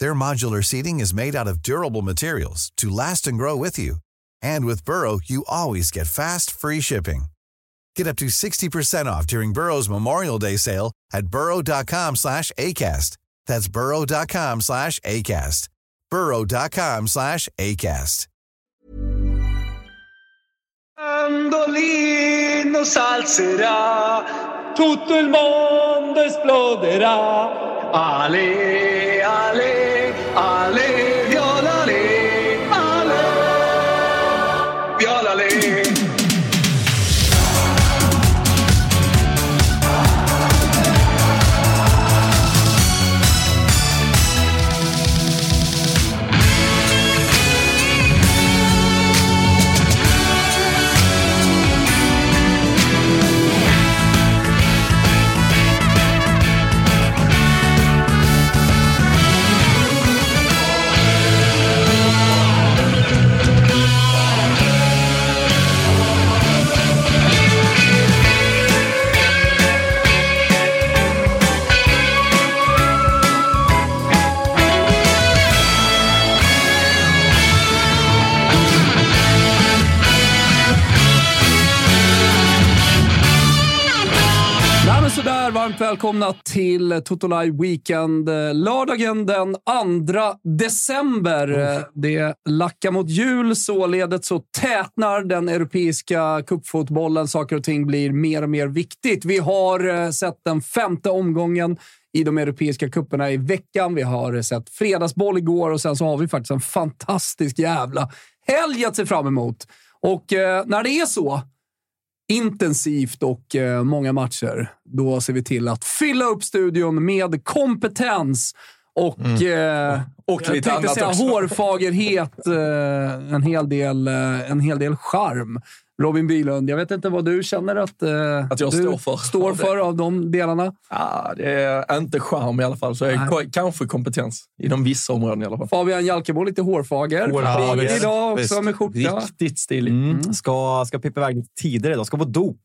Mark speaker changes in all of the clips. Speaker 1: Their modular seating is made out of durable materials to last and grow with you. And with Burrow, you always get fast, free shipping. Get up to 60% off during Burrow's Memorial Day sale at burrow.com slash ACAST. That's burrow.com slash ACAST. burrow.com slash ACAST.
Speaker 2: Mandolino salzerà, tutto il mondo esploderà. Ale, ale, ale, viola le, ale, viola le.
Speaker 3: Nej, men sådär, varmt välkomna till Toto Live Weekend. eh, Lördagen den 2 december. Eh, Det lackar mot jul, således så tätnar den europeiska cupfotbollen. Saker och ting blir mer och mer viktigt. Vi har eh, sett den femte omgången i de europeiska cuperna i veckan. Vi har eh, sett fredagsboll igår och sen så har vi faktiskt en fantastisk jävla helg att se fram emot. Och eh, när det är så intensivt och eh, många matcher, då ser vi till att fylla upp studion med kompetens och, eh,
Speaker 4: Mm. Och
Speaker 3: jag
Speaker 4: lite
Speaker 3: tänkte
Speaker 4: annat
Speaker 3: säga
Speaker 4: också.
Speaker 3: hårfagerhet, eh, en, hel del, eh, en hel del charm. Robin Bylund, jag vet inte vad du känner att, eh,
Speaker 4: Att jag
Speaker 3: du
Speaker 4: står för.
Speaker 3: står för av de delarna.
Speaker 4: Ja, det är inte charm i alla fall, så det är ko- kanske kompetens inom vissa områden i alla fall.
Speaker 3: Fabian Jalkemo, lite hårfager.
Speaker 4: Hårfager.
Speaker 3: Fin idag också
Speaker 5: Visst.
Speaker 3: med skjorta.
Speaker 4: Riktigt stilig.
Speaker 5: Mm. Ska, ska pippa iväg tidigare idag. Ska på dop.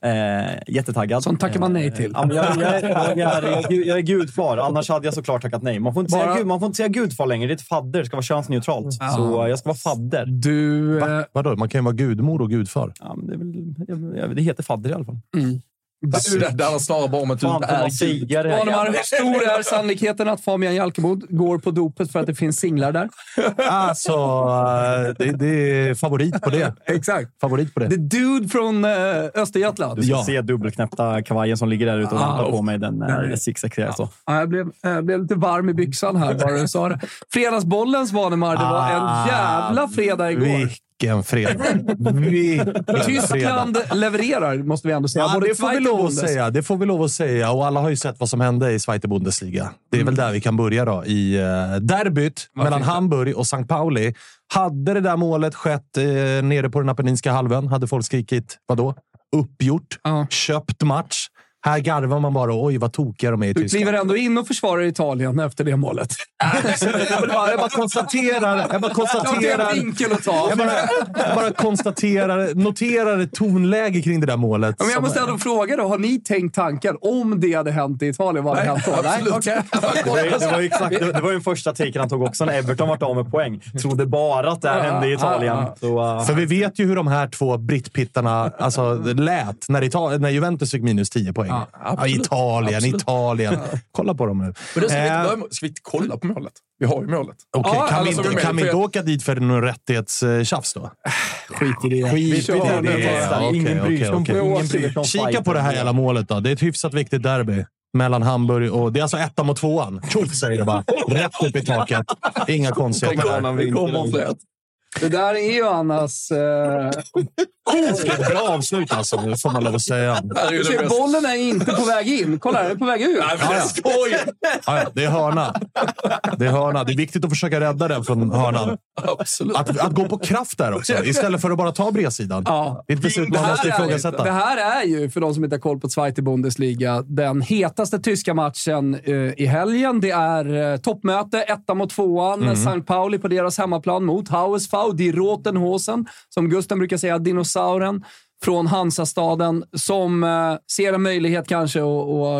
Speaker 3: Ja.
Speaker 5: Eh, jättetaggad. Eh,
Speaker 3: Sånt tackar man nej till.
Speaker 5: Ja, men jag, jag, jag, jag, är- jag, är gudfar. Annars hade jag såklart tackat nej. Man får inte,
Speaker 3: Bara-
Speaker 5: säga, gud, man får inte säga gudfar längre. Det är ett fadder. Det ska vara könsneutralt.
Speaker 3: Ja.
Speaker 5: Så eh, jag ska vara fadder.
Speaker 3: Du, eh,
Speaker 6: Vadå? Man kan ju vara gudmor och gudfar.
Speaker 5: Ja, men det, är väl, jag- jag, det heter fadder i alla fall.
Speaker 4: Det
Speaker 3: du,
Speaker 4: där handlar snarare bara om att du
Speaker 5: Fan,
Speaker 4: inte
Speaker 5: får man
Speaker 4: är typ gud.
Speaker 5: säga det här?
Speaker 3: Arnemar, hur stor är sannolikheten att Fabian Jalkemo går på dopet för att det finns singlar där?
Speaker 6: Alltså, eh, det, det är favorit på det.
Speaker 3: Exakt.
Speaker 6: Favorit på det.
Speaker 3: The dude från eh, Östergötland.
Speaker 5: Du ska
Speaker 6: Ja.
Speaker 5: se dubbelknäppta kavajen som ligger där ute och
Speaker 3: Ah,
Speaker 5: väntar på mig. Den eh, sixpack jag så.
Speaker 3: Ja, jag, blev, jag blev lite varm i byxan här bara du sa det. Fredagsbollens Vanemar, det var en
Speaker 6: Ah,
Speaker 3: jävla fredag igår.
Speaker 6: Vilken fredag! Vilken
Speaker 3: Tyskland levererar, måste vi ändå säga.
Speaker 6: Ja,
Speaker 3: Både
Speaker 6: det får vi
Speaker 3: Zweite
Speaker 6: lov att
Speaker 3: Bundes-
Speaker 6: säga. Det får vi lov att säga. Och alla har ju sett vad som hände i Zweite Bundesliga. Det är väl där vi kan börja då. I eh, derbyt mellan
Speaker 3: Mm. finns det?
Speaker 6: Hamburg och St. Pauli. Hade det där målet skett eh, nere på den Apenninska halvön hade folk skrikit vadå? Uppgjort.
Speaker 3: Ja.
Speaker 6: Köpt match. Här garvar man bara. Oj, vad tokiga de är i
Speaker 3: Du
Speaker 6: Tyskland.
Speaker 3: kliver ändå in och försvarar Italien efter det målet.
Speaker 6: Jag vill bara, jag bara konstaterar. Jag bara
Speaker 3: Det är
Speaker 6: konstaterar.
Speaker 3: en vinkel att ta.
Speaker 6: Jag bara, jag bara konstaterar, noterar ett tonläge kring det där målet.
Speaker 3: Ja, Men jag
Speaker 6: som-
Speaker 3: måste ändå fråga då, har ni tänkt tanken om det hade hänt i Italien? Vad hade hänt då? Nej, okej.
Speaker 5: Det var, ju, det, var ju exakt, det var ju den första taken han tog också när Everton vart av med poäng. Trodde bara att det här hände i Italien.
Speaker 3: Ah, ah, ah.
Speaker 5: Så, eh,
Speaker 6: För vi vet ju hur de här två brittpittarna alltså, lät när, Ital- när Juventus fick minus 10 poäng.
Speaker 3: Ja,
Speaker 6: Ja,
Speaker 4: absolut.
Speaker 6: Italien,
Speaker 4: Absolut.
Speaker 6: Italien. Kolla på dem nu.
Speaker 4: Men det ska, vi inte
Speaker 6: Eh,
Speaker 4: börja med, ska vi inte kolla på målet? Vi har ju målet. alltså,
Speaker 6: Okej,
Speaker 3: Ja,
Speaker 6: kan,
Speaker 3: alla
Speaker 6: vi
Speaker 3: som är
Speaker 6: inte,
Speaker 3: med,
Speaker 6: kan vi
Speaker 4: för
Speaker 6: inte
Speaker 4: jag-
Speaker 6: åka dit för någon rättighetstjafs då?
Speaker 5: Skit i det. Skit
Speaker 3: i det.
Speaker 6: Ja, okej,
Speaker 5: Ingen bryr sig om
Speaker 6: okej,
Speaker 3: okej.
Speaker 5: ingen bryr sig om
Speaker 6: Kika
Speaker 5: fighten.
Speaker 6: på det här jävla målet då. Det är ett hyfsat viktigt derby. Mellan Hamburg och... Det är alltså ettan mot tvåan. Tjoff, säger det bara. Rätt upp i taket. Inga konstigheter där.
Speaker 4: Det kommer fler.
Speaker 3: Det där är ju annars... Eh,
Speaker 6: Vilket bra avslut alltså, det får man lov att säga.
Speaker 4: Det här är ju
Speaker 3: du
Speaker 4: det
Speaker 3: ser,
Speaker 4: bästa.
Speaker 3: bollen är inte på väg in. Kolla, den är på väg ut.
Speaker 4: Nej, men det är skoj!
Speaker 6: Ja, ja, det är hörna. Det är hörna. Det är viktigt att försöka rädda den från hörnan.
Speaker 4: Absolut.
Speaker 6: Att, att gå på kraft där också, istället för att bara ta bredsidan.
Speaker 3: Ja.
Speaker 6: Det är inte så
Speaker 3: Det
Speaker 6: utmanande att
Speaker 3: här, är, det
Speaker 6: ifrågasätta.
Speaker 3: här är ju, för de som inte har koll på Zweite Bundesliga, den hetaste tyska matchen eh, i helgen. Det är eh, toppmöte, etta mot tvåan.
Speaker 6: Mhm.
Speaker 3: St. Pauli på deras hemmaplan mot HSV, Die Rotenhosen, som Gusten brukar säga, dinosauren från Hansastaden, som eh, ser en möjlighet kanske att,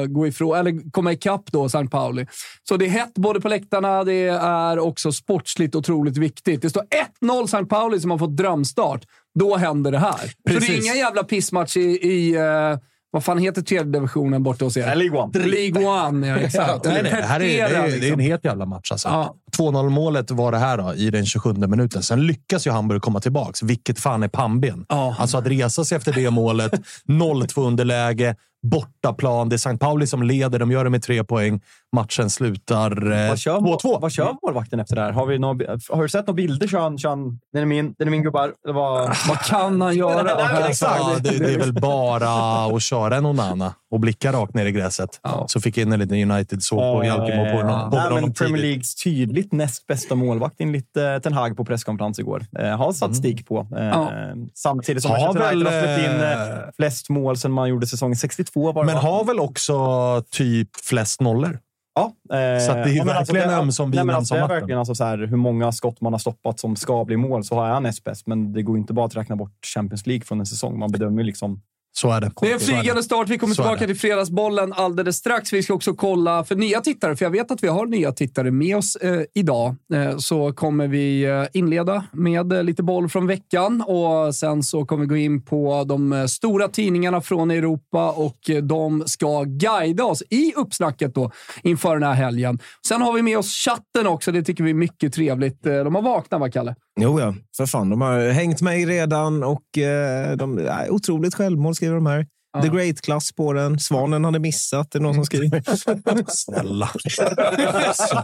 Speaker 3: att gå ifrån, eller komma ikapp då, St. Pauli. Så det är hett både på läktarna, det är också sportsligt otroligt viktigt. Det står 1-0 St. Pauli som har fått drömstart. Då händer det här. Så det är
Speaker 6: Precis.
Speaker 3: inga jävla pissmatch i... i eh, vad fan heter tredje divisionen borta hos er?
Speaker 5: League One.
Speaker 3: League One, ja exakt.
Speaker 6: Nej,
Speaker 3: Eller
Speaker 6: nej, det, här är, det,
Speaker 3: Pertera,
Speaker 6: är, det är
Speaker 3: liksom.
Speaker 6: en helt jävla match alltså.
Speaker 3: Ja.
Speaker 6: 2-0 målet var det här då, i den 27 minuten. Sen lyckas ju Hamburg komma tillbaka, vilket fan är pannben.
Speaker 3: Ja.
Speaker 6: Alltså att resa sig efter det målet, 0-2 underläge, bortaplan. Det är St. Pauli som leder, de gör det med tre poäng. Matchen slutar eh, Mm.
Speaker 5: Vad kör, mål,
Speaker 6: 2-2.
Speaker 5: vad kör målvakten efter det här? Har, vi några, har du sett några bilder? Kör han, kör han, den är min, den är min gubbar. Det var,
Speaker 3: Vad kan han göra?
Speaker 5: Nej, nej, nej,
Speaker 3: Alltså,
Speaker 5: exakt.
Speaker 6: Ja, det, det är väl bara att köra en Onana och blicka rakt ner i gräset.
Speaker 3: Ja.
Speaker 6: Så fick jag in en liten United-såg på Jalkemo på honom. på
Speaker 5: Nej,
Speaker 6: honom
Speaker 5: men Premier
Speaker 6: tidigt.
Speaker 5: Leagues tydligt näst bästa målvakt enligt eh, Ten Hag på presskonferens igår. Eh, har statistik på. Eh,
Speaker 3: Ja.
Speaker 5: Samtidigt som
Speaker 6: Mm. Har
Speaker 5: Manchester United har
Speaker 6: väl,
Speaker 5: släppt in
Speaker 6: eh,
Speaker 5: eh, flest mål sedan man gjorde säsongen 62. Var det,
Speaker 6: Men
Speaker 5: va?
Speaker 6: har väl också typ flest nollor?
Speaker 5: Ja, eh,
Speaker 6: Så att det är ju
Speaker 5: ja, men
Speaker 6: verkligen
Speaker 5: det-
Speaker 6: ömsom vin,
Speaker 5: nej, men alltså,
Speaker 6: ömsom
Speaker 5: Det är
Speaker 6: vatten.
Speaker 5: verkligen alltså så här, hur många skott man har stoppat som ska bli mål, så har jag näst bäst. Men det går ju inte bara att räkna bort Champions League från en säsong. Man bedömer ju liksom...
Speaker 6: Så är det.
Speaker 3: Det är en
Speaker 6: Så är det.
Speaker 3: flygande start. Vi kommer
Speaker 6: Så är det.
Speaker 3: tillbaka till Fredagsbollen alldeles strax. Vi ska också kolla för nya tittare, för jag vet att vi har nya tittare med oss eh, idag. Eh, så kommer vi eh, inleda med eh, lite boll från veckan och sen så kommer vi gå in på de eh, stora tidningarna från Europa och eh, de ska guida oss i uppsnacket då inför den här helgen. Sen har vi med oss chatten också. Det tycker vi är mycket trevligt. Eh, De har vaknat, va, Kalle?
Speaker 7: Jo, ja. För fan, de har hängt mig redan och eh, de, ja, otroligt självmål skriver de här. The Great-klass på den. Svanen hade missat, det är någon som skriver.
Speaker 6: Snälla. Alltså,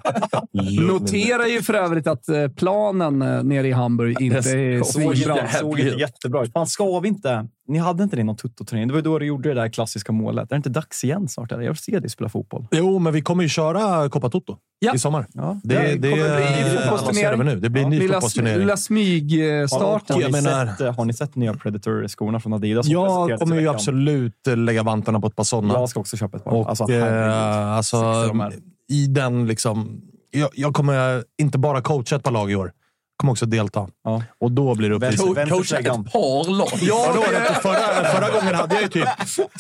Speaker 6: lugn.
Speaker 3: Notera ju för övrigt att eh, planen eh, nere i Hamburg inte är
Speaker 5: Såg
Speaker 3: svinbra.
Speaker 5: inte, såg inte jättebra ut. Fan, ska vi inte... Ni hade inte det i någon tuttoturnering? Det var ju då du gjorde det där klassiska målet. Är det inte dags igen snart? Eller? Jag vill se dig spela fotboll.
Speaker 6: Jo, men vi kommer ju köra Coppa Toto
Speaker 3: Ja.
Speaker 6: i sommar.
Speaker 5: Ja.
Speaker 6: Det, det, det
Speaker 3: kommer bli fotbollsturnering.
Speaker 6: annonserar vi nu. Det blir en ny
Speaker 3: Lilla,
Speaker 6: fotbollsturnering.
Speaker 3: lilla eh, smygstarten.
Speaker 5: Har,
Speaker 6: jag
Speaker 5: ni
Speaker 6: menar-
Speaker 5: sett, eh, har ni sett nya Predator-skorna från Adidas? som
Speaker 6: Jag
Speaker 5: presenterades i
Speaker 6: kommer ju
Speaker 5: veckan?
Speaker 6: absolut eh, lägga vantarna på ett par sådana.
Speaker 5: Jag ska också köpa ett par.
Speaker 6: Och,
Speaker 5: alltså, herregud.
Speaker 6: eh, alltså,
Speaker 5: Sexiga de här.
Speaker 6: I den liksom... Jag, jag kommer inte bara coacha ett par lag i år. Jag kommer också delta.
Speaker 5: Ja.
Speaker 6: Och då blir det upp till
Speaker 5: Vem- vem-
Speaker 4: Coacha ett par lag.
Speaker 6: Ja, då, efter förra, förra gången hade jag ju typ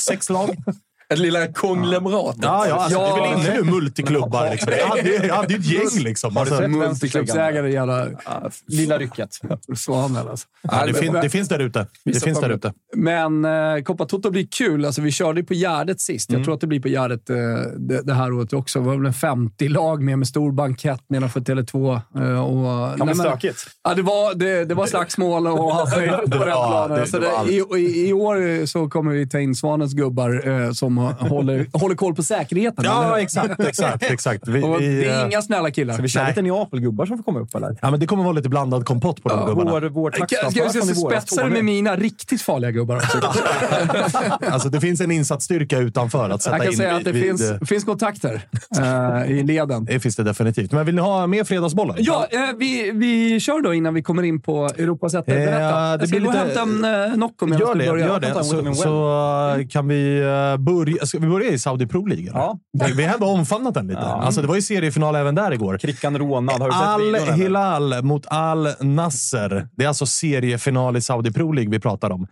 Speaker 6: sex lag.
Speaker 4: Ett lilla konglomerat.
Speaker 6: Ja, ja, alltså,
Speaker 3: Ja.
Speaker 6: Det är väl inne nu multiklubbar. Liksom. Jag, hade, ju- jag hade ju ett gäng. Liksom. Alltså,
Speaker 3: Multiklubbsägare, jävla
Speaker 5: Lilla rycket.
Speaker 3: svanen alltså.
Speaker 6: ja, det, fin, det finns där ute. Det finns där ute.
Speaker 3: Men eh, Coppa Toto blir kul. Alltså, vi körde ju på Gärdet sist. Jag
Speaker 6: Mm.
Speaker 3: tror att det blir på Gärdet eh, det, det här året också. Det var väl en 50-lag med, med stor bankett nedanför Tele2. Eh, och,
Speaker 5: Ja,
Speaker 3: Nej,
Speaker 5: men
Speaker 3: men-
Speaker 5: stökigt.
Speaker 3: Ja, det, var, det, det var slagsmål och allt möjligt på den planen.
Speaker 6: det-
Speaker 3: Så
Speaker 6: det
Speaker 3: Alltså, det,
Speaker 6: var
Speaker 3: i, i, I år så kommer vi ta in Svanens gubbar eh, som håller, håller koll på säkerheten. eller
Speaker 6: Ja,
Speaker 3: hur?
Speaker 6: exakt. exakt, exakt. Vi,
Speaker 3: och
Speaker 6: vi,
Speaker 3: det är
Speaker 6: eh,
Speaker 3: inga snälla killar.
Speaker 5: Ska vi köra
Speaker 6: Nej.
Speaker 5: lite Neapelgubbar som får komma upp? Eller?
Speaker 6: ja, men det kommer vara lite blandad kompott på de gubbarna.
Speaker 5: Vår, vår
Speaker 3: Ska, ska vi se, spetsar det med mina riktigt farliga gubbar också.
Speaker 6: Alltså, det finns en insatsstyrka utanför att sätta
Speaker 3: Jag kan
Speaker 6: in.
Speaker 3: säga att det
Speaker 6: vid-
Speaker 3: finns,
Speaker 6: eh,
Speaker 3: finns kontakter eh, i leden.
Speaker 6: Det finns det definitivt. Men vill ni ha mer fredagsbollar?
Speaker 3: Ja, eh, vi, vi kör då innan vi kommer in på Europas etta.
Speaker 6: Eh,
Speaker 3: Berätta.
Speaker 6: det
Speaker 3: jag ska
Speaker 6: blir
Speaker 3: gå och
Speaker 6: lite-
Speaker 3: hämta en eh, Nocco medan
Speaker 6: Gör
Speaker 3: du
Speaker 6: det,
Speaker 3: börjar.
Speaker 6: gör
Speaker 5: Jag kan ta
Speaker 6: det.
Speaker 5: en
Speaker 6: Så,
Speaker 5: Whitman
Speaker 6: så eh, kan vi eh, börja. Ska vi börja i Saudi Pro League? då?
Speaker 5: Ja.
Speaker 6: Vi- Vi har ändå omfamnat den lite. Alltså, det var ju seriefinal även där igår.
Speaker 5: Krickan
Speaker 3: Mm.
Speaker 5: rånad. Har du sett
Speaker 6: Al
Speaker 5: videon, eller?
Speaker 6: Hilal mot Al Nasser. Det är alltså seriefinal i Saudi Pro League vi pratar om.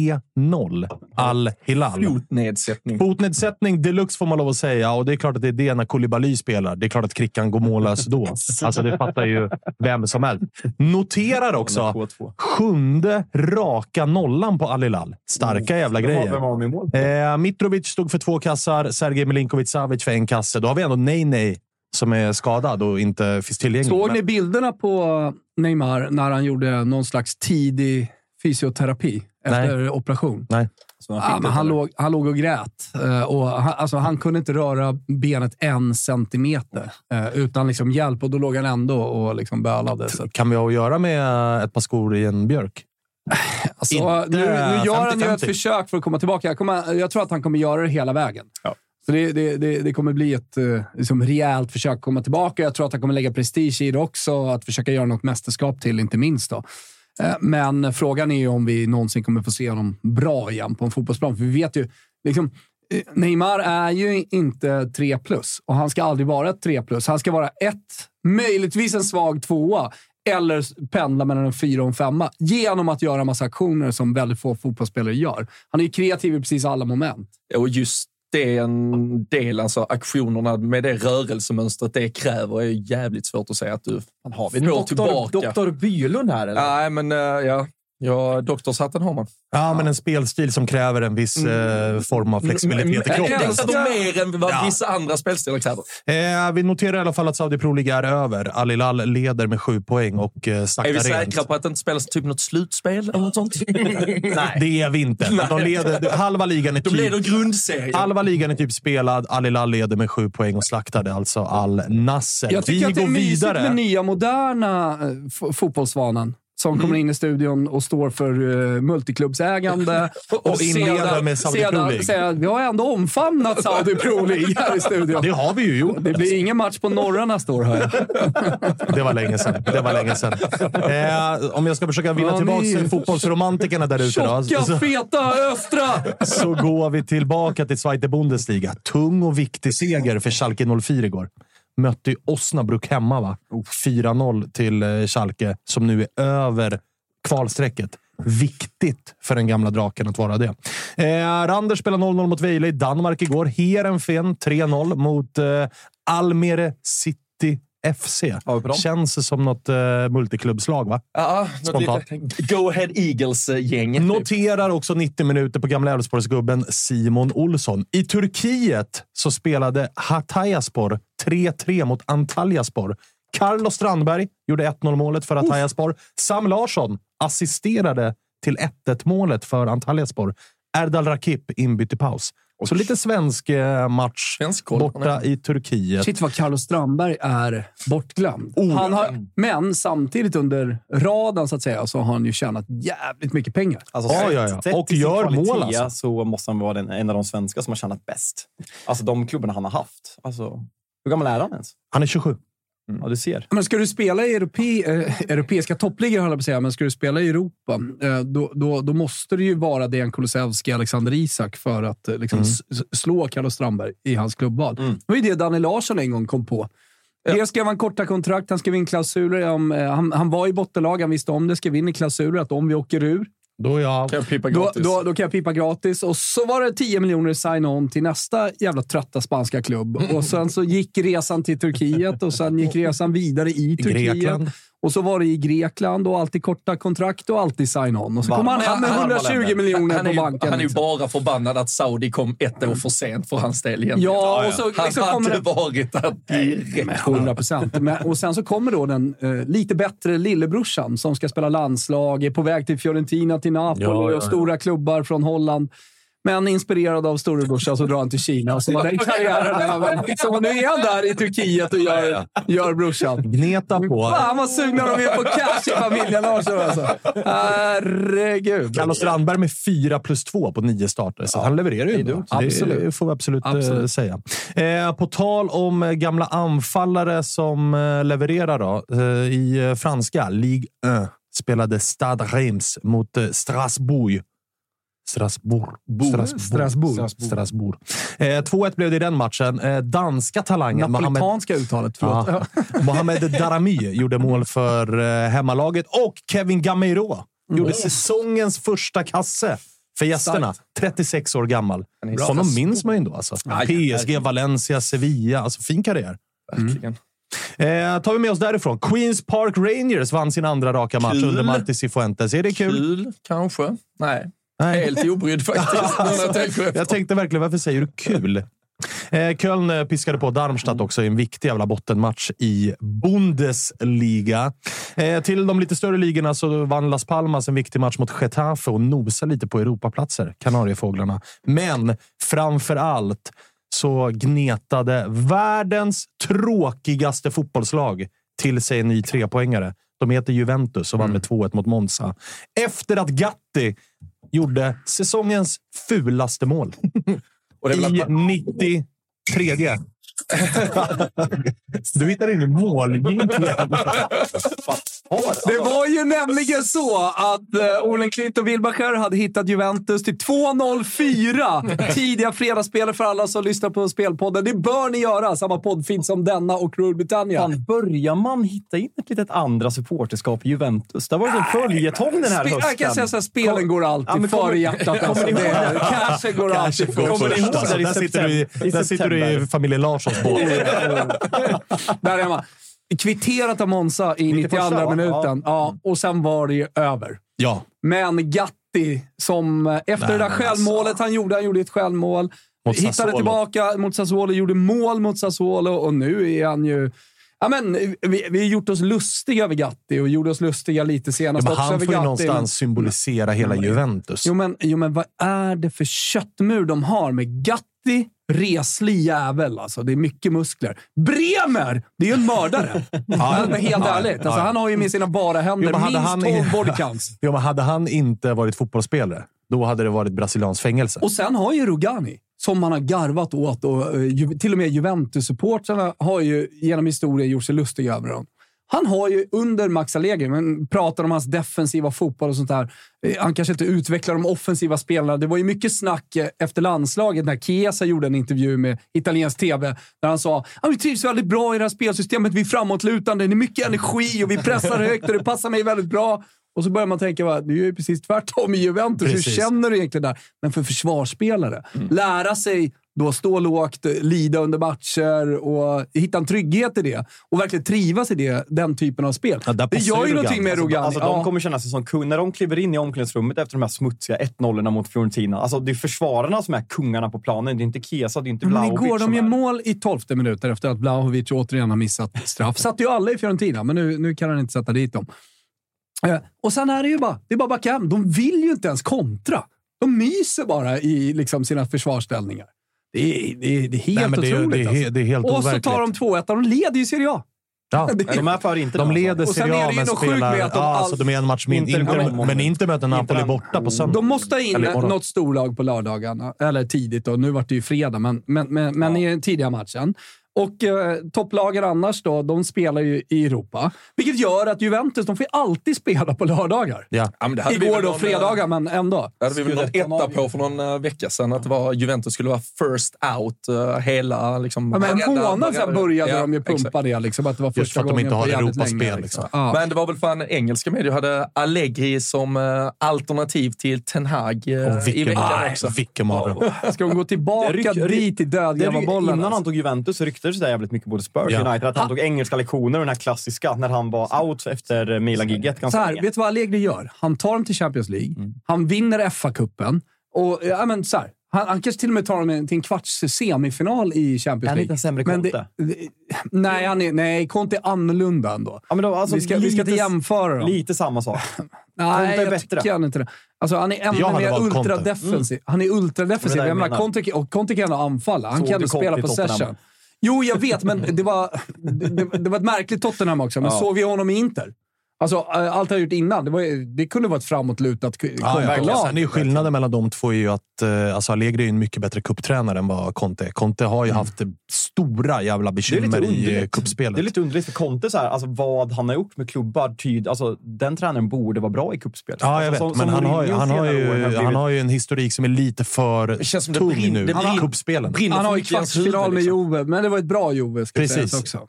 Speaker 6: 3-0 Al Hilal.
Speaker 4: Fotnedsättning.
Speaker 6: Fotnedsättning deluxe får man lov att säga och det är klart att det är det när Koulibaly spelar. Det är klart att Krickan går mållös då. Alltså det fattar ju vem som helst. Noterar också
Speaker 5: 2-2.
Speaker 6: sjunde raka nollan på Al Hilal. Starka jävla
Speaker 5: Vem har-
Speaker 6: grejer.
Speaker 5: Vem har Mm. de i mål?
Speaker 6: Eh, Mitrovic stod för två kassar, Sergej Milinkovic-Savic för en kasse. Då har vi ändå Nej-Nej som är skadad och inte finns tillgänglig.
Speaker 3: Såg
Speaker 6: Men-
Speaker 3: ni bilderna på Neymar när han gjorde någon slags tidig fysioterapi efter operation.
Speaker 6: Nej.
Speaker 3: Ja, men han, låg, han låg och grät. eh, Och han, alltså, han kunde inte röra benet en centimeter eh, utan liksom hjälp. Och då låg han ändå och liksom bölade. Så. att-
Speaker 6: Kan vi ha att göra med eh, ett par skor i en björk?
Speaker 3: Alltså,
Speaker 6: Inte
Speaker 3: nu, nu gör han ju
Speaker 6: 50-50.
Speaker 3: ett försök för att komma tillbaka. Jag, kommer, jag tror att han kommer göra det hela vägen. Så det, det, det, det kommer bli ett eh, liksom, rejält försök att komma tillbaka. Jag tror att han kommer lägga prestige i det också. Att försöka göra något mästerskap till, inte minst. Då. Eh, Men frågan är ju om vi någonsin kommer få se honom bra igen på en fotbollsplan. För vi vet ju, liksom, eh, Neymar är ju inte 3 plus och han ska aldrig vara ett 3 plus. Han ska vara ett, möjligtvis en svag tvåa eller s- pendla mellan en fyra och en femma genom att göra massa aktioner som väldigt få fotbollsspelare gör. Han är ju kreativ i precis alla moment.
Speaker 4: Och just den delen, alltså aktionerna med det rörelsemönstret det kräver, är jävligt svårt att säga att du fan, har vi får
Speaker 5: Doktor,
Speaker 4: tillbaka.
Speaker 5: doktor Bylund här, eller?
Speaker 4: Nej, men eh, ja. Ja, doktorshatten har man.
Speaker 6: Ja, men en spelstil som kräver en viss
Speaker 3: Mm.
Speaker 6: eh, form av flexibilitet i
Speaker 4: Jag
Speaker 6: kroppen.
Speaker 3: alltså,
Speaker 4: älskar mer än vad vissa andra spelstilar kräver.
Speaker 6: Eh, vi noterar i alla fall att Saudi Pro League är över. Al Hilal leder med sju poäng och eh, saktar
Speaker 4: Är vi
Speaker 6: rent.
Speaker 4: säkra på att det inte spelas typ något slutspel eller något sånt? Nej.
Speaker 6: Det är vi inte. De leder, halva ligan är
Speaker 4: De leder
Speaker 6: typ...
Speaker 4: grundserien.
Speaker 6: Halva ligan är typ spelad. Al Hilal leder med sju poäng och slaktade alltså Al Nasser.
Speaker 3: Jag tycker
Speaker 6: vi
Speaker 3: att det är
Speaker 6: går
Speaker 3: mysigt
Speaker 6: vidare.
Speaker 3: med nya moderna eh, fo- fotbollsvanan som
Speaker 6: Mm.
Speaker 3: kommer in i studion och står för uh, multiklubbsägande.
Speaker 6: Och inleder
Speaker 3: sedan-
Speaker 6: med Saudi Pro
Speaker 3: sedan,
Speaker 6: League.
Speaker 3: säger att vi har ändå omfamnat Saudi Pro League här i studion.
Speaker 6: Det har vi ju gjort.
Speaker 3: Det blir ingen match på norra nästa år, hör jag.
Speaker 6: Det var länge sedan. Det var länge sedan. Eh, om jag ska försöka vinna
Speaker 3: Ja, ni-
Speaker 6: tillbaka fotbollsromantikerna där ute. då,
Speaker 3: Tjocka,
Speaker 6: så-
Speaker 3: feta östra!
Speaker 6: så går vi tillbaka till Zweite Bundesliga. Tung och viktig seger för Schalke 04 igår. Mötte ju Osnabrück hemma, va? 4-0 till eh, Schalke, som nu är över kvalstrecket. Viktigt för den gamla draken att vara det. Eh, Randers spelar 0-0 mot Vejle i Danmark igår. Heerenveen 3-0 mot eh, Almere City FC.
Speaker 4: Har vi på dem?
Speaker 6: Känns som något eh, multiklubbslag, va?
Speaker 4: Ja, något
Speaker 6: Spontant.
Speaker 4: lite Go Ahead Eagles-gänget.
Speaker 6: Noterar också 90 minuter på gamla Elfsborgsgubben Simon Olsson. I Turkiet så spelade Hatayspor 3-3 mot Antalyaspor. Carlos Strandberg gjorde 1-0 målet för Hatayspor. Sam Larsson assisterade till 1-1 målet för Antalyaspor. Erdal Rakip inbytt i paus. Så lite svensk eh, match
Speaker 4: Svensk koll.
Speaker 6: borta i Turkiet.
Speaker 3: Shit vad Carlos Strandberg är bortglömd.
Speaker 6: Oh.
Speaker 3: Han har, men samtidigt under radarn så att säga så har han ju tjänat jävligt mycket pengar.
Speaker 5: Alltså,
Speaker 6: Ja, ja, ja.
Speaker 5: sett- sett
Speaker 6: Och
Speaker 5: till sin
Speaker 6: gör
Speaker 5: kvalitet
Speaker 6: mål, alltså.
Speaker 5: så måste han vara den, en av de svenskar som har tjänat bäst. Alltså de klubbarna han har haft. Alltså, hur gammal är han ens?
Speaker 6: Han är 27.
Speaker 5: Ja, du ser.
Speaker 3: Men ska du spela i europe, eh, europeiska toppligor, höll jag på att säga, men ska du spela i Europa, eh, då, då, då måste det ju vara Dejan Kulusevski, Alexander Isak för att eh, liksom, s- s- slå Carlos Strandberg i hans klubbval. Det var ju det Daniel Larsson en gång kom på. Dels skrev han korta kontrakt, han skrev in klausuler. Om, eh, han, han var i bottenlag, han visste om det, skrev in i klausuler att om vi åker ur,
Speaker 6: Då är jag...
Speaker 4: Kan jag pippa
Speaker 3: då,
Speaker 4: gratis?
Speaker 3: då, då kan jag pipa gratis. Och så var det 10 miljoner sign-on till nästa jävla trötta spanska klubb. Och sen så gick resan till Turkiet och sen gick resan vidare i Turkiet.
Speaker 6: Grekland.
Speaker 3: Och så var det i Grekland och alltid korta kontrakt och alltid sign-on. Och så kom han hem med 120 miljoner
Speaker 4: han, är
Speaker 3: på
Speaker 4: ju,
Speaker 3: banken.
Speaker 4: han är ju
Speaker 3: liksom.
Speaker 4: bara förbannad att Saudi kom ett år för sent för hans del egentligen.
Speaker 3: Ja, och så
Speaker 4: Han
Speaker 3: liksom
Speaker 4: hade
Speaker 3: kommer det...
Speaker 4: varit där direkt.
Speaker 3: 100 procent. Och sen så kommer då den eh, lite bättre lillebrorsan som ska spela landslag, är på väg till Fiorentina, till Napoli
Speaker 6: Ja, ja, ja.
Speaker 3: och stora klubbar från Holland. Men inspirerad av storebrorsan så drar han till Kina och så var den karriären över. Så Liksom, nu är han där i Turkiet och gör, gör brorsan.
Speaker 6: Gneta på.
Speaker 3: Fan vad sugna de är på cash i familjen Larsson alltså. Herregud.
Speaker 6: Carlos Strandberg med 4 plus 2 på nio starter, så han levererar ju ändå.
Speaker 3: Absolut.
Speaker 6: Det får vi absolut, eh,
Speaker 3: Absolut.
Speaker 6: säga. Eh, på tal om eh, gamla anfallare som eh, levererar då. Eh, I eh, franska Ligue 1 spelade Stade Reims mot eh, Strasbourg. Strasbourg. Strasbourg. Strasbourg. Strasbourg. Eh, 2-1 blev det i den matchen. Eh, danska talangen Mohamed
Speaker 3: Napolitanska uttalet, förlåt.
Speaker 6: Ja. Mohamed Darami gjorde mål för eh, hemmalaget och Kevin Gameiro gjorde säsongens första kasse för gästerna. 36 år gammal. Honom minns man ju ändå. Alltså. PSG, Valencia, Sevilla. Alltså, fin karriär. Mm.
Speaker 4: Verkligen.
Speaker 6: Eh, tar vi med oss därifrån. Queens Park Rangers vann sin andra raka match
Speaker 4: Kul.
Speaker 6: under Marti Cifuentes. Är det kul?
Speaker 4: Kul, kanske. Nej.
Speaker 6: Nej.
Speaker 4: Helt obrydd faktiskt. när jag tänker efter.
Speaker 6: Jag tänkte verkligen, varför säger du kul? Eh, Köln eh, piskade på Darmstadt också i en viktig jävla bottenmatch i Bundesliga. Eh, till de lite större ligorna så vann Las Palmas en viktig match mot Getafe och nosade lite på Europaplatser, Kanariefåglarna. Men framför allt så gnetade världens tråkigaste fotbollslag till sig en ny trepoängare. De heter Juventus och vann med 2-1 mot Monza. Efter att Gatti gjorde säsongens fulaste mål.
Speaker 4: Och det är väl
Speaker 6: I
Speaker 4: att,
Speaker 6: 93. du hittar in i målgängen.
Speaker 3: Det var ju nämligen så att eh, Olen Klint och Wilbacher hade hittat Juventus till 2.04. Tidiga fredagsspel för alla som lyssnar på Spelpodden. Det bör ni göra. Samma podd finns som denna och Rule Britannia.
Speaker 5: Fan, börjar man hitta in ett litet andra supporterskap i Juventus? Det har varit en följetong den här
Speaker 3: Spe- jag kan säga
Speaker 5: hösten.
Speaker 3: såhär, spelen går alltid
Speaker 5: Ja, men kommer-
Speaker 3: före hjärtat. Alltså.
Speaker 5: Kommer ni
Speaker 3: Det är-
Speaker 5: ihåg?
Speaker 3: Cashen går alltid före.
Speaker 5: Kommer ni ihåg
Speaker 6: Alltså,
Speaker 5: där i
Speaker 6: där sitter du i,
Speaker 5: september? I
Speaker 6: där sitter du i
Speaker 5: september.
Speaker 6: familjen Larssons båt.
Speaker 3: Mm. Där är man. Kvitterat av Monza i
Speaker 5: 91,
Speaker 3: 92
Speaker 5: va?
Speaker 3: minuten. Ja, och sen var det ju över.
Speaker 6: Ja.
Speaker 3: Men Gatti, som eh, efter det där självmålet han gjorde, han gjorde ett självmål.
Speaker 6: alltså. Mot
Speaker 3: hittade
Speaker 6: Sassuolo.
Speaker 3: tillbaka mot Sassuolo, gjorde mål mot Sassuolo och nu är han ju... Ja, men, vi, vi har gjort oss lustiga över Gatti och gjorde oss lustiga lite
Speaker 6: Ja,
Speaker 3: senast
Speaker 6: men
Speaker 3: också
Speaker 6: han
Speaker 3: över Mm.
Speaker 6: får ju
Speaker 3: Gatti.
Speaker 6: någonstans symbolisera hela Juventus.
Speaker 3: Jo men, jo, men vad är det för köttmur de har med Gatti, reslig jävel alltså. Det är mycket muskler. Bremer! Det är ju en mördare. ja, men helt
Speaker 6: Ja,
Speaker 3: ärligt. Alltså,
Speaker 6: ja.
Speaker 3: han har ju med sina bara händer
Speaker 6: Jo, men hade
Speaker 3: minst
Speaker 6: han-
Speaker 3: 12 bodycounts.
Speaker 6: Jo, men hade han inte varit fotbollsspelare, då hade det varit brasiliansk fängelse.
Speaker 3: Och sen har ju Rugani, som man har garvat åt och eh, ju, till och med Juventus-supportrarna har ju genom historien gjort sig lustiga över honom. Han har ju under Max Allegri, men pratar om hans defensiva fotboll och sånt där. Eh, Han kanske inte utvecklar de offensiva spelarna. Det var ju mycket snack eh, efter landslaget när Chiesa gjorde en intervju med italiensk TV där han sa att vi trivs väldigt bra i det här spelsystemet. Vi är framåtlutande, det är mycket energi och vi pressar högt och det passar mig väldigt bra. Och så börjar man tänka, va, det är ju precis tvärtom i Juventus. Hur
Speaker 6: Precis.
Speaker 3: känner känner du egentligen där? Men för försvarsspelare,
Speaker 4: Mm.
Speaker 3: lära sig då stå lågt, lida under matcher och hitta en trygghet i det. Och verkligen trivas i det, den typen av spel.
Speaker 6: Ja, där
Speaker 3: det
Speaker 6: passar ju
Speaker 3: gör ju
Speaker 6: Rugani.
Speaker 3: någonting med Rogani.
Speaker 5: Alltså, de kommer känna sig som kung. När de kliver in i omklädningsrummet efter de här smutsiga 1-0 mot Fiorentina. Alltså, det är försvararna som är kungarna på planen. Det är inte Kesa, det är inte
Speaker 3: Men
Speaker 5: Vlahovic.
Speaker 3: igår
Speaker 5: som
Speaker 3: de gör
Speaker 5: är-
Speaker 3: mål i 12 minuter efter att Blahovic återigen har missat straff. Satt ju alla i Fiorentina, men nu, nu kan han inte sätta dit dem. Eh, och sen är det ju bara, det är bara backa hem. De vill ju inte ens kontra. De myser bara i liksom, sina försvarsställningar. Det är, det är, det är helt
Speaker 6: Nej, men det, är,
Speaker 3: otroligt.
Speaker 6: det, är, he-
Speaker 3: alltså.
Speaker 6: det är helt
Speaker 3: Och så
Speaker 6: overkligt.
Speaker 3: tar de 2-1 och de leder ju Serie A.
Speaker 6: Ja.
Speaker 3: Det är-
Speaker 5: De är för inte
Speaker 6: De leder
Speaker 3: Och sen
Speaker 6: Serie
Speaker 3: är det
Speaker 6: A,
Speaker 3: ju
Speaker 6: men
Speaker 3: något sjukt
Speaker 6: spelar...
Speaker 3: med
Speaker 6: Ja,
Speaker 3: att de all-
Speaker 6: alltså, de är en match min,
Speaker 5: Inter-
Speaker 6: inte,
Speaker 5: Ja, men-
Speaker 6: men inte möter Napoli
Speaker 5: Inter-
Speaker 6: borta på söndag.
Speaker 3: De måste ha in
Speaker 6: Eller imorgon.
Speaker 3: något storlag på lördagarna, eller tidigt. Och nu vart det ju fredag, men, men, men, men i den tidiga matchen. Och eh, topplagen annars då, de spelar ju i Europa. Vilket gör att Juventus, de får ju alltid spela på lördagar.
Speaker 6: Ja.
Speaker 4: ja, men det hade vi
Speaker 3: Igår
Speaker 4: väl
Speaker 3: då,
Speaker 4: någon, eh,
Speaker 3: fredagar, men ändå.
Speaker 4: Det hade vi väl någon etta på för någon eh, vecka sedan, att det var, Juventus skulle vara first out eh, hela... Liksom,
Speaker 3: Ja, men en
Speaker 4: varenda-
Speaker 3: månad sedan började
Speaker 4: Ja,
Speaker 3: de ju
Speaker 4: exakt.
Speaker 3: pumpa det, liksom, att det var
Speaker 6: för
Speaker 3: första
Speaker 6: att de
Speaker 3: gången
Speaker 6: inte har
Speaker 3: på jävligt
Speaker 6: Europaspel,
Speaker 3: länge,
Speaker 6: liksom.
Speaker 3: Ja.
Speaker 4: Men det var väl fan engelska medier hade Allegri som eh, alternativ till Ten Hag eh,
Speaker 6: Och
Speaker 4: i
Speaker 6: vilken,
Speaker 4: veckan
Speaker 6: nej,
Speaker 4: också.
Speaker 6: vilken mardröm.
Speaker 3: Ska de gå tillbaka
Speaker 5: Det ryck-
Speaker 3: dit i
Speaker 5: Det är ju-
Speaker 3: dödgrävarbollen?
Speaker 5: Innan
Speaker 3: alltså?
Speaker 5: han tog Juventus så ryktades det jävligt mycket både Spurs och
Speaker 6: Ja.
Speaker 5: United att han tog engelska lektioner och den här klassiska när han var out efter Milan-gigget
Speaker 3: Så
Speaker 5: ganska Mm.
Speaker 3: här,
Speaker 5: länge.
Speaker 3: vet du vad Allegri gör? Han tar dem till Champions League. Han vinner FA-cupen. Och, ja, men, så här, han, han kanske till och med tar dem till en kvarts semifinal i Champions
Speaker 5: Är han
Speaker 3: League.
Speaker 5: inte en sämre
Speaker 3: Men
Speaker 5: Conte?
Speaker 3: det- det- nej, han är, nej, Conte är annorlunda ändå.
Speaker 5: Ja, men då, alltså,
Speaker 3: vi, ska, vi ska inte
Speaker 5: lite-
Speaker 3: jämföra dem.
Speaker 5: Lite samma sak.
Speaker 3: nej,
Speaker 5: Conte är
Speaker 3: jag
Speaker 5: bättre.
Speaker 3: tycker han inte det. Alltså, han är
Speaker 6: Jag
Speaker 3: ännu
Speaker 6: hade
Speaker 3: mer
Speaker 6: valt Conte.
Speaker 3: ultradefensiv. Han är ultradefensiv.
Speaker 5: Det är det
Speaker 3: Jag
Speaker 5: jag
Speaker 3: menar,
Speaker 5: menar.
Speaker 3: Conte, kan- och Conte kan ändå anfalla. Han
Speaker 5: Såg
Speaker 3: kan
Speaker 5: du
Speaker 3: ändå spela
Speaker 5: Conte i
Speaker 3: possession.
Speaker 5: Tottenham?
Speaker 3: Jo, jag vet, men det var, det, det var ett märkligt Tottenham också. Men såg vi honom i Inter? Alltså, eh, allt han gjort innan, det, var, ju- det kunde vara ett framåtlutat k-
Speaker 6: Ja, ja,
Speaker 3: kontolag.
Speaker 6: Sen är ju skillnaden mellan de två är ju att eh, alltså Allegri är en mycket bättre kupptränare än vad Conte är. Conte har ju haft stora jävla
Speaker 5: Det är lite
Speaker 6: bekymmer i eh,
Speaker 5: underligt.
Speaker 6: kuppspelet.
Speaker 5: Det är lite underligt för Conte, så här, alltså, vad han har gjort med klubbar, tyd, alltså, den tränaren borde vara bra i kuppspel.
Speaker 6: Ja, jag
Speaker 5: alltså,
Speaker 6: vet. men han har, ju, han, har ju, han har ju en historik som är lite för
Speaker 4: Det känns som det
Speaker 6: tung
Speaker 4: brinner-
Speaker 6: nu
Speaker 4: det
Speaker 6: i
Speaker 4: brinner-
Speaker 6: kuppspelen.
Speaker 4: Brinner
Speaker 3: Han har
Speaker 4: för
Speaker 3: ju
Speaker 4: mycket i hans huvud,
Speaker 3: kvartsfinal med
Speaker 4: liksom.
Speaker 3: Jove, men det var ett bra Jove ska
Speaker 6: Precis.
Speaker 3: sägas också.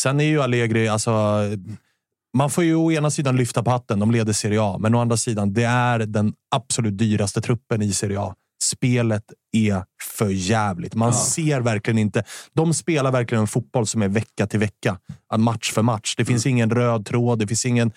Speaker 6: Sen är ju Allegri... Alltså, man får ju å ena sidan lyfta på hatten, de leder Serie A. Men å andra sidan, det är den absolut dyraste truppen i Serie A. Spelet är för jävligt. Man ser verkligen inte. De spelar verkligen en fotboll som är vecka till vecka. eh, Match för match. Det finns
Speaker 3: Mm.
Speaker 6: ingen röd tråd. Det finns ingen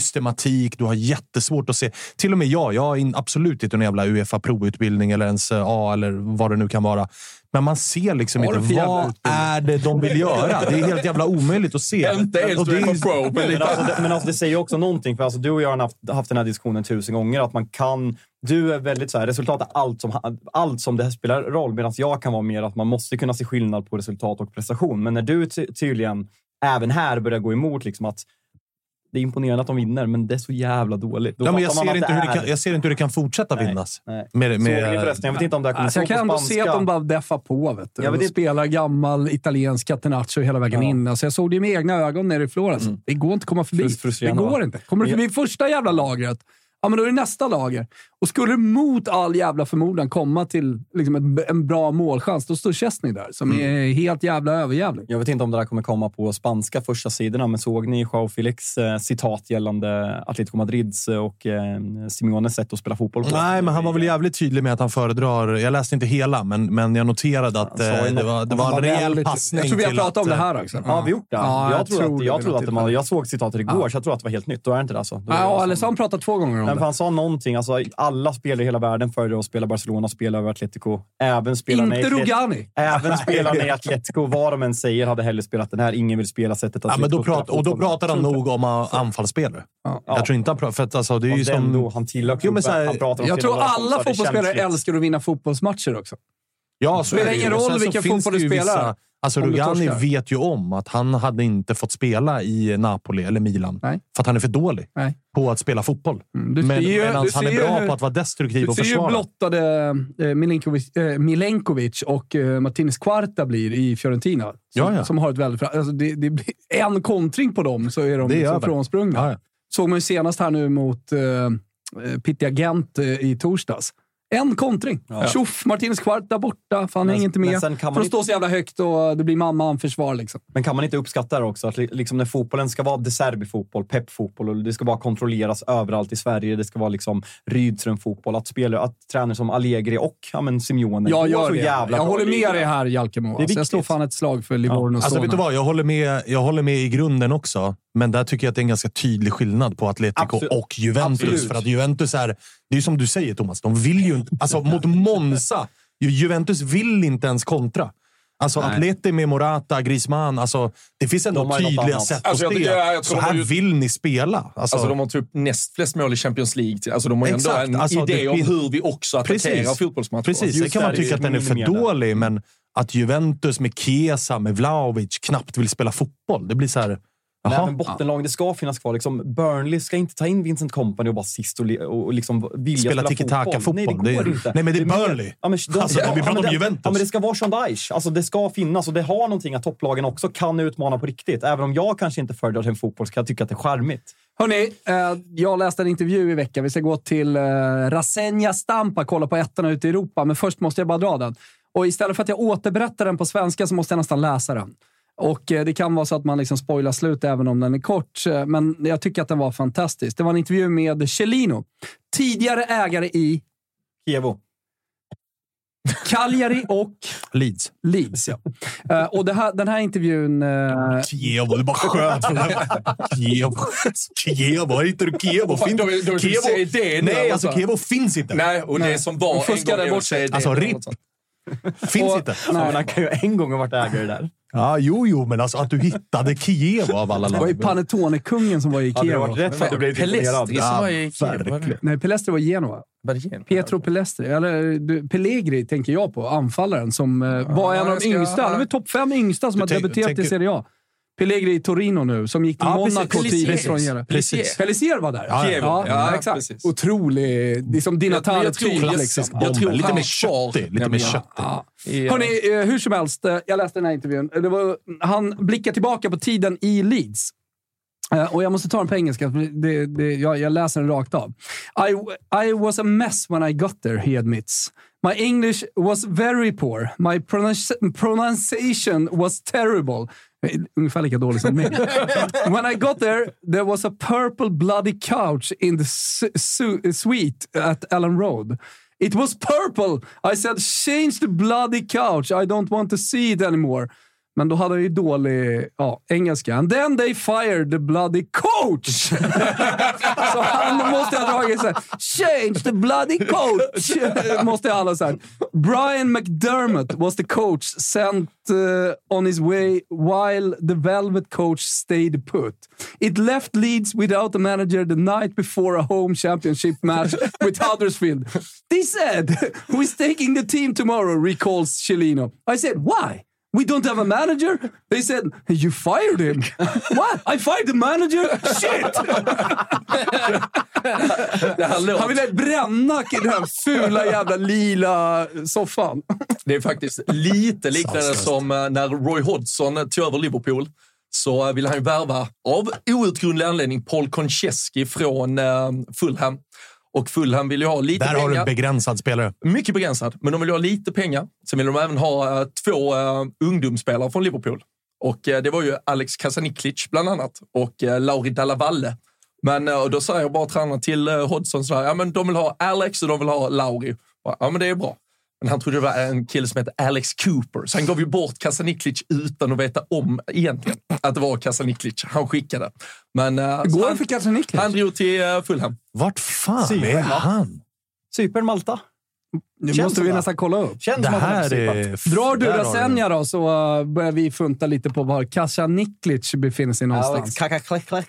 Speaker 6: systematik. Du har jättesvårt att se. Till och med jag. Jag har in, absolut inte någon jävla Uefa provutbildning eller ens eh, A eller vad det nu kan vara. Men man ser liksom
Speaker 3: Vad har du
Speaker 6: inte.
Speaker 3: för jävla
Speaker 6: Vad är det de vill göra? Det är helt jävla omöjligt att se.
Speaker 4: Inte ens
Speaker 6: Och det är-
Speaker 4: Uefa Pro, men
Speaker 5: Men
Speaker 4: lite
Speaker 5: alltså, det, men alltså det säger ju också någonting. För alltså du och jag har haft, haft den här diskussionen tusen gånger. Att man kan... Du är väldigt så här, resultat är allt som, ha- allt som det här spelar roll. Medan jag kan vara mer att man måste kunna se skillnad på resultat och prestation. Men när du ty tydligen även här börjar gå emot liksom att det är imponerande att de vinner, men det är så jävla dåligt. Då
Speaker 6: Ja, men jag,
Speaker 5: fattar man
Speaker 6: ser
Speaker 5: att
Speaker 6: inte hur det
Speaker 5: är-
Speaker 6: kan, jag ser inte hur det kan fortsätta
Speaker 5: Nej,
Speaker 6: vinnas.
Speaker 5: nej.
Speaker 6: Med,
Speaker 5: Såg ni förresten? Jag vet inte om det här kommer
Speaker 3: Alltså,
Speaker 5: stå
Speaker 3: jag kan
Speaker 5: på
Speaker 3: ändå se
Speaker 5: spanska.
Speaker 3: att de bara deffar på. Vet du.
Speaker 5: Ja, men
Speaker 3: de
Speaker 5: det-
Speaker 3: spelar gammal italiensk catenaccio hela vägen in. Alltså, jag såg det med egna ögon nere i Florens.
Speaker 5: Mm.
Speaker 3: Det går inte att komma förbi.
Speaker 5: Frus-
Speaker 3: Det
Speaker 5: frustrerande,
Speaker 3: går
Speaker 5: va?
Speaker 3: inte. Kommer du förbi första jävla lagret, ja, men då är det nästa lager. Och skulle du mot all jävla förmodan komma till liksom ett, en bra målchans, då står Chesney där som
Speaker 5: Mm.
Speaker 3: är helt jävla överjävlig.
Speaker 5: Jag vet inte om det där kommer komma på spanska första sidorna, men såg ni Joao Felix eh, citat gällande Atletico Madrids eh, och eh, Simeones sätt att spela fotboll på?
Speaker 6: Nej, men han var väl jävligt tydlig med att han föredrar... Jag läste inte hela, men, men jag noterade att
Speaker 5: sa ju
Speaker 6: eh, det
Speaker 5: något-
Speaker 6: var, det
Speaker 5: Alltså, han
Speaker 6: var
Speaker 5: var
Speaker 6: en rejäl
Speaker 3: Väldigt-
Speaker 6: passning.
Speaker 3: jag tror vi har
Speaker 6: till
Speaker 3: pratat
Speaker 6: att,
Speaker 3: om det
Speaker 6: eh,
Speaker 3: här också.
Speaker 5: Ja, har vi gjort det?
Speaker 3: Ja,
Speaker 5: jag,
Speaker 3: jag
Speaker 5: tror
Speaker 3: tror
Speaker 5: att,
Speaker 3: det
Speaker 5: jag
Speaker 3: vid
Speaker 5: tror
Speaker 3: något
Speaker 5: att det var, jag såg citatet igår, så jag tror att det var helt nytt. Då är det inte det alltså? Då är det
Speaker 3: Ja,
Speaker 5: alltså-
Speaker 3: eller så har han pratat två gånger om
Speaker 5: Men
Speaker 3: det.
Speaker 5: för han sa någonting. Alltså, alla spelare i hela världen föredrar att spela Barcelona, spela över Atletico. Även spelarna i
Speaker 3: Inte
Speaker 5: Atlet-
Speaker 3: Rugani.
Speaker 5: Även spelarna i Atletico, vad de än säger, hade hellre spelat den här. Ingen vill spela sättet
Speaker 6: Ja,
Speaker 5: Atletico
Speaker 6: men då
Speaker 5: spelar
Speaker 6: prat, och då
Speaker 5: fotboll.
Speaker 6: pratar han nog om uh, anfallsspelare. Jag tror inte han pratar... För att, alltså, det är
Speaker 5: Och
Speaker 6: ju
Speaker 5: den
Speaker 6: som...
Speaker 5: då, han tillhör
Speaker 6: Jo, men så här-
Speaker 5: klubben, han pratar om
Speaker 3: Jag
Speaker 5: sina
Speaker 3: tror
Speaker 5: mål, så
Speaker 3: alla
Speaker 5: det känns
Speaker 3: fotbollsspelare
Speaker 5: lite-
Speaker 3: älskar att vinna fotbollsmatcher också.
Speaker 6: Ja, så
Speaker 3: Spelar
Speaker 6: är det ju.
Speaker 3: ingen
Speaker 6: Och sen
Speaker 3: roll
Speaker 6: så
Speaker 3: vilken
Speaker 6: finns
Speaker 3: fotboll
Speaker 6: det ju
Speaker 3: du spelar,
Speaker 6: vissa- Alltså,
Speaker 3: om du
Speaker 6: Rugani
Speaker 3: torskar.
Speaker 6: vet ju om att han hade inte fått spela i Napoli eller Milan.
Speaker 3: Nej.
Speaker 6: För att han är för dålig
Speaker 3: Nej.
Speaker 6: på att spela fotboll.
Speaker 3: Mm, du ser
Speaker 6: men
Speaker 3: ju-
Speaker 6: medan
Speaker 3: du
Speaker 6: han är
Speaker 3: ser ju
Speaker 6: bra
Speaker 3: hur-
Speaker 6: på att vara destruktiv
Speaker 3: Du
Speaker 6: och
Speaker 3: ser ju
Speaker 6: försvara.
Speaker 3: blottade eh, Milenkovic, eh, Milenkovic och eh, Martinez Quarta blir i Fiorentina. Som,
Speaker 6: Ja, ja.
Speaker 3: som har ett väldigt... Alltså det, det blir en kontring på dem så är de
Speaker 6: Det är
Speaker 3: liksom
Speaker 6: över.
Speaker 3: frånsprungna.
Speaker 6: Ja, ja.
Speaker 3: Såg man ju senast här nu mot eh, Pittia Gent eh, i torsdags. En kontring. Tjoff! Martinez Quarta borta. Fan,
Speaker 5: Men-
Speaker 3: hänger inte med.
Speaker 5: men sen kan man
Speaker 3: För att
Speaker 5: inte-
Speaker 3: stå så jävla högt och det blir mamma försvar liksom.
Speaker 5: Men kan man inte uppskatta det också? Att li- liksom när fotbollen ska vara de Serbi-fotboll, pepp-fotboll och det ska bara kontrolleras överallt i Sverige. Det ska vara liksom Rydström-fotboll. Att spelare, att tränare som Allegri och ja, men, Simeone
Speaker 3: Jag
Speaker 5: går
Speaker 3: gör
Speaker 5: så
Speaker 3: det.
Speaker 5: jävla
Speaker 3: jag
Speaker 5: bra
Speaker 3: håller
Speaker 5: i ligan.
Speaker 3: med dig här, Jalkemo. Alltså, jag
Speaker 5: viktigt.
Speaker 3: slår fan ett slag för Livorno
Speaker 6: Alltså,
Speaker 3: Sona.
Speaker 6: vet du vad? Jag håller, med, jag håller med i grunden också, men där tycker jag att det är en ganska tydlig skillnad på Atletico
Speaker 5: Absolut.
Speaker 6: och Juventus.
Speaker 5: Absolut.
Speaker 6: För att Juventus är... Det är ju som du säger, Thomas. De vill ju inte... Alltså, mot Monza. Ju- Juventus vill inte ens kontra. Alltså, Atleti med Morata, Griezmann. Alltså, det finns ändå
Speaker 5: De har ju något
Speaker 6: tydliga
Speaker 5: annat.
Speaker 6: sätt
Speaker 4: Alltså,
Speaker 6: att
Speaker 4: jag tycker- jag-
Speaker 6: spela.
Speaker 4: jag
Speaker 6: Så
Speaker 4: tror de
Speaker 6: här
Speaker 4: har ju-
Speaker 6: vill ni spela. Alltså,
Speaker 4: Alltså, de har typ näst flest mål i Champions League. Alltså, de har ju ändå
Speaker 6: Exakt.
Speaker 4: en
Speaker 6: Alltså, det
Speaker 4: idé om
Speaker 6: fin-
Speaker 4: hur vi också attackerar
Speaker 6: Precis.
Speaker 4: fotbollsmatcher.
Speaker 6: Precis, sen
Speaker 5: Just
Speaker 6: kan man
Speaker 5: där
Speaker 6: tycka
Speaker 5: är
Speaker 6: att den är för
Speaker 5: minimerad.
Speaker 6: dålig, men att Juventus med Kesa, med Vlahovic knappt vill spela fotboll. Det blir så här...
Speaker 5: Nej,
Speaker 6: Jaha.
Speaker 5: men bottenlagen, det ska finnas kvar. Liksom, Burnley ska inte ta in Vincent Company och bara sist och, li- och liksom vilja
Speaker 6: Spela
Speaker 5: spela,
Speaker 6: tiki-taka-fotboll.
Speaker 5: Nej, det går
Speaker 6: Det-
Speaker 5: inte.
Speaker 6: nej, men det är
Speaker 5: mer-
Speaker 6: Burnley.
Speaker 5: Ja, men, de,
Speaker 6: Alltså, vi pratar
Speaker 5: men
Speaker 6: om
Speaker 5: det-
Speaker 6: Juventus.
Speaker 5: Ja, men det ska vara Sondage. Alltså, det ska finnas och det har någonting att topplagen också kan utmana på riktigt. Även om jag kanske inte föredrar en fotboll så kan jag tycka att det är charmigt.
Speaker 3: Hörni, eh, jag läste en intervju i veckan. Vi ska gå till eh, Rasenja Stampa, kolla på ettorna ute i Europa. Men först måste jag bara dra den. Och istället för att jag återberättar den på svenska så måste jag nästan läsa den. Och eh, det kan vara så att man liksom spoilar slut även om den är kort. eh, Men jag tycker att den var fantastisk. Det var en intervju med Chelino, tidigare ägare i
Speaker 5: Kievo.
Speaker 3: Cagliari och
Speaker 6: Leeds.
Speaker 3: Leeds. Ja. Eh, Och det här, den här intervjun eh,
Speaker 6: Kiev, du bara sköt från Kiev. Kiev, var hittar du Kiev?
Speaker 4: fan,
Speaker 6: Fin-
Speaker 4: då- då- då-
Speaker 6: Kiev-
Speaker 4: säg det nu,
Speaker 6: Nej, alltså
Speaker 4: alltså.
Speaker 6: Kiev finns inte.
Speaker 4: Nej, och det som
Speaker 3: De
Speaker 4: var en
Speaker 3: fuskade
Speaker 4: gång i
Speaker 3: bort
Speaker 4: år, så är det-
Speaker 6: Alltså, RIP. Finns inte.
Speaker 5: Ja, men han kan ju en gång ha varit ägare där.
Speaker 6: Ja, jo, jo, men alltså att du hittade Kiev av alla
Speaker 3: det var ju
Speaker 6: länder.
Speaker 3: Panetone-kungen som var i
Speaker 5: Hade det
Speaker 3: Kiev.
Speaker 5: varit rätt hade du blivit imponerad.
Speaker 4: Pelestri som var i
Speaker 6: Ja,
Speaker 4: Kiev.
Speaker 6: verkligen.
Speaker 3: Nej, Pelestri var i Genoa.
Speaker 4: Var det Genoa?
Speaker 3: Pietro Pelestri, eller du, Pellegri tänker jag på, anfallaren som eh, var en av
Speaker 4: jag
Speaker 3: de
Speaker 4: ska-
Speaker 3: yngsta.
Speaker 4: ja.
Speaker 3: Han var topp fem yngsta som
Speaker 6: Du
Speaker 3: har
Speaker 6: tänk-
Speaker 3: debuterat
Speaker 6: tänker-
Speaker 3: i Serie A. Pellegri i Torino nu, som gick till
Speaker 6: Ja, precis.
Speaker 3: Monaco
Speaker 6: Pellissier.
Speaker 3: tidigt från Genoa.
Speaker 6: typ. Precis.
Speaker 3: Pellissier var där.
Speaker 6: Ja, ja.
Speaker 3: ja,
Speaker 4: Ja,
Speaker 3: exakt.
Speaker 4: precis.
Speaker 3: Otrolig. Det är som Dina
Speaker 4: Jag- jag
Speaker 3: Tale
Speaker 4: tror-
Speaker 3: typ. Liksom.
Speaker 4: klassisk-
Speaker 6: Bomber.
Speaker 4: Jag tror
Speaker 6: lite
Speaker 4: han
Speaker 6: mer
Speaker 4: var-
Speaker 6: köttig. Lite mer
Speaker 4: nämligen.
Speaker 6: köttig.
Speaker 3: Ja.
Speaker 4: Ja.
Speaker 3: Hörni, eh, hur som helst. eh, Jag läste den här intervjun. Eh, Det var, han blickar tillbaka på tiden i Leeds. Eh, Och jag måste ta den på engelska, för det, det, jag, jag läser den rakt av. I, I was a mess when I got there, he admits. My English was very poor. My pronunci- pronunciation was terrible. Eh, Ungefär lika dålig som min. When I got there, there was a purple bloody couch in the su- su- suite at Ellen Road. It was purple! I said change the bloody couch. I don't want to see it anymore. Men då hade jag ju dålig ja, engelska. And then they fired the bloody coach! så han måste ha dragit så här, Change the bloody coach! måste alla så här. Brian McDermott was the coach sent uh, on his way while the Velvet coach stayed put. It left Leeds without a manager the night before a home championship match with Huddersfield. They said, who is taking the team tomorrow, recalls Chilino. I said, why? We don't have a manager? They said, you fired him. what? I fired the manager? Shit!
Speaker 4: Det här låter...
Speaker 3: Han ville bränna i den här fula jävla lila soffan.
Speaker 4: Det är faktiskt lite liknande som eh, när Roy Hodgson eh, tog över Liverpool. Så eh, ville han ju värva, av outgrundlig anledning, Paul Konchesky från eh, Fulham. Och Fulham vill ju ha lite
Speaker 6: Där har du
Speaker 4: pengar.
Speaker 6: en begränsad spelare.
Speaker 4: eh, mycket begränsad, men de vill ha lite pengar. Sen vill de även ha eh, två eh, ungdomsspelare från Liverpool. Och eh, det var ju Alex Kasaniklic bland annat och eh, Lauri Dallavalle. Men eh, och då säger jag bara tränaren till eh, Hodgson sådär, ja men de vill ha Alex och de vill ha Lauri. Bara, Ja men det är bra. Men han trodde det var en kille som hette Alex Cooper, så han gav ju bort Kasaniklic utan att veta om egentligen att det var Kasaniklic han skickade. Men eh, så han,
Speaker 3: Katrin Niklas?
Speaker 4: han drog till eh, Fulham.
Speaker 6: Vart fan
Speaker 5: Syren,
Speaker 6: är
Speaker 5: va?
Speaker 6: Ah, han?
Speaker 5: Cypern, Malta.
Speaker 3: Nu
Speaker 5: Känns
Speaker 3: måste
Speaker 5: det
Speaker 3: vi
Speaker 5: va?
Speaker 3: nästan kolla upp.
Speaker 5: Känns
Speaker 6: Det
Speaker 5: som att han
Speaker 6: här
Speaker 5: Cypern.
Speaker 6: är...
Speaker 3: Drar du
Speaker 6: där har
Speaker 3: Rasenja då så uh, börjar vi funta lite på var Kasia Niklic befinner sig någonstans.
Speaker 5: Ja, klack, klack, klack.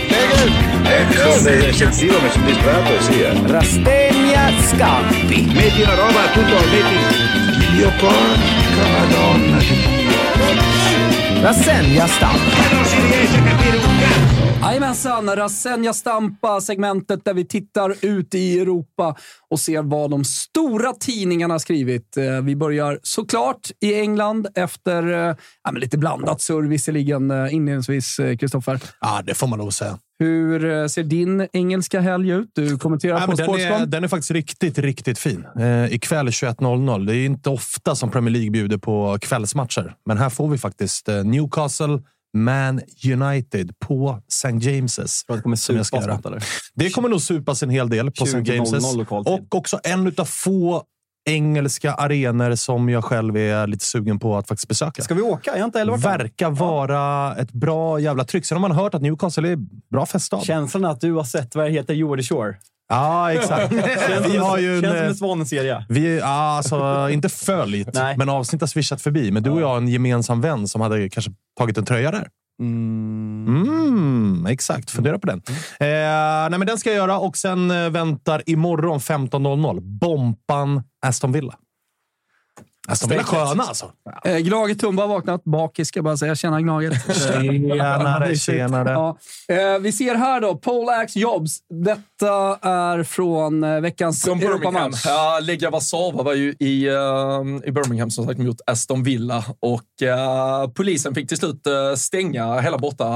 Speaker 7: Rastegna Scampi. Metti la roba, tutto metti... Dio porca madonna. Rassegna Scampi.
Speaker 3: Jajamensan, Rasenja Stampa, segmentet där vi tittar ut i Europa och ser vad de stora tidningarna har skrivit. Eh, Vi börjar såklart i England efter eh, ja, men lite blandat surr visserligen eh, inledningsvis, Kristoffer.
Speaker 6: Ja, det får man nog säga.
Speaker 3: Hur eh, ser din engelska helg ut? Du kommenterar
Speaker 6: Nej,
Speaker 3: på
Speaker 6: men den, är,
Speaker 3: Sportscom.
Speaker 6: den är faktiskt riktigt, riktigt fin. Eh, ikväll 21.00. Det är inte ofta som Premier League bjuder på kvällsmatcher, men här får vi faktiskt eh, Newcastle Man United på St. James's.
Speaker 5: Tror att det kommer
Speaker 6: Som jag ska
Speaker 5: supas
Speaker 6: göra.
Speaker 5: något, eller?
Speaker 6: Det kommer nog supas en hel del på St.
Speaker 5: 20.00
Speaker 6: James's.
Speaker 5: lokaltid.
Speaker 6: Och också en av få engelska arenor som jag själv är lite sugen på att faktiskt besöka.
Speaker 5: Ska vi åka? Jag har inte heller varit där.
Speaker 6: Verkar vara ett bra jävla tryck. Sen har man hört att Newcastle är bra feststad.
Speaker 5: Känslan är att du har sett, vad heter Jordy Shore?
Speaker 6: Ja, exakt. vi har ju en, eh,
Speaker 5: Känns som en Svanen-serie.
Speaker 6: Vi, ja, alltså, inte följt,
Speaker 5: Nej.
Speaker 6: men avsnitt har swishat förbi. Men du och jag har en gemensam vän som hade kanske tagit en tröja där. Mm, exakt, fundera på den. Eh, nej, men den ska jag göra och sen eh, väntar imorgon 15.00 Bompan Aston Villa. Alltså, de är sköna alltså.
Speaker 3: Eh, Gnaget Tumba har vaknat. Bakis ska jag bara säga. Tjena Gnaget.
Speaker 6: Tjenare, tjenare.
Speaker 3: Ja. Eh, vi ser här då. Poleax Jobs. Detta är från eh, veckans
Speaker 4: Från Birmingham.
Speaker 3: Europamatch.
Speaker 4: Ja, Legia Warszawa var ju i, eh, i Birmingham som sagt mot Aston Villa och eh, polisen fick till slut eh, stänga hela borta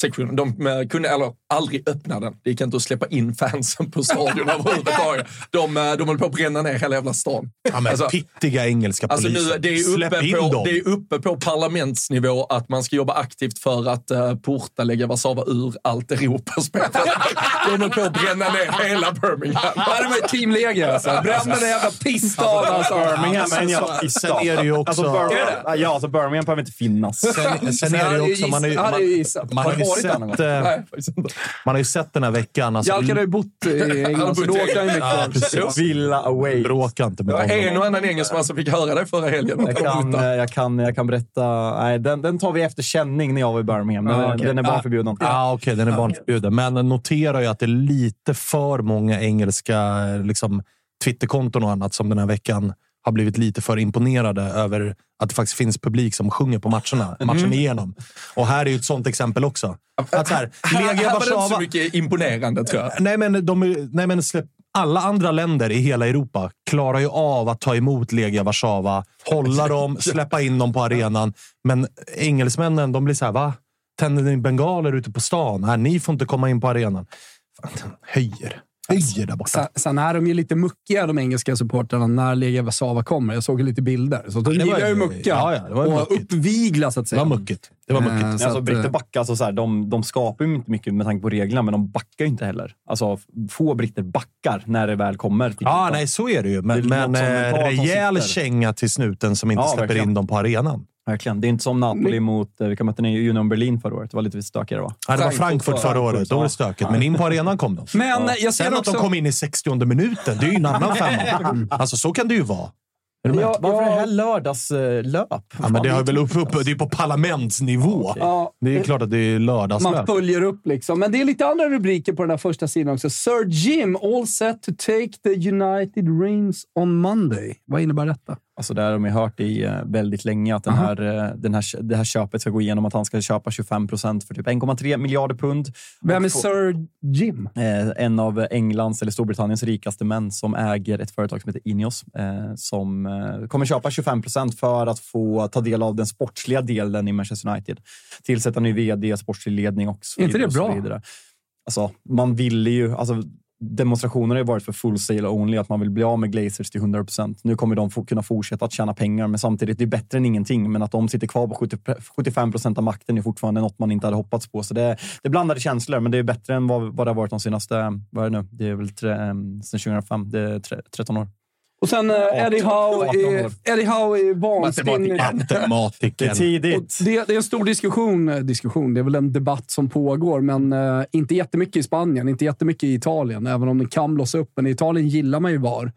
Speaker 4: sektionen. De eh, kunde eller, aldrig öppna den. Det gick inte att släppa in fansen på stadion överhuvudtaget. De, eh, de höll på att bränna ner hela jävla stan.
Speaker 6: Ja, men
Speaker 4: Alltså-
Speaker 6: pittiga engelska
Speaker 4: Alltså
Speaker 6: polisen.
Speaker 4: nu, det, är
Speaker 6: Släpp in
Speaker 4: uppe på,
Speaker 6: dem.
Speaker 4: det är uppe på parlamentsnivå att man ska jobba aktivt för att uh, porta Legia Warszawa ur allt Europaspel. De höll på att bränna ner hela Birmingham.
Speaker 3: Ja, det var ju Team Legia alltså. Brände den jävla pissstaden alltså.
Speaker 5: Birmingham är en jävla
Speaker 6: Alltså, sen
Speaker 5: pissstad.
Speaker 6: är det ju också-
Speaker 5: Alltså,
Speaker 6: Är
Speaker 5: Birmingham, ja, alltså Birmingham behöver inte finnas.
Speaker 6: Sen, sen är det ju också... Man, är, ju-
Speaker 3: hade ju gissat.
Speaker 6: man, man, har, ju
Speaker 5: Har du varit där någon
Speaker 6: sett,
Speaker 5: gång?
Speaker 6: eh,
Speaker 4: Nej, faktiskt inte.
Speaker 6: man har ju sett den här veckan. Alltså,
Speaker 3: Jalkar har ju bott i England, så då åkte han ju mycket.
Speaker 6: precis.
Speaker 5: Villa away.
Speaker 6: Bråka inte med
Speaker 4: Det var en
Speaker 6: honom.
Speaker 4: och annan engelsman som fick höra det förra helgen.
Speaker 5: Jag kan, eh, jag, kan, jag kan berätta. Nej, den, den tar vi efter känning när jag var i Birmingham. Den,
Speaker 3: Ja, okej.
Speaker 5: den är barnförbjuden.
Speaker 6: Ja, ah, okej. den är barnförbjuden. Men notera ju att det är lite för många engelska eh, liksom, Twitterkonton och annat som den här veckan har blivit lite för imponerade över att det faktiskt finns publik som sjunger på matcherna,
Speaker 5: Mhm.
Speaker 6: matchen igenom. Och här är ju ett sånt exempel också. Att så här,
Speaker 4: Här,
Speaker 6: Legia
Speaker 4: här var det inte så
Speaker 6: Warszawa...
Speaker 4: mycket imponerande, tror jag.
Speaker 6: Nej, men, de, är- nej, men släpp, alla andra länder i hela Europa klarar ju av att ta emot Legia Warszawa, hålla dem, släppa in dem på arenan. Men engelsmännen, de blir så här, va? Tänder ni bengaler ute på stan? Här, ni får inte komma in på arenan. Fan, höjer. Höjer där borta.
Speaker 3: Sen, sen är de ju lite muckiga, de engelska supportrarna, när Legia Warszawa kommer. Jag såg ju lite bilder. Så de
Speaker 6: det var
Speaker 3: gillar ju
Speaker 6: ju-
Speaker 3: mucka.
Speaker 6: ja, ja, det var ju
Speaker 3: och
Speaker 6: muckigt.
Speaker 3: uppvigla, så att
Speaker 6: Det
Speaker 3: säga.
Speaker 6: var muckigt. Det var muckigt.
Speaker 3: Eh, så
Speaker 5: alltså,
Speaker 3: att,
Speaker 5: britter
Speaker 3: eh,
Speaker 5: backar, alltså, så här, de, de skapar ju inte mycket med tanke på reglerna, men de backar ju inte heller. Alltså, få britter backar när det väl kommer. till
Speaker 6: Ja,
Speaker 5: kritan.
Speaker 6: Ah, nej, så är det ju. Men,
Speaker 5: Det är
Speaker 6: men
Speaker 5: något som
Speaker 6: eh,
Speaker 5: en part som
Speaker 6: rejäl
Speaker 5: sitter.
Speaker 6: känga till snuten som inte
Speaker 5: Ja,
Speaker 6: släpper
Speaker 5: verkligen.
Speaker 6: in dem på arenan.
Speaker 5: Verkligen. Det är inte som Napoli mot... eh, Vilka mötte ni? Union Berlin förra året. Det var lite stökigare, va?
Speaker 6: Ja, det var
Speaker 4: Frankfurt
Speaker 6: Frankfurt förra året. Då var det stökigt. Men in på arenan kom de.
Speaker 3: Men eh, jag
Speaker 6: Sen
Speaker 3: ser
Speaker 6: att de
Speaker 3: också...
Speaker 6: kom in i 60 minuten, det är ju en annan femma. Alltså så kan det ju vara. Är du med?
Speaker 3: Ja,
Speaker 5: Varför
Speaker 3: ja.
Speaker 5: det här eh, lördagslöp?
Speaker 6: Ja, men det har väl upp, upp, det är på parlamentsnivå.
Speaker 3: Ja,
Speaker 6: Det är klart att det är
Speaker 3: man
Speaker 6: lördagslöp.
Speaker 3: följer upp liksom. Men det är lite andra rubriker på den där första sidan också. Sir Jim all set to take the United Rings on Monday. Vad innebär detta?
Speaker 5: Alltså det här har man ju hört i eh, väldigt länge, att den här, eh, den här, det här köpet ska gå igenom. Att han ska köpa 25 procent för typ 1,3 miljarder pund.
Speaker 3: Vem
Speaker 5: Och
Speaker 3: är
Speaker 5: få-
Speaker 3: Sir Jim?
Speaker 5: Eh, en av Englands eller Storbritanniens rikaste män som äger ett företag som heter Ineos eh, som eh, kommer köpa 25 procent för att få ta del av den sportsliga delen i Manchester United. Tillsätta ny vd, sportslig ledning och så
Speaker 3: Är inte
Speaker 5: vidare
Speaker 3: det
Speaker 5: och så
Speaker 3: bra?
Speaker 5: vidare. Alltså, man ville ju... Alltså, Demonstrationer har ju varit för full sale only, att man vill bli av med Glazers till 100 procent. Nu kommer de få, kunna fortsätta att tjäna pengar, men samtidigt, det är bättre än ingenting. Men att de sitter kvar på 70, 75 procent av makten är fortfarande något man inte hade hoppats på. Så det, det är blandade känslor, men det är bättre än vad, vad det har varit de senaste, vad är det nu? Det är väl tre, eh, sen 2005, det är tre, 13 år.
Speaker 3: Och sen eh, Eddie Howe.
Speaker 5: 18
Speaker 3: är-
Speaker 5: år.
Speaker 3: Eddie Howe är vansinnig.
Speaker 5: Det är
Speaker 6: Matematiken.
Speaker 3: Och
Speaker 5: tidigt.
Speaker 3: det, det är en stor diskussion, eh, diskussion. Det är väl en debatt som pågår, men eh, inte jättemycket i Spanien, inte jättemycket i Italien, även om den kan blossa upp. Men i Italien gillar man ju VAR.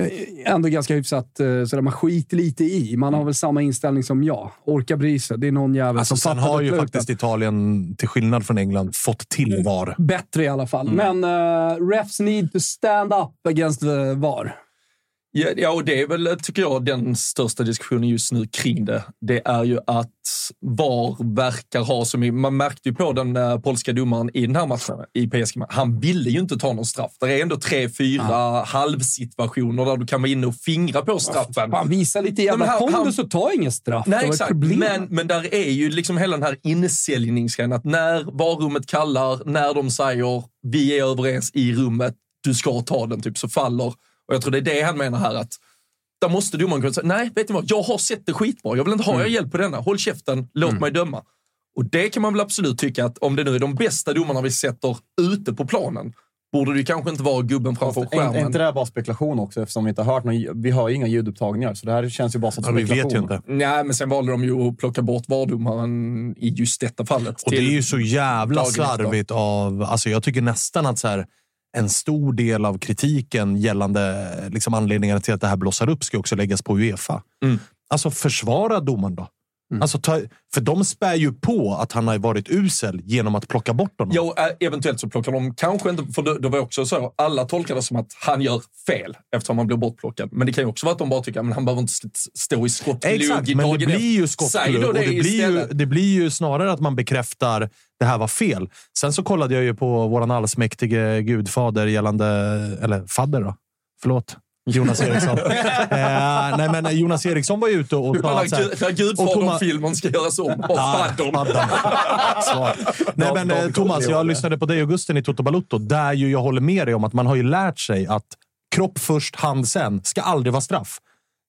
Speaker 3: Eh, Ändå ganska hyfsat, eh, sådär, man skiter lite i. Man har väl samma inställning som jag. Orkar bry sig. Det är någon jävel
Speaker 6: Alltså,
Speaker 3: som
Speaker 6: sen
Speaker 3: fattar
Speaker 6: har ju
Speaker 3: besluten.
Speaker 6: faktiskt Italien, till skillnad från England, fått till VAR.
Speaker 3: Bättre i alla fall. Men uh, refs need to stand up against the VAR.
Speaker 4: Ja, ja, och det är väl, tycker jag, den största diskussionen just nu kring det. Det är ju att VAR verkar ha, som man märkte ju på den eh, polska domaren i den här matchen i PSG, han ville ju inte ta någon straff. Det är ändå tre, fyra halvsituationer där du kan vara inne och fingra på straffen.
Speaker 3: Ah. Fan, visa lite jävla
Speaker 4: Men han-
Speaker 3: pondus och ta ingen straff. Det
Speaker 4: Nej,
Speaker 3: var ett
Speaker 4: exakt.
Speaker 3: problem.
Speaker 4: Men, men där är ju liksom hela den här insäljningsgrejen. Att när varummet kallar, när de säger vi är överens i rummet, du ska ta den, typ, så faller. Och jag tror det är det han menar här. att Där måste domaren kunna säga, nej, vet ni vad? Jag har sett det skitbra. Jag vill inte ha
Speaker 6: Mm.
Speaker 4: er hjälp på denna. Håll käften, låt mig döma. Och det kan man väl absolut tycka att om det nu är de bästa domarna vi sätter ute på planen, borde det ju kanske inte vara gubben framför
Speaker 5: Är är
Speaker 4: skärmen.
Speaker 5: inte det här bara spekulation också? Eftersom vi inte har hört någon, Vi har ju inga ljudupptagningar, så det här känns ju bara som
Speaker 6: Ja, vi
Speaker 5: spekulation.
Speaker 6: vet ju inte.
Speaker 4: Nej, men sen valde de ju att plocka bort vardomaren i just detta fallet.
Speaker 6: Och det
Speaker 4: Till-
Speaker 6: är ju så jävla
Speaker 4: dagen efter.
Speaker 6: slarvigt av... Alltså jag tycker nästan att så här, en stor del av kritiken gällande
Speaker 5: Mm.
Speaker 6: liksom anledningarna till att det här blossar upp ska också läggas på Uefa. Alltså försvara domaren då. Alltså, ta, för de spär ju på att han har varit usel genom att plocka bort honom.
Speaker 4: Ja, och, eh, eventuellt så plockar de kanske inte... För det, det var också så, alla tolkar det som att han gör fel eftersom han blir bortplockad. Men det kan ju också vara att de bara tycker att han behöver inte st- stå i skottglugg
Speaker 6: Exakt,
Speaker 4: i
Speaker 6: men det
Speaker 4: dagen
Speaker 6: blir ju
Speaker 4: efter. Säg
Speaker 6: skottglugg
Speaker 4: då
Speaker 6: och det blir ju,
Speaker 4: istället.
Speaker 6: det blir ju snarare att man bekräftar det här var fel. Sen så kollade jag ju på våran allsmäktige gudfader gällande, eller fadder då, förlåt. Jonas Eriksson. eh, nej men Jonas Eriksson var ju ute och sa att så här-
Speaker 4: När,
Speaker 6: och
Speaker 4: när
Speaker 6: Ah, Thomas-
Speaker 4: Gudfadern-filmen ska göras om, bara faddern.
Speaker 6: Svar. Nej, men eh, Thomas, jag lyssnade på dig och Gusten i Toto Balutto, där ju jag håller med dig om att man har ju lärt sig att kropp först, hand sen, ska aldrig vara straff.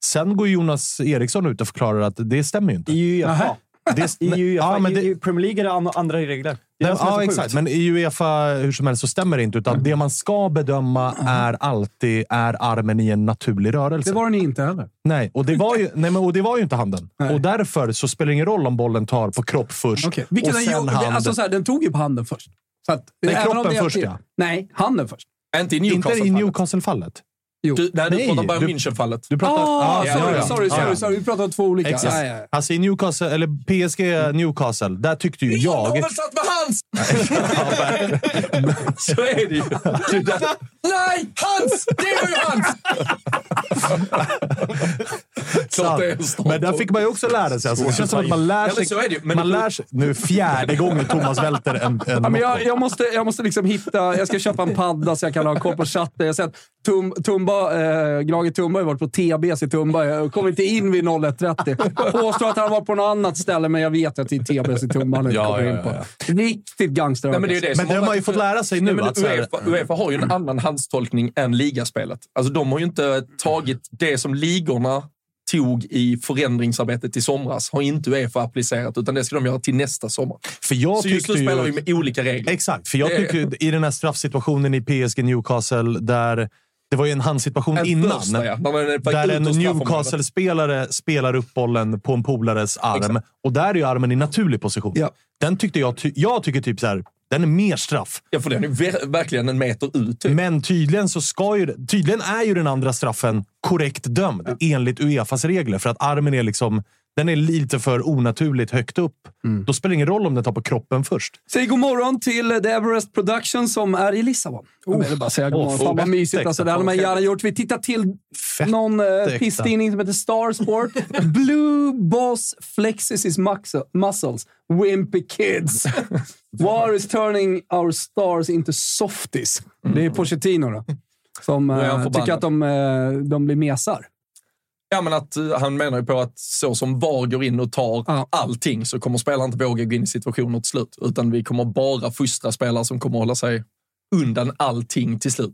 Speaker 6: Sen går Jonas Eriksson ut och förklarar att det stämmer ju inte.
Speaker 5: I
Speaker 6: Nähä.
Speaker 5: Uefa.
Speaker 6: Det,
Speaker 5: I,
Speaker 6: men,
Speaker 5: Uefa
Speaker 6: ja, men
Speaker 5: i,
Speaker 6: det,
Speaker 5: I Premier League är det an- andra regler. Det är
Speaker 6: Nej,
Speaker 5: det som är så
Speaker 6: ja,
Speaker 5: sjukt.
Speaker 6: exakt. Men i Uefa, hur som helst, så stämmer det inte.
Speaker 3: Mm.
Speaker 6: Utan det man ska bedöma är alltid är armen i en naturlig rörelse.
Speaker 3: Det var den inte heller.
Speaker 6: Nej, och det var ju, nej, men, och det var ju inte handen. Och därför så spelar det ingen roll om bollen tar på kropp först
Speaker 3: Okay. Vilket
Speaker 6: och
Speaker 3: den,
Speaker 6: sen
Speaker 3: gjorde-
Speaker 6: hand.
Speaker 3: alltså, så här, den tog ju på handen först. Så att,
Speaker 6: Nej,
Speaker 3: även om
Speaker 6: kroppen
Speaker 3: det är-
Speaker 6: först, ja.
Speaker 3: Nej, handen först.
Speaker 4: Inte i
Speaker 6: inte i
Speaker 4: Newcastle.
Speaker 6: Newcastle-fallet.
Speaker 3: Jo.
Speaker 4: Du, nej, du
Speaker 6: Nej,
Speaker 4: pratar Bayern
Speaker 6: du-
Speaker 4: München-fallet.
Speaker 6: Du pratar...
Speaker 3: Ah,
Speaker 6: Ah, ja,
Speaker 3: sorry,
Speaker 6: ja, ja.
Speaker 3: sorry, sorry,
Speaker 6: Ja.
Speaker 3: sorry. Vi pratar om två olika.
Speaker 6: Exakt.
Speaker 3: Ja, ja, ja.
Speaker 6: Alltså i Newcastle, eller PSG Newcastle, där tyckte ju
Speaker 4: Jag har
Speaker 6: jag...
Speaker 4: väl satt med hans! Så är det ju. Det där. Nej, hans! Det var ju hans! Klart det är en ståndpunkt.
Speaker 6: Men där fick man ju också lära sig. Alltså, det känns som att man lär
Speaker 4: Ja, men
Speaker 6: sig...
Speaker 4: så är det ju. Men
Speaker 6: Man
Speaker 4: det-
Speaker 6: lär sig nu är fjärde gången Thomas välter en, en
Speaker 3: Ja, men
Speaker 6: motgång.
Speaker 3: jag, jag, måste, jag måste liksom hitta... Jag ska köpa en padda så jag kan ha koll på chatten. Jag har sett Tum, Tumba, eh, Grage Tumba har ju varit på TBC i Tumba. Jag kom inte in vid 01.30. Påstår att han var på något annat ställe, men jag vet att det är TBC i Tumba han inte
Speaker 6: Ja,
Speaker 3: kommer
Speaker 6: ja,
Speaker 3: in på.
Speaker 6: ja,
Speaker 3: Riktigt gangster.
Speaker 4: Nej, men det är ju det som
Speaker 6: Men det har man ju
Speaker 4: varit-
Speaker 6: fått lära sig nu.
Speaker 4: Nej, men
Speaker 6: att så här-
Speaker 4: UEFA, UEFA har ju en annan handstolkning än ligaspelet. Alltså, de har ju inte tagit det som ligorna tog i förändringsarbetet i somras, har inte Uefa applicerat, utan det ska de göra till nästa sommar.
Speaker 6: För jag
Speaker 4: Så just nu
Speaker 6: tyckte ju-
Speaker 4: spelar vi med olika regler.
Speaker 6: Exakt, för jag
Speaker 4: Det-
Speaker 6: tycker i den här straffsituationen i PSG Newcastle, där det var ju en handsituation
Speaker 4: En
Speaker 6: innan.
Speaker 4: första, ja. När man är på
Speaker 6: Där
Speaker 4: ut
Speaker 6: en
Speaker 4: ur straffområdet.
Speaker 6: Newcastle-spelare spelar upp bollen på en polares arm.
Speaker 4: Exakt.
Speaker 6: Och där är ju armen i naturlig position.
Speaker 3: Ja.
Speaker 6: Den tyckte jag, ty- jag tycker typ så här, den är mer straff.
Speaker 4: Ja, för den är ver- verkligen en meter ut. Typ.
Speaker 6: Men tydligen, så ska ju, tydligen är ju den andra straffen korrekt dömd enligt Uefas regler. För att armen är liksom den är lite för onaturligt högt upp.
Speaker 4: Mm.
Speaker 6: Då spelar det ingen roll om den tar på kroppen först.
Speaker 3: Säg god morgon till The Everest Production som är i Lissabon. Jag vill bara säga god
Speaker 6: Oh,
Speaker 3: morgon.
Speaker 6: oh,
Speaker 3: Fan vad
Speaker 6: fett
Speaker 3: mysigt.
Speaker 6: äkta.
Speaker 3: Alltså, det hade man gärna gjort. Vi tittar till någon eh,
Speaker 6: äkta.
Speaker 3: pisstidning som heter Starsport. Blue Boss flexes his muxu- muscles. Wimpy kids. War is turning our stars into softies. Det är Pochettino då. Som
Speaker 4: är han
Speaker 3: eh,
Speaker 4: förbannad.
Speaker 3: tycker att de, eh, de blir mesar.
Speaker 4: Ja, men att eh, han menar ju på att så som VAR går in och tar
Speaker 3: Ja.
Speaker 4: allting så kommer spelaren inte våga gå in i situationer till slut. Utan vi kommer bara fostra spelare som kommer hålla sig undan allting till slut.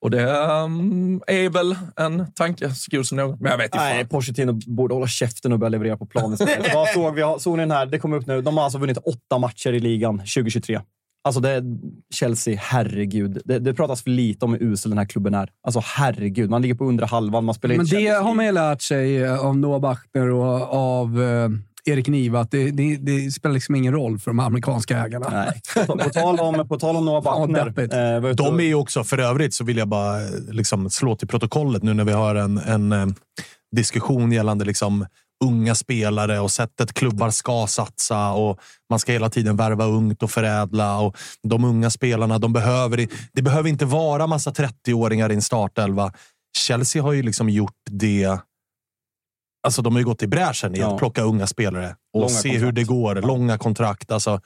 Speaker 4: Och det ehm, är väl en tanke så god som någon. Men jag vet inte.
Speaker 5: Nej,
Speaker 4: fan.
Speaker 5: Pochettino borde hålla käften och börja leverera på planen istället. Vad såg vi? Såg ni den här? Det kom upp nu. De har alltså vunnit åtta matcher i ligan 2023. Alltså, det, Chelsea, herregud. Det, det pratas för lite om hur usel den här klubben är. Alltså, herregud. Man ligger på undre halvan. Man spelar
Speaker 3: Men
Speaker 5: inte
Speaker 3: det
Speaker 5: Champions
Speaker 3: har
Speaker 5: League.
Speaker 3: man ju lärt sig eh, av Noah Bachner och av eh, Erik Niva att det, det, det spelar liksom ingen roll för de amerikanska ägarna.
Speaker 5: Nej. På, på, tal om, på tal om Noah
Speaker 3: Fan, vad
Speaker 5: Bachner.
Speaker 3: deppigt.
Speaker 5: eh, var ute och-
Speaker 6: De är ju också, för övrigt så vill jag bara eh, liksom slå till protokollet nu när vi har en, en eh, diskussion gällande liksom unga spelare och sättet klubbar ska satsa och man ska hela tiden värva ungt och förädla och de unga spelarna, de behöver, i- det behöver inte vara massa 30-åringar i en startelva. Chelsea har ju liksom gjort det Alltså de har ju gått i bräschen i
Speaker 5: Ja.
Speaker 6: att plocka unga spelare och
Speaker 5: Långa
Speaker 6: se
Speaker 5: kontrakt.
Speaker 6: hur det går. Långa kontrakt. Alltså,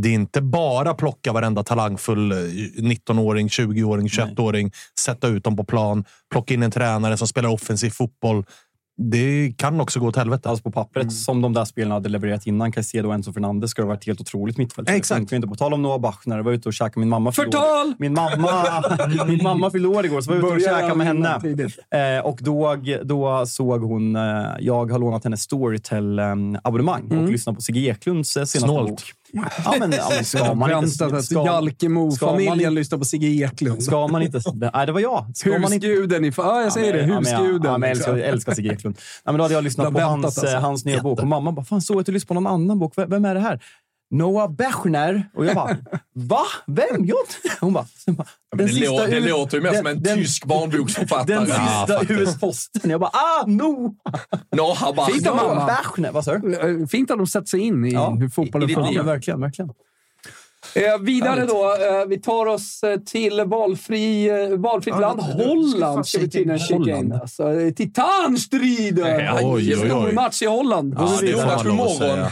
Speaker 6: det är inte bara plocka varenda talangfull eh, 19-åring, 20-åring, 21-åring, sätta ut dem på plan, plocka in en tränare som spelar offensiv fotboll. Det kan också gå åt helvete.
Speaker 5: Alltså på
Speaker 3: Mm.
Speaker 5: pappret, som de där spelarna hade levererat innan. Caicedo och Enzo Fernandez ska det ha varit helt otroligt mittfält.
Speaker 6: Exakt.
Speaker 5: Det funkar ju inte. På tal om Noah Bachner, jag var ute och käkade. Min mamma fyllde år-
Speaker 3: Förtal!
Speaker 5: Min mamma, min mamma fyllde år igår, så var jag ute och
Speaker 3: Börjar
Speaker 5: käkade med henne.
Speaker 3: redan tidigt.
Speaker 5: Eh, och då, då såg hon... Eh, jag har lånat hennes Storytel-abonnemang
Speaker 3: Mm.
Speaker 5: och lyssnat på Sigge Eklunds eh, senaste
Speaker 6: Snålt.
Speaker 5: bok. Ja, men, ja, men ska man inte...
Speaker 3: Väntat att
Speaker 5: ska- ska man-
Speaker 3: Jalkemo-familjen lyssnar på Sigge Eklund.
Speaker 5: Ska man inte... Nej, det var jag. Ska man inte
Speaker 3: Husguden i... Ja, jag säger det.
Speaker 5: men- men jag- Ja,
Speaker 3: Husguden.
Speaker 5: men jag älskar, jag älskar Sigge Eklund. Ja, men då hade jag lyssnat
Speaker 3: Jag
Speaker 5: på
Speaker 3: väntat
Speaker 5: hans,
Speaker 3: alltså.
Speaker 5: eh, hans nya bok och mamma bara, fan såg jag att du lyssnade på någon annan bok? V- Vem är det här? Noah Bechner. Och jag bara, va? Vem? Jag inte. Hon bara, sen bara
Speaker 4: Ja, men det,
Speaker 5: sista
Speaker 4: lå- det
Speaker 5: ur-
Speaker 4: låter ju mer som en tysk barnboksförfattare.
Speaker 5: Den
Speaker 4: Ja,
Speaker 5: sista US-posten. Jag bara, ah, Noah
Speaker 4: no, habba.
Speaker 3: Fint av
Speaker 5: Noah
Speaker 3: mamma. Eh,
Speaker 5: Bechner. Vad sa du?
Speaker 3: Fint att de sätter sig in i hur fotbollen
Speaker 4: i ditt
Speaker 3: funkar.
Speaker 4: liv.
Speaker 5: Ja, verkligen, verkligen.
Speaker 3: Eh, vidare då. Eh, vi tar oss eh, till valfri, eh, valfritt land. Holland ska vi tydligen kika in. Alltså, eh, Titanstriden!
Speaker 4: Ja, oj, oj, oj.
Speaker 3: Match i Holland.
Speaker 4: Ja, det är
Speaker 6: får
Speaker 4: match
Speaker 6: man lov att
Speaker 4: imorgon.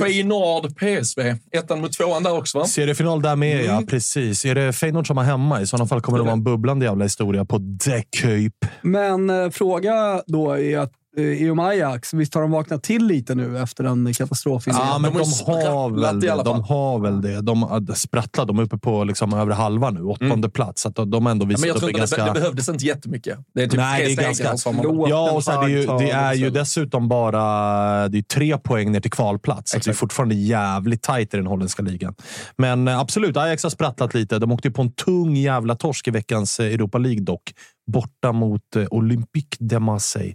Speaker 4: Feyenoord PSV. Ettan mot tvåan där också, va?
Speaker 6: Seriefinal där med, ja.
Speaker 4: Mm.
Speaker 6: Precis. Är det Feyenoord som har hemma? I sådana fall kommer det vara en bubblande jävla historia på Decup.
Speaker 3: Men eh, fråga då är att eh, i om Ajax, visst har de vaknat till lite nu efter den katastrofen?
Speaker 6: Ja, men
Speaker 4: har
Speaker 6: de,
Speaker 4: ju
Speaker 6: har väl
Speaker 4: sprattlat i
Speaker 6: det.
Speaker 4: alla fall.
Speaker 6: De har väl det. De har sprattlat. De är uppe på liksom över halva nu, åttonde plats. Så att de har ändå
Speaker 4: Mm. Ja, men
Speaker 6: visat
Speaker 4: jag
Speaker 6: upp
Speaker 4: tror
Speaker 6: en
Speaker 4: inte det,
Speaker 6: ganska...
Speaker 4: be- det behövdes inte jättemycket. Det är typ
Speaker 6: Nej, det
Speaker 4: tre
Speaker 6: är
Speaker 4: segrar
Speaker 6: ganska
Speaker 4: som man-
Speaker 6: Ja, och så är det, ju,
Speaker 5: Högtalare
Speaker 6: det är ju
Speaker 5: istället.
Speaker 6: dessutom bara det är tre poäng ner till kvalplats. Så att det är fortfarande jävligt tajt i den holländska ligan. Men eh, absolut, Ajax har sprattlat lite. De åkte ju på en tung jävla torsk i veckans eh, Europa League dock. Borta mot eh, Olympique de Marseille.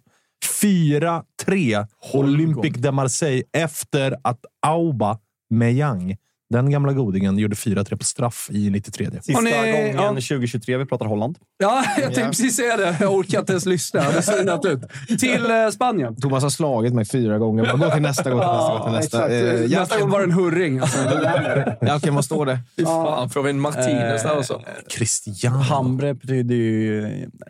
Speaker 6: 4-3 Olympique de Marseille efter att Auba Meyang, den gamla godingen, gjorde 4-3 på straff i 93.
Speaker 5: Sista
Speaker 3: Har ni-
Speaker 5: gången
Speaker 3: ja.
Speaker 5: 2023 vi pratar Holland.
Speaker 3: Ja, jag tänkte precis säga det. Jag orkar inte ens lyssna. Det ser innan ut. Till eh, Spanien.
Speaker 7: Thomas har slagit mig fyra gånger. Bara, Gå till nästa, gå till nästa, gå till nästa.
Speaker 3: exakt.
Speaker 7: Eh,
Speaker 3: Nästa gång var det en hurring. Alltså.
Speaker 7: Jalken, vad står det?
Speaker 4: Fy fan, får vi en Martinez där också?
Speaker 6: Christian.
Speaker 5: Hambre betyder ju...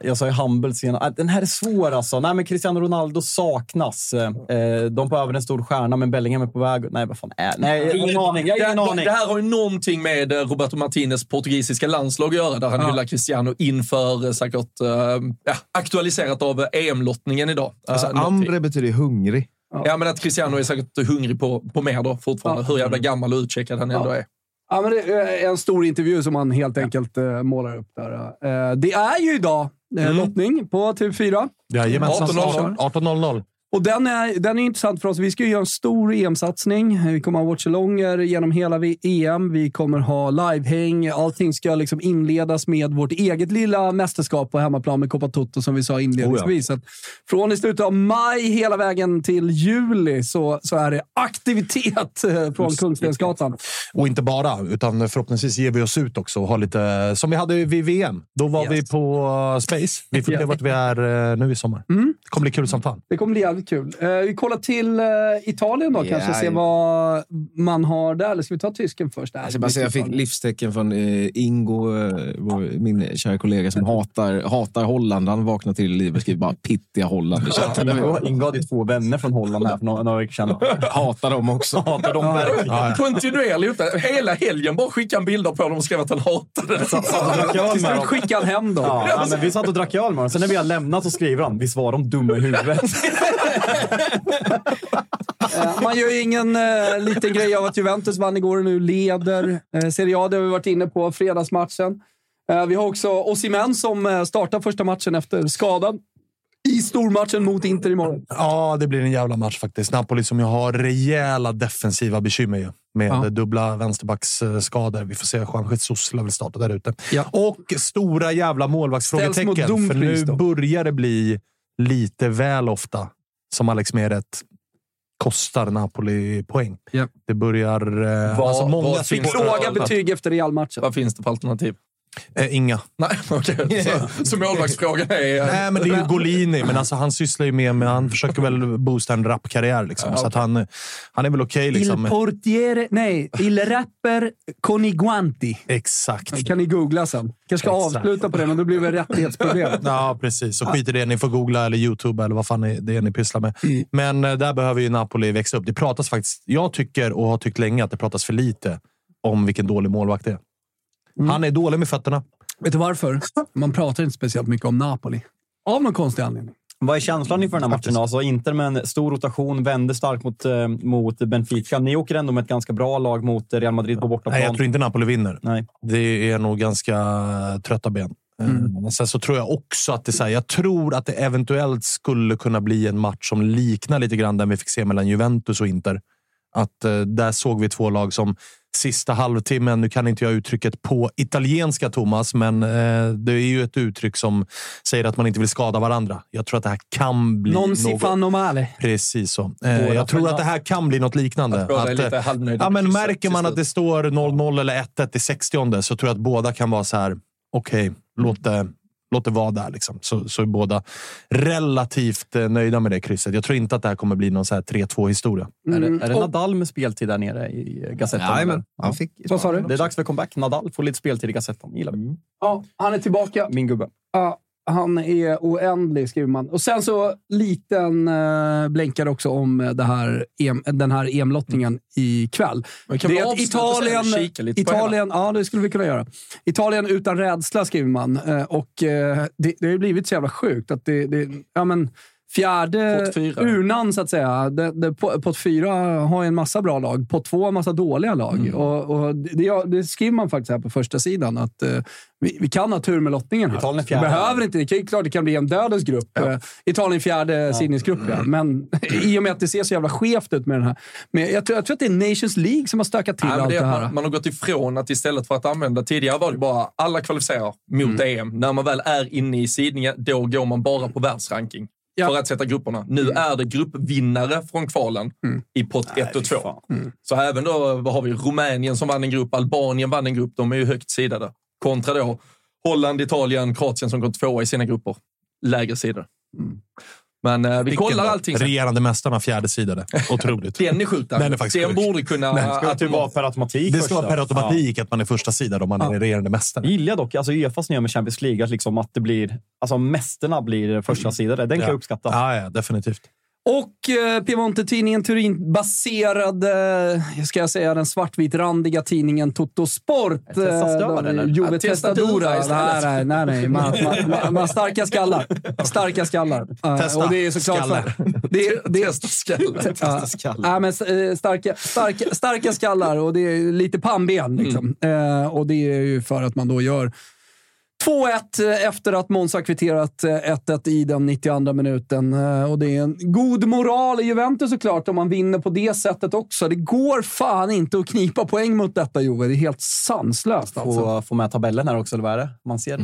Speaker 5: Jag sa ju humble senare. Ah, Den här är svår alltså. Nej, men Cristiano Ronaldo saknas. Eh, De behöver en stor stjärna, men Bellingham är på väg... Nej, vad fan är... Nej, Eh, jag har ingen aning. Jag har ingen
Speaker 4: Det,
Speaker 5: aning.
Speaker 4: det här har ju någonting med eh, Roberto Martinez portugisiska landslag att göra, där han hyllar Cristiano inför eh, säkert, eh, ja, aktualiserat av eh, EM-lottningen idag. Eh,
Speaker 7: Alltså,
Speaker 4: någonting.
Speaker 7: Ambre betyder ju hungrig.
Speaker 4: Ja, men att Cristiano är säkert hungrig på, på mer då fortfarande. Hur jävla gammal och utcheckad han ändå är.
Speaker 3: Ja, men det är en stor intervju som han helt enkelt eh, målar upp där. Eh, det är ju idag eh, lottning på TV4.
Speaker 6: Jajamensan.
Speaker 4: 18.00.
Speaker 6: 18.00.
Speaker 3: Och den är, den är intressant för oss. Vi ska ju göra en stor EM-satsning. Vi kommer ha watchalonger genom hela vi- EM. Vi kommer ha livehäng. Allting ska liksom inledas med vårt eget lilla mästerskap på hemmaplan med Copa Toto som vi sa inledningsvis.
Speaker 7: Oh
Speaker 3: Så att Från i slutet av maj hela vägen till juli så, så är det aktivitet eh, från Kungstensgatan.
Speaker 6: Och inte bara, utan förhoppningsvis ger vi oss ut också och har lite... Som vi hade vid VM. Då var vi på eh, Space. Vi får se vart vi är eh, nu i sommar. Det kommer bli kul som fan.
Speaker 3: Det kommer bli jävligt kul. Eh, vi kollar till eh, Italien då
Speaker 7: Ja,
Speaker 3: kanske, se
Speaker 7: ja.
Speaker 3: vad man har där. Eller ska vi ta tysken först? Nej,
Speaker 7: Jag ska bara
Speaker 3: vi
Speaker 7: säga, jag
Speaker 3: tar
Speaker 7: fick
Speaker 3: det.
Speaker 7: livstecken från eh, Ingo, eh, vår, min kära kollega som hatar, hatar Holland. Han vaknar till liv och skriver bara pittiga Holland i chatten.
Speaker 5: Ingo- Ingo hade ju två vänner från Holland här för några, några veckor sedan.
Speaker 7: Hatar dem också. Hatar dem verkligen.
Speaker 4: Kontinuerligt. Hela helgen bara skickade han bilder på dem och skrev att han hatade det.
Speaker 3: Till slut skickar han hem dem.
Speaker 5: Ja, nej, men vi satt och drack öl med dem. Sen när vi har lämnat så skriver han “Visst var de dumma i huvudet?”
Speaker 3: Eh, Man gör ju ingen eh, liten grej av att Juventus vann igår och nu leder eh, Serie A. Det har vi varit inne på, fredagsmatchen. Eh, vi har också Osimhen som eh, startar första matchen efter skadan i stormatchen mot Inter imorgon.
Speaker 6: Ja, det blir en jävla match faktiskt. Napoli som ju har rejäla defensiva bekymmer ju. Med dubbla vänsterbacksskador. Vi får se. Juan Jesus lär väl starta där ute.
Speaker 3: Ja.
Speaker 6: Och stora jävla
Speaker 3: Ställs mot
Speaker 6: målvaktsfrågetecken. För
Speaker 3: Dumfries
Speaker 6: nu
Speaker 3: då.
Speaker 6: börjar det bli lite väl ofta som Alex Meret kostar Napoli poäng.
Speaker 3: Ja.
Speaker 6: Det börjar... Eh,
Speaker 4: Vad-
Speaker 6: alltså många
Speaker 4: vad finns det?
Speaker 6: supportrar-
Speaker 3: Låga betyg efter Real-matchen.
Speaker 4: Vad finns det för alternativ?
Speaker 6: Eh, inga.
Speaker 4: Nej, okej. Så, så målvaktsfrågan är... eh,
Speaker 6: Nej, men det är ju Golini, men alltså, han sysslar ju med... Men han försöker väl boosta en rapkarriär. Liksom, Så att han, han är väl okej. liksom.
Speaker 3: portiere... Nej, il rapper Coniguanti.
Speaker 6: Exakt.
Speaker 3: kan ni googla sen. kanske ska
Speaker 6: Exakt.
Speaker 3: avsluta på det, men då blir det väl rättighetsproblem.
Speaker 6: Ja, precis. Så skit i det. Ni får googla eller YouTube eller vad fan ni- det är ni pysslar med. Men eh, där behöver ju Napoli växa upp. Det pratas faktiskt, jag tycker och har tyckt länge att det pratas för lite om vilken dålig målvakt det är. Han är dålig med fötterna.
Speaker 3: Vet du varför? Man pratar inte speciellt mycket om Napoli. Av någon konstig anledning.
Speaker 5: Vad är känslan inför den här matchen? då? Alltså, Inter med en stor rotation, vänder starkt mot, eh, mot Benfica. Ni åker ändå med ett ganska bra lag mot eh, Real Madrid på bortaplan.
Speaker 6: Nej, jag tror inte Napoli vinner.
Speaker 5: Nej.
Speaker 6: Det är nog ganska trötta ben. Mm. Sen så tror jag också att det, är så här, jag tror att det eventuellt skulle kunna bli en match som liknar lite grann den vi fick se mellan Juventus och Inter. Att eh, där såg vi två lag som sista halvtimmen. Nu kan inte jag uttrycket på italienska, Thomas, men eh, det är ju ett uttryck som säger att man inte vill skada varandra. Jag tror att det här kan bli
Speaker 3: Non si
Speaker 6: något...
Speaker 3: fanno male.
Speaker 6: Precis så.
Speaker 3: Båda
Speaker 6: Eh, jag tror
Speaker 3: själva.
Speaker 6: att det här kan bli något liknande.
Speaker 3: Jag tror att det är
Speaker 6: eh,
Speaker 3: lite halvnöjd
Speaker 6: ja,
Speaker 3: med
Speaker 6: men
Speaker 3: krysset
Speaker 6: märker man att det står 0-0 eller 1-1 i 60 så tror jag att båda kan vara så här, okej, låt, det, låt det vara där. Liksom. Så, så är båda relativt eh, nöjda med det krysset. Jag tror inte att det här kommer bli någon så här 3-2-historia.
Speaker 5: Är det, är det Nadal med speltid där nere i Gazetten?
Speaker 6: Jajamän.
Speaker 5: eller?
Speaker 6: Han fick-
Speaker 5: Vad sa du? Det är dags för comeback. Nadal får lite speltid i Gazetten. gillar vi.
Speaker 3: Ja, han är tillbaka.
Speaker 5: Min gubbe.
Speaker 3: Ja, han är oändlig, skriver man. Och sen så liten eh, blänkare också om eh, det här EM, den här EM-lottningen ikväll.
Speaker 4: Mm. Men kan
Speaker 3: Det
Speaker 4: vi
Speaker 3: är att
Speaker 4: avsluta
Speaker 3: Italien,
Speaker 4: sen och kika lite på
Speaker 3: Italien, ja, det skulle vi kunna göra. Italien utan rädsla, skriver man. Eh, och eh, det, det har ju blivit så jävla sjukt att det... det ja, men, Fjärde
Speaker 4: Pott fyra.
Speaker 3: urnan, så att säga. Det, det, po- pott fyra har ju en massa bra lag. Pott två har en massa dåliga lag.
Speaker 4: Mm.
Speaker 3: Och, och det, ja, det skriver man faktiskt här på första sidan att eh, vi, vi kan ha tur med lottningen här.
Speaker 5: Italien är
Speaker 3: Vi
Speaker 5: fjärde.
Speaker 3: behöver inte. Det kan, ju- klart det kan bli en dödens grupp. Eh, Italien fjärde, sidningsgrupp. Ja. Men i och med att det ser så jävla skevt ut med den här. Men jag, tror, jag tror att det är Nations League som har stökat till
Speaker 4: Nej, men
Speaker 3: allt
Speaker 4: det
Speaker 3: det
Speaker 4: är att
Speaker 3: här.
Speaker 4: man, man har gått ifrån att istället för att använda tidigare var det bara alla kvalificerar mot EM. När man väl är inne i sidningen, då går man bara på världsranking för att sätta grupperna. Nu är det gruppvinnare från kvalen i pott 1 och 2. Så även då vad har vi Rumänien som vann en grupp, Albanien vann en grupp. De är ju högt sidade. Kontra då Holland, Italien, Kroatien som kom tvåa i sina grupper. Lägre sidor. Men eh, vi kollar allting. sen.
Speaker 6: Regerande mästarna, fjärdesidade. Otroligt.
Speaker 4: Den är sjuk. Danne.
Speaker 6: Den är faktiskt sjuk.
Speaker 4: Den borde kunna...
Speaker 6: Den ska
Speaker 4: att
Speaker 5: Det var per automatik.
Speaker 6: Det ska
Speaker 5: första.
Speaker 6: vara per automatik att man är första sidan om man är regerande mästare.
Speaker 5: Jag gillar dock alltså Uefas nya med Champions League, att, liksom att det blir, alltså mästerna blir första sidare. Den kan jag uppskatta.
Speaker 6: Ja, ja, definitivt.
Speaker 3: Och eh, Piemonte-tidningen Turin baserade, ska jag säga, den svartvitrandiga tidningen Toto Sport. eh,
Speaker 5: Testastövaren, eller?
Speaker 3: Jove
Speaker 4: Ja, Testadora
Speaker 3: Testadora.
Speaker 4: istället.
Speaker 3: Nej, nej, nej. nej. Man, man, man, man starka skallar. Starka skallar. Eh,
Speaker 6: Testa
Speaker 3: och det är såklart
Speaker 6: skallar.
Speaker 3: För, det, är- det,
Speaker 4: Testa skallen.
Speaker 3: Ja. Ja, men, eh, starka, starka, starka skallar och det är lite pannben. Liksom.
Speaker 5: Mm.
Speaker 3: Eh, och det är ju för att man då gör 2-1 efter att Måns har kvitterat eh, 1-1 i den 92 minuten. Eh, Och det är en god moral i Juventus såklart om man vinner på det sättet också. Det går fan inte att knipa poäng mot detta, Jove. Det är helt sanslöst alltså.
Speaker 5: Få, få med tabellen här också, eller vad är det? Man ser det.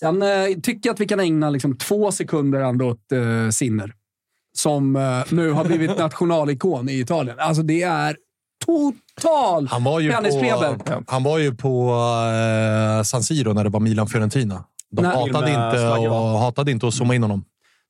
Speaker 3: Sen eh, tycker jag att vi kan ägna liksom, två sekunder ändå åt eh, Sinner. Som eh, nu har blivit nationalikon i Italien. Alltså det är total
Speaker 6: Han var ju
Speaker 3: tennisfeber.
Speaker 6: på, han var ju på eh, San Siro när det var Milan-Fiorentina. De
Speaker 3: Nej.
Speaker 6: hatade
Speaker 5: Till och med
Speaker 6: inte,
Speaker 5: Slagge,
Speaker 6: och,
Speaker 5: va?
Speaker 6: hatade inte att zooma in honom.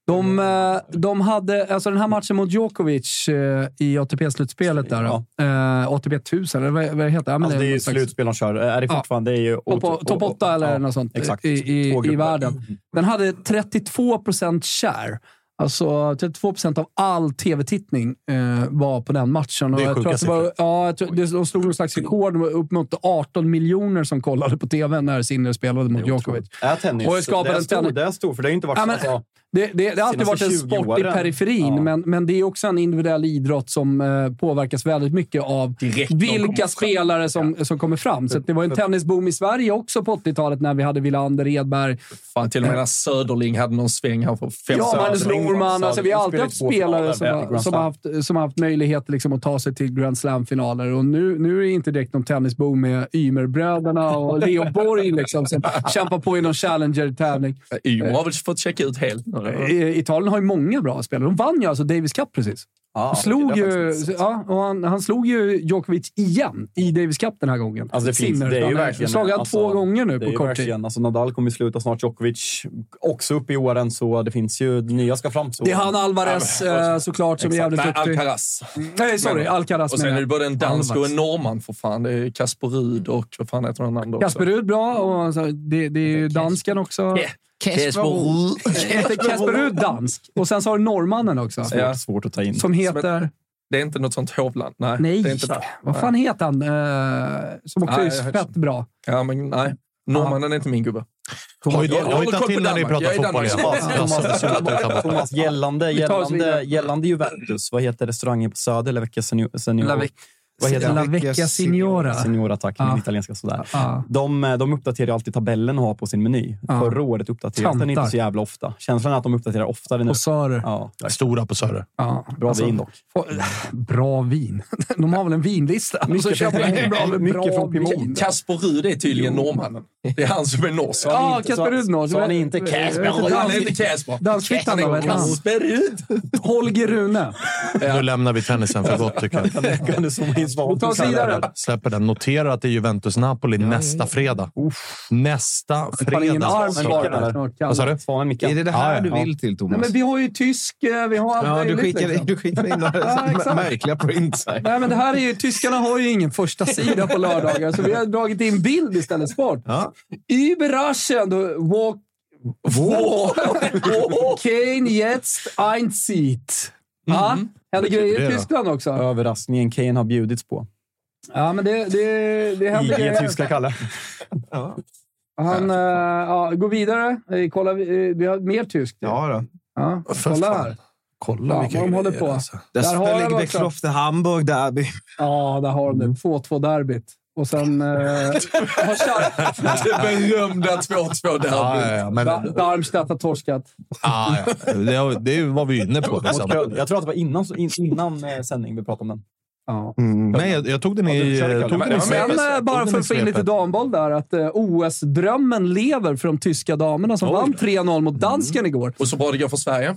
Speaker 3: De, eh, de hade, alltså den här matchen mot Djokovic eh, i ATP-slutspelet där. då. Eh, ATP 1000, eller vad, vad heter det? Ja, men
Speaker 5: Alltså det är ju
Speaker 3: någon slags-
Speaker 5: slutspel de kör. Är det
Speaker 3: Ja.
Speaker 5: fortfarande? Det är ju
Speaker 3: Topp top 8 eller
Speaker 5: ja,
Speaker 3: något sånt
Speaker 5: Exakt.
Speaker 3: i, i,
Speaker 5: Två Mm.
Speaker 3: i
Speaker 5: grupper.
Speaker 3: världen. Den hade 32 procent share. Alltså 32 procent av all tv-tittning eh, var på den
Speaker 4: Mm.
Speaker 3: matchen. Och
Speaker 6: Det är
Speaker 3: jag tror
Speaker 6: sjuka
Speaker 3: att det var, ja, jag tror, det, De slog någon slags rekord. Det var upp mot 18 miljoner som kollade på tv när Sinner spelade mot Djokovic.
Speaker 5: Är tennis.
Speaker 3: Och jag skapade
Speaker 5: det, är
Speaker 3: en
Speaker 5: stor,
Speaker 3: tennis-
Speaker 5: det är stor, för det har ju inte varit...
Speaker 3: Ja, men,
Speaker 5: alltså,
Speaker 3: det, det, det har alltid varit
Speaker 5: senaste
Speaker 3: en
Speaker 5: 20
Speaker 3: sport i
Speaker 5: åren.
Speaker 3: periferin,
Speaker 5: Ja.
Speaker 3: men, men det är också en individuell idrott som eh, påverkas väldigt mycket av
Speaker 4: Direkt de kommer
Speaker 3: vilka
Speaker 4: fram.
Speaker 3: spelare som, som kommer fram. Så att det var en tennisboom i Sverige också på 80-talet när vi hade Wilander, Edberg, Eh.
Speaker 4: Fan, till och med när Söderling hade någon sväng här för fem
Speaker 3: Ja,
Speaker 4: år
Speaker 3: Magnus
Speaker 4: sedan.
Speaker 3: Norman. Alltså, vi har alltid
Speaker 5: Spelar
Speaker 3: haft
Speaker 5: två finaler,
Speaker 3: spelare som
Speaker 5: ja,
Speaker 3: har,
Speaker 5: Grand
Speaker 3: som har, haft, som har haft möjlighet liksom, att ta sig till Grand Slam-finaler. Och nu, nu är det inte direkt någon tennisboom med Ymerbröderna och Leo Borg liksom, som kämpar på i någon Challenger-tävling.
Speaker 4: Ymer har väl fått checka ut helt nu. eller?
Speaker 3: Eh, Italien har ju många bra spelare. De vann ju alltså Davis Cup precis.
Speaker 5: ja,
Speaker 3: Och slog
Speaker 5: det har jag
Speaker 3: ju,
Speaker 5: faktiskt inte sett.
Speaker 3: ja, och han, han slog ju Djokovic igen i Davis Cup den här gången.
Speaker 5: Alltså det finns,
Speaker 3: Sinner,
Speaker 5: det är ju
Speaker 3: han har
Speaker 5: verkligen...
Speaker 3: slagit han
Speaker 5: alltså,
Speaker 3: två gånger nu
Speaker 5: det är
Speaker 3: på
Speaker 5: ju
Speaker 3: kort tid.
Speaker 5: verkligen- Alltså Nadal kommer ju sluta snart, Djokovic också upp i åren, så det finns ju... Nya ska fram. Så.
Speaker 3: Det är han Alvarez eh, såklart som är jävligt
Speaker 4: Nej,
Speaker 3: duktig.
Speaker 4: Alcaraz.
Speaker 3: Nej, sorry. Alcaraz
Speaker 4: Och sen
Speaker 3: menar
Speaker 4: är
Speaker 3: jag.
Speaker 4: det både en dansk och
Speaker 3: Alvarez.
Speaker 4: en norrman för fan. Det är Kasper Rud och vad fan heter den andra också?
Speaker 3: Kasper Rud bra och så- det, det är ju
Speaker 5: Alltså,
Speaker 3: dansken också.
Speaker 4: Ja. Kasper Rud.
Speaker 3: Heter Kasper Rud dansk? Och sen så har du norrmannen också.
Speaker 5: Svårt, svårt att ta in.
Speaker 3: Som heter...
Speaker 4: Det är inte något sånt hovland. Nej,
Speaker 3: Nej,
Speaker 4: det är inte där.
Speaker 3: vad fan heter han? Eh, som också
Speaker 4: Nej,
Speaker 3: är
Speaker 4: jag har
Speaker 3: fett bra.
Speaker 4: Ja, men nej. Norrmannen är inte min gubbe.
Speaker 6: Har ju
Speaker 4: jag håller koll
Speaker 6: hittat
Speaker 4: på
Speaker 6: till när ni
Speaker 4: Danmark.
Speaker 6: pratar
Speaker 4: Jag är i
Speaker 6: fotboll igen.
Speaker 4: Danmark.
Speaker 6: Alltså, sluta utan bara.
Speaker 5: Thomas, gällande,
Speaker 3: Vi tar oss
Speaker 5: gällande,
Speaker 3: vidare.
Speaker 5: gällande Juventus, vad heter restaurangen på Söder? La Vecchia Senior? senior?
Speaker 3: La Vec-
Speaker 5: Vad heter
Speaker 3: La
Speaker 5: den?
Speaker 3: Vecchia Signora.
Speaker 5: Signora, tack.
Speaker 3: Ja.
Speaker 5: Min italienska sådär.
Speaker 3: Ja.
Speaker 5: De, eh, de uppdaterar ju alltid tabellen och har på sin meny.
Speaker 3: Ja.
Speaker 5: Förra året uppdaterades den
Speaker 3: Tantar.
Speaker 5: inte så jävla ofta. Känslan är att de uppdaterar oftare nu.
Speaker 3: Posörer.
Speaker 5: Ja, tack.
Speaker 6: Stora på Söder.
Speaker 3: Ja. alltså.
Speaker 5: Bra vin dock.
Speaker 3: Få- Bra vin. De har väl en vinlista? Mycket, så köper de bra, bra
Speaker 5: mycket från Piemonte.
Speaker 3: vin.
Speaker 4: Kasper Rud är tydligen norrmannen. Det är han som är norsk.
Speaker 3: Ja, Kasper Rudnås.
Speaker 5: Så han är inte Casper
Speaker 4: Kasper Rud. Han är inte Kasper.
Speaker 3: Danskfittan då, vad heter han?
Speaker 4: Kasper Rud.
Speaker 3: Holger Rune.
Speaker 6: Nu lämnar vi tennisen för gott, tycker jag.
Speaker 5: Kan du zooma in svaren?
Speaker 3: Vi tar oss vidare.
Speaker 6: Släpper den. Notera att det är Juventus-Napoli nästa fredag. Nästa
Speaker 3: Fan, ingen
Speaker 6: fredag.
Speaker 3: arm
Speaker 6: startar det.
Speaker 3: kvar. Snart kan-
Speaker 6: Vad sa du?
Speaker 5: Svanen Micke.
Speaker 7: Är det det här
Speaker 6: Ja, ja,
Speaker 7: du
Speaker 6: ja.
Speaker 7: vill till,
Speaker 3: Nej,
Speaker 7: Thomas?
Speaker 3: men vi har ju tysk, eh, vi har allt
Speaker 7: ja, du
Speaker 3: möjligt,
Speaker 7: skickar,
Speaker 3: liksom.
Speaker 7: du skickar in några
Speaker 3: Ja, exakt.
Speaker 7: märkliga prints här.
Speaker 3: Nej, men det här är ju, tyskarna har ju ingen första sida på lördagar, så vi har dragit in bild istället. Sport.
Speaker 7: Ja.
Speaker 3: Überraschend walk... Walk. Kane jetzt ein Seat. Ja, händer grejer
Speaker 6: Det är
Speaker 3: i
Speaker 6: det.
Speaker 3: Tyskland också.
Speaker 5: Överraskningen Kane har bjudits på.
Speaker 3: Ja, men det, det, det händer
Speaker 5: IG
Speaker 3: grejer.
Speaker 5: tyska Kalle.
Speaker 3: Han eh, ja, går vidare. Eh, Kolla, vi, vi har mer tyskt.
Speaker 7: Ja, då.
Speaker 3: Ja,
Speaker 6: För
Speaker 3: kolla
Speaker 6: fan.
Speaker 3: här.
Speaker 6: Kolla
Speaker 3: Ja,
Speaker 6: vilka
Speaker 3: de håller
Speaker 6: grejer,
Speaker 3: på.
Speaker 6: alltså.
Speaker 7: Där,
Speaker 3: Där har jag
Speaker 7: ligger
Speaker 3: också.
Speaker 7: det Klofte Hamburg derby.
Speaker 3: Ja, där har de det. 2-2-derbyt. Och sen eh, har Schalke-
Speaker 4: Det berömda 2-2
Speaker 6: Ja,
Speaker 4: derbyt.
Speaker 6: ja, ja, men,
Speaker 3: Dar- Darmstadt har torskat.
Speaker 6: ja, ja. Det, det var vi inne på.
Speaker 5: Mot
Speaker 6: Liksom.
Speaker 5: Köln. Jag tror att det var innan, innan eh, sändning vi pratade om den.
Speaker 3: Ja.
Speaker 6: Nej, jag, jag tog den
Speaker 5: Ja,
Speaker 6: i...
Speaker 5: du körde,
Speaker 6: Jag tog
Speaker 5: Kalle.
Speaker 6: den i
Speaker 4: Men-
Speaker 3: Sen
Speaker 6: svepet.
Speaker 3: eh,
Speaker 6: Jag
Speaker 3: bara
Speaker 6: tog
Speaker 3: för
Speaker 6: den i
Speaker 3: att få in lite
Speaker 6: svepet.
Speaker 3: damboll där, att eh, OS-drömmen lever för de tyska damerna som vann 3-0 mot dansken igår.
Speaker 4: Mm. Och så bra det går för Sverige.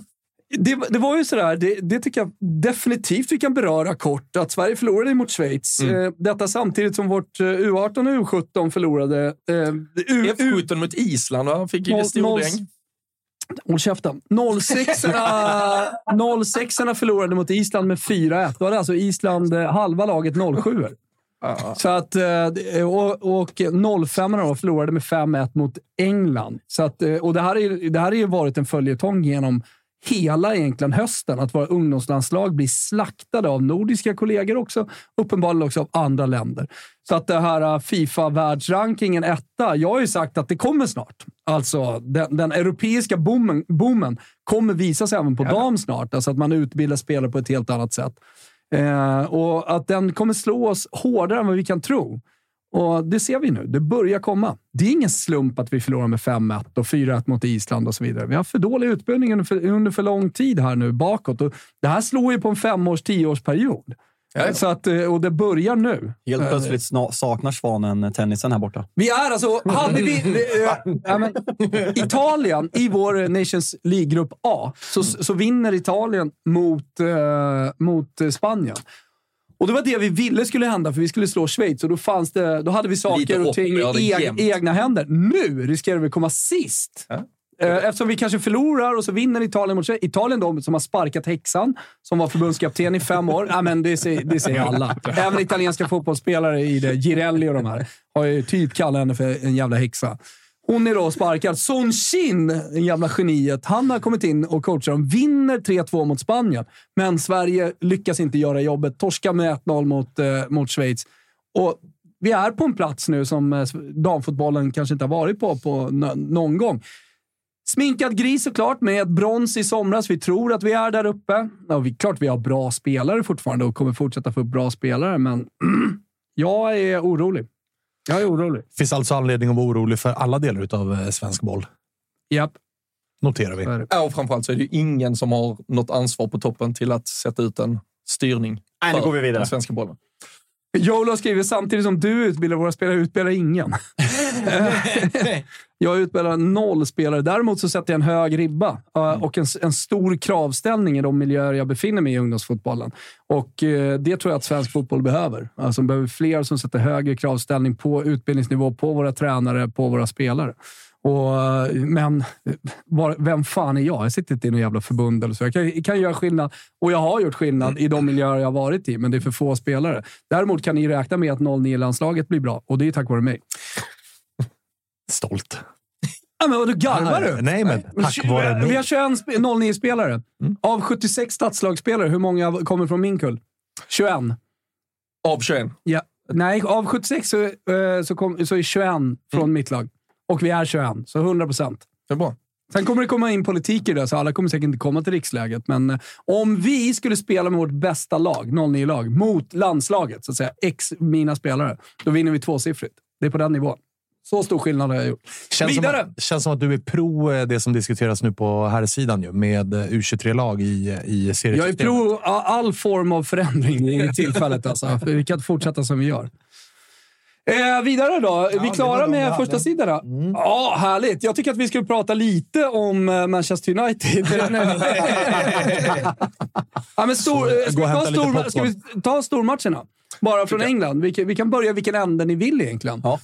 Speaker 3: Det, det var ju sådär, det, det tycker jag definitivt vi kan beröra kort, att Sverige förlorade mot Schweiz.
Speaker 4: Mm.
Speaker 3: Eh, detta samtidigt som vårt eh, U18 och U17 förlorade. Eh, U, U,
Speaker 4: F17 mot Island, va? Fick ju
Speaker 3: Noll-
Speaker 4: det
Speaker 3: noll-
Speaker 4: stordäng.
Speaker 3: håll käften. 06-orna 06 förlorade mot Island med 4-1. Då hade alltså Island eh, halva laget 07 Så att, eh, det- och, och 05 då förlorade med 5-1 mot England. Så att, eh, och det här, är, ju- det här har ju varit en följetong genom hela egentligen hösten, att våra ungdomslandslag blir slaktade av nordiska kollegor också, uppenbarligen också av andra länder. Så att det här eh, Fifa-världsrankingen etta, jag har ju sagt att det kommer snart. Alltså, den, den europeiska boomen, boomen kommer visa sig även på dam snart. Alltså att man utbildar spelare på ett helt annat sätt. Eh, och att den kommer slå oss hårdare än vad vi kan tro. Och Det ser vi nu. Det börjar komma. Det är ingen slump att vi förlorar med 5-1 och 4-1 mot Island och så vidare. Vi har för dålig utbildning under för, under för lång tid här nu bakåt. Och det här slår ju på en femårs, tioårsperiod.
Speaker 4: Ja, ja.
Speaker 3: Så att, eh, och det börjar nu. Eh,
Speaker 5: Helt plötsligt sna- saknar Svanen eh, tennisen här borta.
Speaker 3: Vi är alltså... Hade vi, eh, ja, men, Italien, i vår Nations League-grupp A, så, så vinner Italien mot, eh, mot eh, Spanien. Och det var det vi ville skulle hända, för vi skulle slå Schweiz och då, fanns det, då hade vi
Speaker 4: Lite
Speaker 3: saker
Speaker 4: hopp,
Speaker 3: och ting i
Speaker 4: ja, det är
Speaker 3: eg,
Speaker 4: jämnt.
Speaker 3: egna händer. Nu riskerar vi att komma sist.
Speaker 4: Ja.
Speaker 3: Eh, Eftersom vi kanske förlorar och så vinner Italien mot Schweiz. Italien då, som har sparkat häxan, som var förbundskapten i fem år. Ja, men det, säger, det säger alla. Även italienska fotbollsspelare i det, Girelli och de här, har ju typ kallat henne för en jävla häxa. Hon är då sparkad. Son Shin, det jävla geniet, han har kommit in och coachar dem. Vinner 3-2 mot Spanien, men Sverige lyckas inte göra jobbet. Torskar med 1-0 mot, eh, mot Schweiz. Och vi är på en plats nu som eh, damfotbollen kanske inte har varit på, på nå- någon gång. Sminkad gris såklart, med ett brons i somras. Vi tror att vi är där uppe. Ja, vi, klart vi har bra spelare fortfarande och kommer fortsätta få upp bra spelare, men jag är orolig. Jag är orolig.
Speaker 6: finns alltså anledning att vara orolig för alla delar
Speaker 5: Eh,
Speaker 6: av svensk boll.
Speaker 3: Japp.
Speaker 6: Noterar vi.
Speaker 3: Så är det.
Speaker 4: Ja, och framförallt så är det ju ingen som har något ansvar på toppen till att sätta ut en styrning
Speaker 5: Nej, nu
Speaker 4: för
Speaker 5: går vi vidare.
Speaker 4: den svenska bollen.
Speaker 3: Jolo skriver samtidigt som du utbildar våra spelare utbildar ingen. jag utbildar noll spelare. Däremot så sätter jag en hög ribba eh, och en, en stor kravställning i de miljöer jag befinner mig i ungdomsfotbollen. Och eh, det tror jag att svensk fotboll behöver. Alltså de behöver fler som sätter högre kravställning på utbildningsnivå, på våra tränare, på våra spelare. Och, eh, men eh, var, vem fan är jag? Jag sitter inte i något jävla förbund eller så. Jag kan, kan göra skillnad och jag har gjort skillnad i de miljöer jag har varit i, men det är för få spelare. Däremot kan ni räkna med att 09-landslaget blir bra och det är tack vare mig.
Speaker 6: Stolt.
Speaker 3: Ja, men vadå, garvar du?
Speaker 6: Nej, men tack vare Mm.
Speaker 3: Vi
Speaker 6: mig.
Speaker 3: har 21 sp- 09-spelare. Av 76 statslagsspelare, hur många kommer från min kull? 21.
Speaker 4: Av 21.
Speaker 3: Ja. Nej, av 76 så,
Speaker 6: Mm.
Speaker 3: eh, så, kom, så är 21 från mitt lag. Och vi är 21, så 100 procent.
Speaker 4: Det är bra.
Speaker 3: Sen kommer det komma in politik i det, så alla kommer säkert inte komma till riksläget. Men eh, om vi skulle spela med vårt bästa lag, 09-lag, mot landslaget, så att säga, ex mina spelare, då vinner vi tvåsiffrigt. Det är på den nivån. Så stor skillnad har jag gjort.
Speaker 6: Känns
Speaker 3: Vidare!
Speaker 6: Som att, känns som att du är pro eh, det som diskuteras nu på här sidan ju, med eh, U23-lag i, eh, i
Speaker 3: jag är
Speaker 6: seriesystemet.
Speaker 3: pro a- all form av förändring i tillfället. Alltså. För Vi kan inte fortsätta som vi gör. Eh, vidare då. Är vi klara med första sidan då? Ja, härligt. Jag tycker att vi skulle prata lite om eh, Manchester United. ja, men stor, eh,
Speaker 6: Gå
Speaker 3: ska, vi
Speaker 6: och
Speaker 3: ta
Speaker 6: hämta lite
Speaker 3: stor,
Speaker 6: popcorn.
Speaker 3: ska vi ta stormatcherna? Bara från England. Vi kan, vi kan börja vilken ände ni vill egentligen.
Speaker 4: Ja.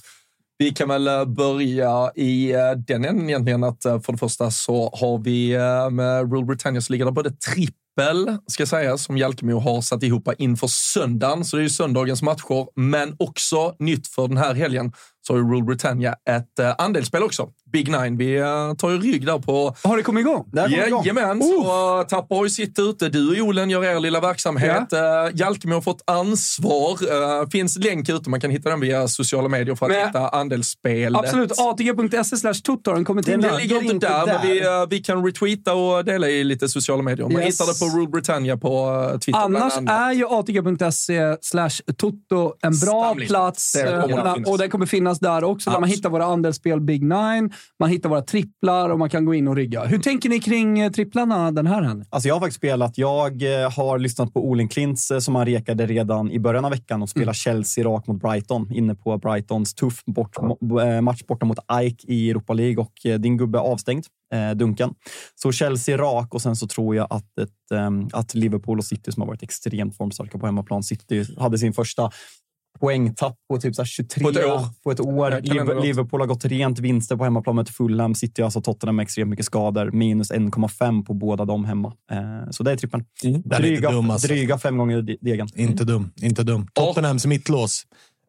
Speaker 4: Vi kan väl eh, börja i eh, den änden egentligen att eh, för det första så har vi eh, med Rule Britannia så ligger det både trippel, ska säga, som Jalkemo har satt ihop inför söndagen. Så det är ju söndagens matcher, men också nytt för den här helgen så har ju Rule Britannia ett eh, andelsspel också. Big Nine. Vi eh, tar ju rygg där på
Speaker 3: Har det kommit igång?
Speaker 4: Jajamän, så uh, tappar ju sitt ute. Du och Jolen gör er lilla verksamhet. Ja. Jalkemo har fått ansvar. Eh, finns länk ute, man kan hitta den via sociala medier för att
Speaker 3: Men-
Speaker 4: hitta andelsspelet.
Speaker 3: Absolut. atg.se E slash totoren. Kommer till
Speaker 4: Den,
Speaker 3: den.
Speaker 4: ligger inte där, men vi, eh, vi kan retweeta och dela i lite sociala medier. Man
Speaker 3: Yes.
Speaker 4: hittar det på Rule Britannia på eh, Twitter.
Speaker 3: Annars
Speaker 4: bland annat.
Speaker 3: är ju atg.se E slash toto en bra
Speaker 4: Stamlista.
Speaker 3: plats.
Speaker 4: Det kommer
Speaker 3: eh,
Speaker 4: att finnas.
Speaker 3: och den kommer finnas där också. Där man
Speaker 4: Absolut.
Speaker 3: hittar våra andelsspel Big Nine, man hittar våra tripplar och man kan gå in och rygga. Hur tänker ni kring eh, tripplarna den här helgen?
Speaker 5: Alltså jag har faktiskt spelat. Jag eh, har lyssnat på Olin Klintz eh, som han rekade redan i början av veckan och
Speaker 4: Mm.
Speaker 5: spelar Chelsea rakt mot Brighton. Inne på Brightons tuff bort, mo- eh, match borta mot Ike i Europa League och eh, din gubbe är avstängd, eh, Duncan. Så Chelsea rak och sen så tror jag att, ett, ehm, att Liverpool och City som har varit extremt formstarka på hemmaplan. City hade sin första poängtapp på typ så här 23
Speaker 4: På ett år.
Speaker 5: På ett år.
Speaker 4: Ja, kan
Speaker 5: Eh, Liv-
Speaker 4: ändå låta.
Speaker 5: Liverpool har gått rent vinster på hemmaplan mot Fulham. City har alltså Tottenham med extremt mycket skador. Minus 1,5 på båda dem hemma. Eh, så det är trippen.
Speaker 6: Den är inte
Speaker 5: Dryga,
Speaker 6: dum alltså.
Speaker 5: dryga fem gånger de- degen.
Speaker 6: Inte dum. Inte dum. Tottenhams mittlås.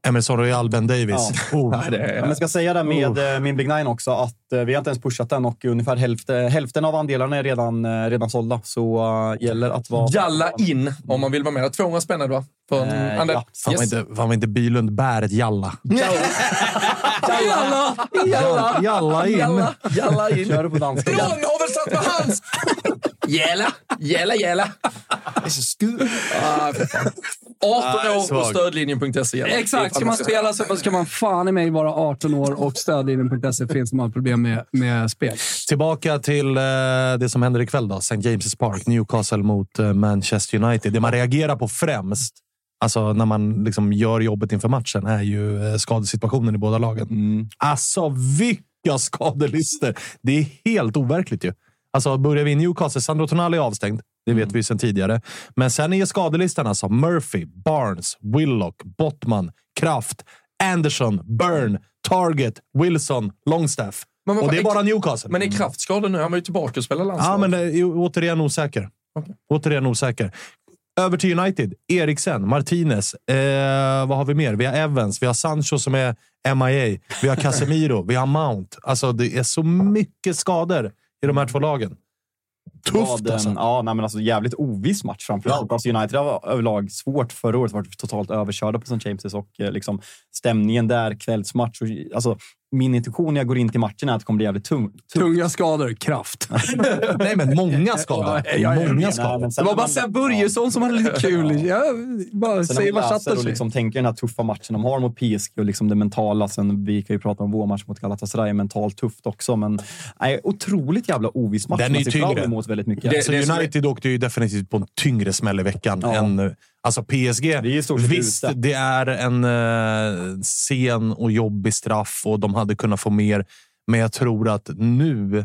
Speaker 6: Emerson Royal Ben Davis. Oh.
Speaker 5: Ja, men jag ska säga det med eh, min Big Nine också, att eh, vi har inte ens pushat den och ungefär hälften, hälften av andelarna är redan, eh, redan sålda. Så eh, gäller att vara...
Speaker 4: Jalla in om man vill vara med. 200 spänn är det, va? För en
Speaker 5: Eh,
Speaker 4: andel.
Speaker 5: ja.
Speaker 6: Fan vad
Speaker 4: Yes.
Speaker 6: inte, fan vad inte Bylund bär ett jalla.
Speaker 4: Jalla, jalla,
Speaker 6: Jalla in.
Speaker 4: jalla, jalla in.
Speaker 5: Kör du på danska?
Speaker 4: Någon har väl satt på hans? Jalla, jalla, jalla. Det är så skumt. Ah, 18
Speaker 6: Ah,
Speaker 4: år på
Speaker 6: svag.
Speaker 4: stödlinjen.se. gäller.
Speaker 3: Exakt. Ska man spela så ska man fan i mig vara 18 år och stödlinjen.se E finns om man har problem med, med spel.
Speaker 6: Tillbaka till eh, det som händer ikväll då. St. James' Park. Newcastle mot eh, Manchester United. Det man reagerar på främst, alltså när man liksom gör jobbet inför matchen, är ju eh, skadesituationen i båda lagen.
Speaker 4: Mm.
Speaker 6: Alltså, vilka skadelister! Det är helt overkligt ju. Alltså, börjar vi i Newcastle, Sandro Tonali är avstängd. Det vet
Speaker 4: Mm.
Speaker 6: vi sedan tidigare. Men sen är skadelistan alltså Murphy, Barnes, Willock, Bottman, Kraft, Anderson, Byrne, Target, Wilson, Longstaff.
Speaker 4: Men vad
Speaker 6: och det är
Speaker 4: fan,
Speaker 6: bara
Speaker 4: är-
Speaker 6: Newcastle.
Speaker 4: Men är kraftskadad nu? Han var ju tillbaka och spelade landslag.
Speaker 6: Ja, men eh, ju- återigen osäker. Återigen osäker. Över till United. Eriksen, Martinez. Eh, vad har vi mer? Vi har Evans, vi har Sancho som är MIA. Vi har Casemiro, vi har Mount. Alltså, det är så mycket skador i de här två lagen. Tufft
Speaker 5: Vad, eh,
Speaker 6: alltså.
Speaker 5: Ja, nej, men alltså jävligt oviss match framförallt. Alltså United har överlag svårt förra året. varit totalt överkörda på St. James' och eh, liksom, stämningen där, kvällsmatch. Och, alltså, min intuition när jag går in till matchen är att det kommer bli jävligt tungt.
Speaker 3: Tunga skador, kraft.
Speaker 6: Nej, men många skador. Många skador.
Speaker 3: Det var bara Sepp Börjesson som hade lite kul. Jag bara
Speaker 5: Sen när
Speaker 3: säger
Speaker 5: man
Speaker 3: vad
Speaker 5: läser
Speaker 3: chatten
Speaker 5: och
Speaker 3: säger.
Speaker 5: liksom tänker den här tuffa matchen de har mot PSG och liksom det mentala. Sen vi kan ju prata om vår match mot Galatasaray, mentalt tufft också. Men nej, otroligt jävla oviss match.
Speaker 6: Den är
Speaker 5: Man
Speaker 6: ju
Speaker 5: ser fram
Speaker 6: tyngre.
Speaker 5: emot väldigt mycket.
Speaker 6: Alltså, United åkte ju definitivt på en tyngre smäll i veckan. Än, eh, alltså PSG,
Speaker 5: är ju i stort sett
Speaker 6: visst,
Speaker 5: ute.
Speaker 6: det är en eh, sen och jobbig straff och de hade kunnat få mer. Men jag tror att nu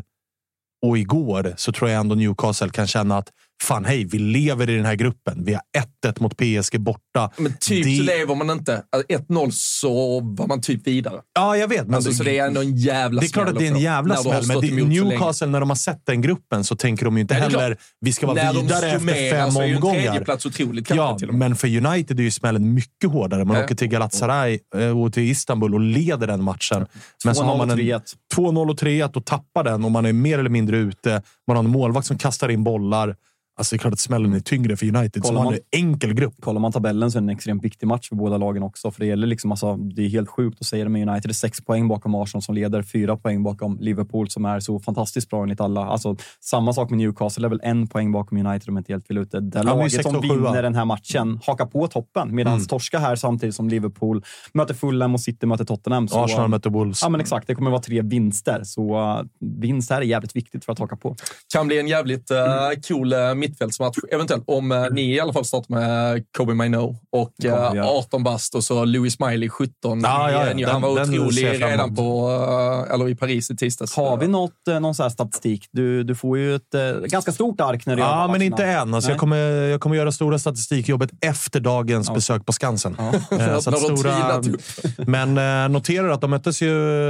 Speaker 6: och igår så tror jag ändå Newcastle kan känna att fan, hej, vi lever i den här gruppen. Vi har 1-1 mot PSG borta.
Speaker 4: Men typ
Speaker 6: Det-
Speaker 4: så lever man inte. Alltså, 1-0 så var man typ vidare.
Speaker 6: Ja, jag vet. Men
Speaker 4: Alltså, så det är ändå en jävla
Speaker 6: det är klart
Speaker 4: smäll
Speaker 6: att det är en
Speaker 4: också,
Speaker 6: jävla
Speaker 4: när du har
Speaker 6: smäll, men
Speaker 4: stått
Speaker 6: det,
Speaker 4: emot så länge.
Speaker 6: Newcastle, när de har sett den gruppen så tänker de ju inte
Speaker 4: Nej, det är
Speaker 6: heller
Speaker 4: klart.
Speaker 6: vi ska vara
Speaker 4: När de
Speaker 6: vidare efter
Speaker 4: summerar
Speaker 6: fem
Speaker 4: så är ju en
Speaker 6: omgångar.
Speaker 4: tredjeplats otroligt kanske
Speaker 6: ja,
Speaker 4: till och med.
Speaker 6: men för United är ju smällen mycket hårdare. Man
Speaker 4: Ja.
Speaker 6: åker till Galatasaray eh, och till Istanbul och leder den matchen. Men så har
Speaker 5: 2-0
Speaker 6: man en
Speaker 5: och 3-1.
Speaker 6: 2-0 och 3-1 och tappar den och man är mer eller mindre ute. Man har en målvakt som kastar in bollar. Alltså det är klart att smällen är tyngre för United som har en enkel grupp.
Speaker 5: Kollar man tabellen så är det en extremt viktig match för båda lagen också. För Det gäller liksom, alltså, det är helt sjukt att säga det med United. Det är sex poäng bakom Arsenal som leder, fyra poäng bakom Liverpool som är så fantastiskt bra enligt alla. Alltså, samma sak med Newcastle, det är väl en poäng bakom United om jag inte helt vill ut. Det där
Speaker 6: men
Speaker 5: laget
Speaker 6: sex
Speaker 5: som
Speaker 6: och Mm. sjua.
Speaker 5: vinner den här matchen hakar på toppen medan torska här samtidigt som Liverpool möter Fulham och City möter Tottenham. Så,
Speaker 6: Arsenal möter Wolves.
Speaker 5: Ja, men exakt. Det kommer vara tre vinster, så uh, vinst här är jävligt viktigt för att haka på.
Speaker 4: Kan bli en jävligt eh,
Speaker 6: Mm.
Speaker 4: cool eh, mittfältsmatch. Eventuellt om eh, ni i alla fall startar med Kobe Maino och
Speaker 5: kommer
Speaker 4: eh,
Speaker 5: vi göra.
Speaker 4: 18 bast och så Louis Smiley 17.
Speaker 6: Ja, ja, ja.
Speaker 4: Igen ju.
Speaker 6: Den-
Speaker 4: Han var
Speaker 6: den ser jag
Speaker 4: otrolig
Speaker 6: fram
Speaker 4: redan
Speaker 6: emot.
Speaker 4: på, eh, eller i Paris i tisdags.
Speaker 5: Har vi något, eh, någon så här statistik? Du, du får ju ett eh, ganska stort ark när du gör de
Speaker 6: Ja, men
Speaker 5: här matcherna.
Speaker 6: inte än. Alltså,
Speaker 5: Nej.
Speaker 6: jag, kommer, jag kommer göra stora statistikjobbet efter dagens besök på Skansen. Eh, så att
Speaker 4: När de
Speaker 6: stora,
Speaker 4: tvilat upp.
Speaker 6: men eh, notera att de, möttes ju,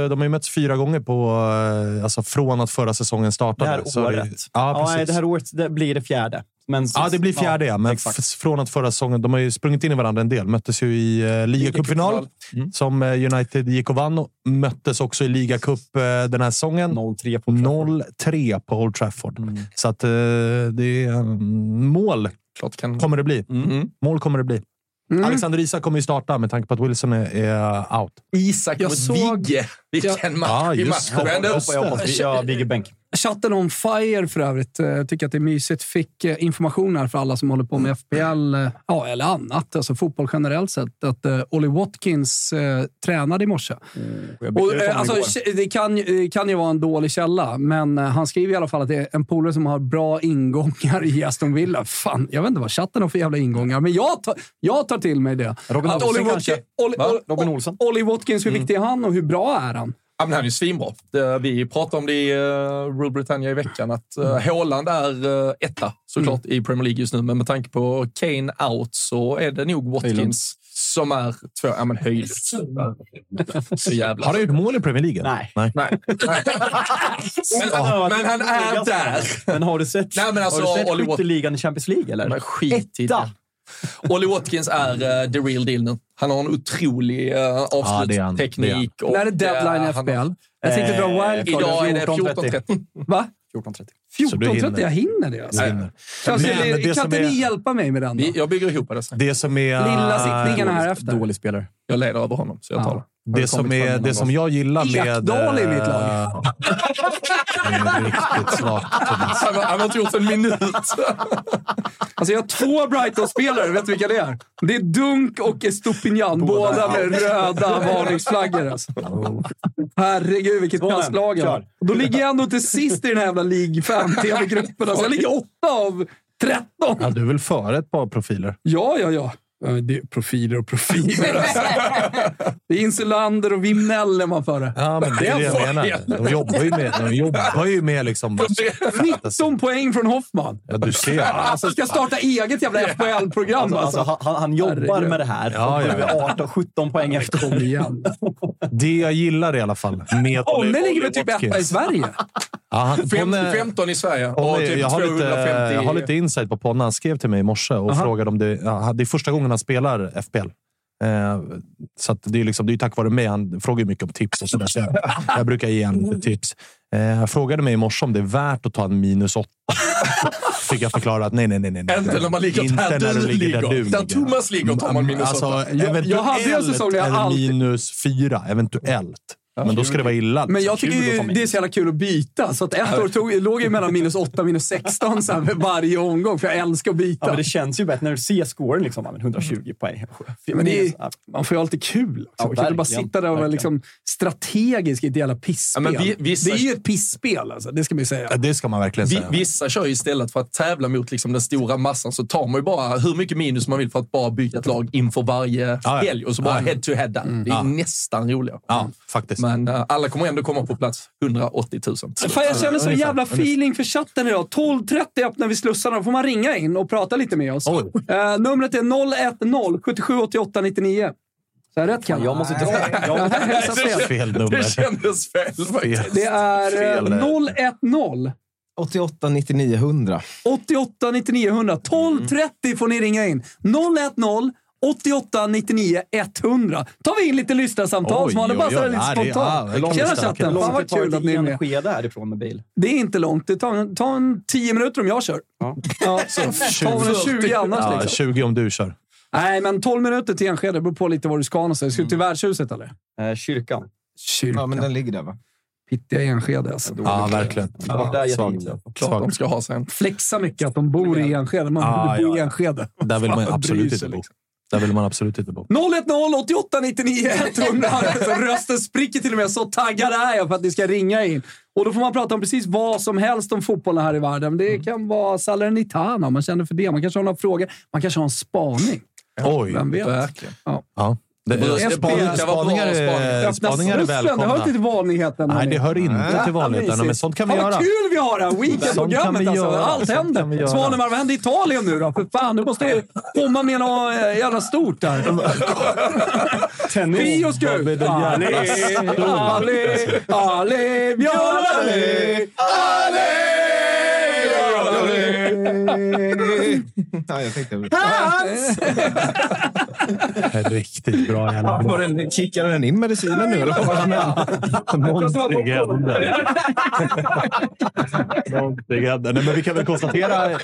Speaker 6: de har ju mötts fyra gånger på, eh, alltså, från att förra säsongen
Speaker 5: Det
Speaker 6: startade.
Speaker 5: här
Speaker 6: Så
Speaker 5: året.
Speaker 6: ja,
Speaker 5: Ja,
Speaker 6: precis.
Speaker 5: nej, det här året det blir det fjärde. Men
Speaker 6: Ja, det blir fjärde, ja. Men
Speaker 5: exakt.
Speaker 6: f- från att förra säsongen... De har ju sprungit in i varandra en del. Möttes ju i eh, ligacupfinal, som eh, United gick och vann. Och möttes också i ligacup eh, den här säsongen.
Speaker 5: 0-3 på
Speaker 6: 0-3 på Old Trafford. Så att eh, det är... mm, Mål
Speaker 4: Klart kan...
Speaker 6: kommer det bli. Mål kommer det bli.
Speaker 3: Mm.
Speaker 6: Alexander Isak kommer ju starta med tanke på att Wilson är, är out.
Speaker 4: Isak
Speaker 3: Jag
Speaker 4: mot
Speaker 3: såg-
Speaker 4: Vigge. Vilken match!
Speaker 6: Ja,
Speaker 4: I
Speaker 6: just
Speaker 4: matchen.
Speaker 6: det.
Speaker 4: Ändå.
Speaker 6: Just det.
Speaker 5: Hoppas vi- Ja, Vigge Bänk.
Speaker 3: Chatten on fire för övrigt. eh, tycker att det är mysigt. Fick eh, information här för alla som håller på
Speaker 5: Mm.
Speaker 3: med FPL, eh, ja, eller annat, alltså fotboll generellt sett, att eh, Ollie Watkins eh, tränade i morse.
Speaker 5: Mm. Jag
Speaker 3: Och,
Speaker 5: bytte ut
Speaker 3: eh,
Speaker 5: honom
Speaker 3: alltså,
Speaker 5: igår.
Speaker 3: k- det kan, ju- eh, kan ju vara en dålig källa, men eh, han skriver i alla fall att det är en polare som har bra ingångar i Aston Villa. Fan, jag vet inte vad chatten har för jävla ingångar, men jag tar, jag tar till mig det.
Speaker 5: Robin
Speaker 3: att
Speaker 5: Olsen
Speaker 3: Ollie
Speaker 5: kanske?
Speaker 3: Watkins- Ollie-
Speaker 4: Va?
Speaker 3: Ollie-
Speaker 5: Robin Olsen?
Speaker 3: Ollie Watkins, hur viktig är han och hur bra är han?
Speaker 4: Ja, men han är ju svinbra. Det, vi pratade om det i uh, Rule Britannia i veckan, att
Speaker 6: Mm.
Speaker 4: uh, Haaland är eh, etta såklart i Premier League just nu, men med tanke på Kane out så är det nog Watkins som är två. Ja, men Höjlund. Så jävla...
Speaker 6: Har han gjort mål i Premier League?
Speaker 5: Nej.
Speaker 4: Nej. men, men han är där.
Speaker 5: Men har du sett,
Speaker 4: Nej, men alltså,
Speaker 5: har du sett
Speaker 4: Ollie Wat-
Speaker 5: skytteligan i Champions League, eller?
Speaker 4: Men skit i
Speaker 5: Etta!
Speaker 4: det. Ollie Watkins är eh, the real deal nu. Han har en otrolig uh,
Speaker 6: Ja, det är han.
Speaker 4: avslutsteknik. och,
Speaker 3: När är det deadline
Speaker 4: eh,
Speaker 3: i
Speaker 4: han-
Speaker 3: FBL? Jag tänkte dra
Speaker 4: Eh,
Speaker 3: wildcard.
Speaker 4: Idag är det
Speaker 3: 14.30.
Speaker 4: 14.30.
Speaker 3: Va?
Speaker 5: 14.30.
Speaker 6: Så du hinner.
Speaker 3: 14.30? Jag hinner det. Alltså.
Speaker 6: hinner.
Speaker 3: Kanske,
Speaker 6: Men
Speaker 3: det-
Speaker 6: det
Speaker 3: kan
Speaker 6: som
Speaker 3: inte
Speaker 6: är-
Speaker 3: ni hjälpa mig med den då?
Speaker 4: Vi- Jag bygger ihop det sen.
Speaker 6: Det som är...
Speaker 3: Lilla sittningarna här efter.
Speaker 5: Dålig spelare.
Speaker 4: Jag leder över honom, så jag tar det.
Speaker 6: Det som, är, det som jag gillar med...
Speaker 3: Ekdal i mitt lag.
Speaker 6: Eh, Det är riktigt svagt, Thomas.
Speaker 4: Han har, han har inte gjort en minut.
Speaker 3: Alltså jag har två Brighton-spelare, vet du vilka det är? Det är Dunk och Estopignan, båda med röda varningsflaggor. Alltså. Herregud, vilket
Speaker 5: Två män.
Speaker 3: klasslag jag har.
Speaker 5: Kör.
Speaker 3: Och Då ligger jag ändå till sist i den här jävla League 5-TV-gruppen. Alltså jag ligger åtta av 13.
Speaker 6: Ja, du är väl före ett par profiler?
Speaker 3: Ja, ja, ja. Ja, men Det är profiler och profiler. Alltså. Det är Insulander och Wimnell när man före.
Speaker 6: Ja, men det är det jag
Speaker 4: var
Speaker 6: menar. De jobbar ju med... De jobbar ju med liksom...
Speaker 3: 19 poäng från Hoffman.
Speaker 6: Ja, du ser.
Speaker 3: Alltså, ska starta eget jävla FHL-program.
Speaker 5: Alltså,
Speaker 3: Alltså.
Speaker 5: han, han- han jobbar
Speaker 3: Herregud.
Speaker 5: med det här.
Speaker 6: Ja,
Speaker 5: Ja,
Speaker 6: ja, ja.
Speaker 5: 18, 17 poäng efter.
Speaker 3: Kom igen.
Speaker 6: Det jag gillar i alla fall med...
Speaker 3: Olle ligger väl typ
Speaker 6: Watkins.
Speaker 3: etta i Sverige?
Speaker 6: Ja, han,
Speaker 4: Fem,
Speaker 6: Ponne-
Speaker 4: 15 i Sverige och
Speaker 6: Ponne,
Speaker 4: typ
Speaker 6: jag, har lite,
Speaker 4: 250
Speaker 6: jag har lite insight på Ponne. Han skrev till mig i morse och frågade om det... Ja, han- det är första gången han spelar FPL. Eh, så att det är liksom, det är ju tack vare mig. Han frågar ju mycket om tips och sådär. Så jag, jag brukar ge honom lite tips. Eh, han frågade mig i morse om det är värt att ta en minus åtta. Fick jag förklara att nej, nej, nej. nej, nej.
Speaker 4: Inte när man ligger
Speaker 6: Inte
Speaker 4: där
Speaker 6: när
Speaker 4: du
Speaker 6: ligger.
Speaker 4: ligger. Där Thomas ligger tar man minus
Speaker 6: alltså,
Speaker 4: åtta.
Speaker 6: eventuellt
Speaker 3: jag hade ju en säsong där jag
Speaker 6: en
Speaker 3: alltid-
Speaker 6: minus fyra. Eventuellt. Men då ska det vara illa. liksom.
Speaker 3: Men jag tycker
Speaker 6: Kul att
Speaker 3: ju
Speaker 6: ta med.
Speaker 3: det är så jävla kul att byta. Så att ett år tog, låg jag mellan minus 8 och minus 16 så här, varje omgång, för jag älskar att
Speaker 5: Ja,
Speaker 3: byta.
Speaker 5: men det känns ju bättre när du ser scoren. Liksom, Ja, men 120 poäng.
Speaker 3: men det är,
Speaker 5: Ja,
Speaker 3: man får ju ha lite kul. Också.
Speaker 5: Ja,
Speaker 3: man kan inte bara
Speaker 5: verkligen.
Speaker 3: sitta där och vara
Speaker 5: Verkligen.
Speaker 3: liksom strategisk i ett jävla pissspel.
Speaker 4: Ja, men vi- vissa-
Speaker 3: Det är ju ett pissspel, alltså. det ska man ju säga.
Speaker 6: Ja, Det ska man verkligen
Speaker 4: Vi,
Speaker 6: säga.
Speaker 4: vissa kör ju istället för att tävla mot liksom den stora massan så tar man ju bara hur mycket minus man vill för att bara bygga ett lag inför varje
Speaker 6: ja. Mm.
Speaker 4: helg och så bara
Speaker 6: Ja.
Speaker 4: head to head där. Det är nästan roligare.
Speaker 6: ja, faktiskt.
Speaker 4: Men eh, alla kommer ändå komma på plats 180 000.
Speaker 3: Fan, jag känner så jävla feeling för chatten idag. 12.30 öppnar vi slussarna. Då får man ringa in och prata lite med oss.
Speaker 6: Oj.
Speaker 3: Eh, numret är 010 77 88 99. Så jag rätt kan
Speaker 5: Jag måste dra. Jag måste
Speaker 3: hälsa fel.
Speaker 6: Fel nummer.
Speaker 4: Det kändes fel faktiskt.
Speaker 3: Det är eh,
Speaker 6: Fel.
Speaker 3: 010
Speaker 7: 88 99 100.
Speaker 3: 88 99 100. 12 30 får ni ringa in. 010 88 99 100. tar vi in lite lyssnarsamtal
Speaker 6: Oj,
Speaker 3: som hade bara
Speaker 6: oj,
Speaker 3: sådär
Speaker 6: oj.
Speaker 3: lite
Speaker 6: Ja, det- ja,
Speaker 3: spontant.
Speaker 6: verkligen.
Speaker 3: Tjena
Speaker 6: Starka.
Speaker 3: chatten! Fan vad kul att ni är med.
Speaker 5: Skede härifrån med bil.
Speaker 3: Det är inte långt. Det tar, en- tar en 10 minuter om jag kör. Ja. så tar väl en 20 annars.
Speaker 6: Ja,
Speaker 3: liksom.
Speaker 6: 20 om du kör.
Speaker 3: Nej, men 12 minuter till Enskede. Det beror på lite var du ska någonstans. Ska du till värdshuset eller?
Speaker 5: Eh, kyrkan.
Speaker 3: Kyrkan.
Speaker 7: Ja, men den ligger där va?
Speaker 3: Pittiga Enskede alltså.
Speaker 6: Ja, verkligen.
Speaker 5: Vart där
Speaker 6: Svagt.
Speaker 5: jättemycket.
Speaker 4: Klart de
Speaker 6: Svagt.
Speaker 4: ska ha sen.
Speaker 3: Flexa mycket att de bor i Enskede. Man
Speaker 6: Ah,
Speaker 3: borde bo
Speaker 6: ja,
Speaker 3: i
Speaker 6: ja.
Speaker 3: Enskede.
Speaker 6: Där vill man
Speaker 3: Fan,
Speaker 6: absolut
Speaker 3: bryr
Speaker 6: inte
Speaker 3: sig
Speaker 6: bo.
Speaker 3: liksom.
Speaker 6: Där vill man absolut inte bo.
Speaker 3: 010 88 99 100. Alltså, Rösten spricker till och med. Så taggad är jag för att ni ska ringa in. Och då får man prata om precis vad som helst om fotbollen här i världen. Det kan vara Salernitana om man känner för det. Man kanske har några frågor. Man kanske har en spaning.
Speaker 6: Oj!
Speaker 3: Vem vet?
Speaker 4: Verkligen.
Speaker 6: Ja. Det,
Speaker 4: Det brukar
Speaker 6: spaning-
Speaker 4: vara bra
Speaker 6: spaningar, är-
Speaker 4: spaningar.
Speaker 6: spaningar är
Speaker 3: Öppna Det hör inte
Speaker 6: välkomna.
Speaker 3: till vanligheten.
Speaker 6: Nej,
Speaker 3: hörni.
Speaker 6: det hör inte
Speaker 3: Ja,
Speaker 6: till vanligheterna,
Speaker 3: amazing.
Speaker 6: men sånt kan vi
Speaker 3: Fan,
Speaker 6: göra.
Speaker 3: Vad kul vi har det här
Speaker 6: Sånt kan
Speaker 3: weekendprogrammet
Speaker 6: vi
Speaker 3: alltså.
Speaker 6: göra.
Speaker 3: Allt
Speaker 6: Sånt kan vi
Speaker 3: händer.
Speaker 6: göra.
Speaker 3: Svanemar, vad händer i Italien nu då? För fan, du måste ju komma med något eh, jävla stort där. Pio ska ut. Ali, Ali, Ali, Björn Ali, Ali, Ali.
Speaker 7: Ja, jag tänkte...
Speaker 6: Riktigt bra jävla
Speaker 7: Var den, kickade den in medicinen nu? Eller vad var det?
Speaker 6: Någonting händer. Någonting händer. Nej, men vi kan väl konstatera,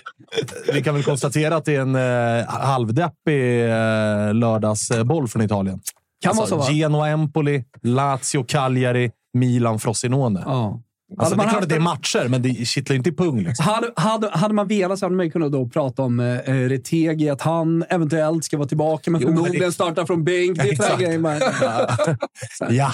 Speaker 6: vi kan väl konstatera att det är en eh, halvdeppig eh, lördagsboll från Italien. Alltså,
Speaker 3: Kan vara så, va?
Speaker 6: Genoa-Empoli, Lazio-Cagliari, Milan-Frosinone.
Speaker 3: Ja.
Speaker 6: Alltså, det
Speaker 3: Hade man
Speaker 6: är klart
Speaker 3: haft
Speaker 6: att det är matcher, men det kittlar ju inte i pung. Liksom.
Speaker 3: Hade, hade, hade man velat så hade man ju kunnat då prata om eh, eh, Retegi, att han eventuellt ska vara tillbaka, men förmodligen startar från bänk. Det är sådana
Speaker 6: Exakt.
Speaker 3: grejer man...
Speaker 6: Ja,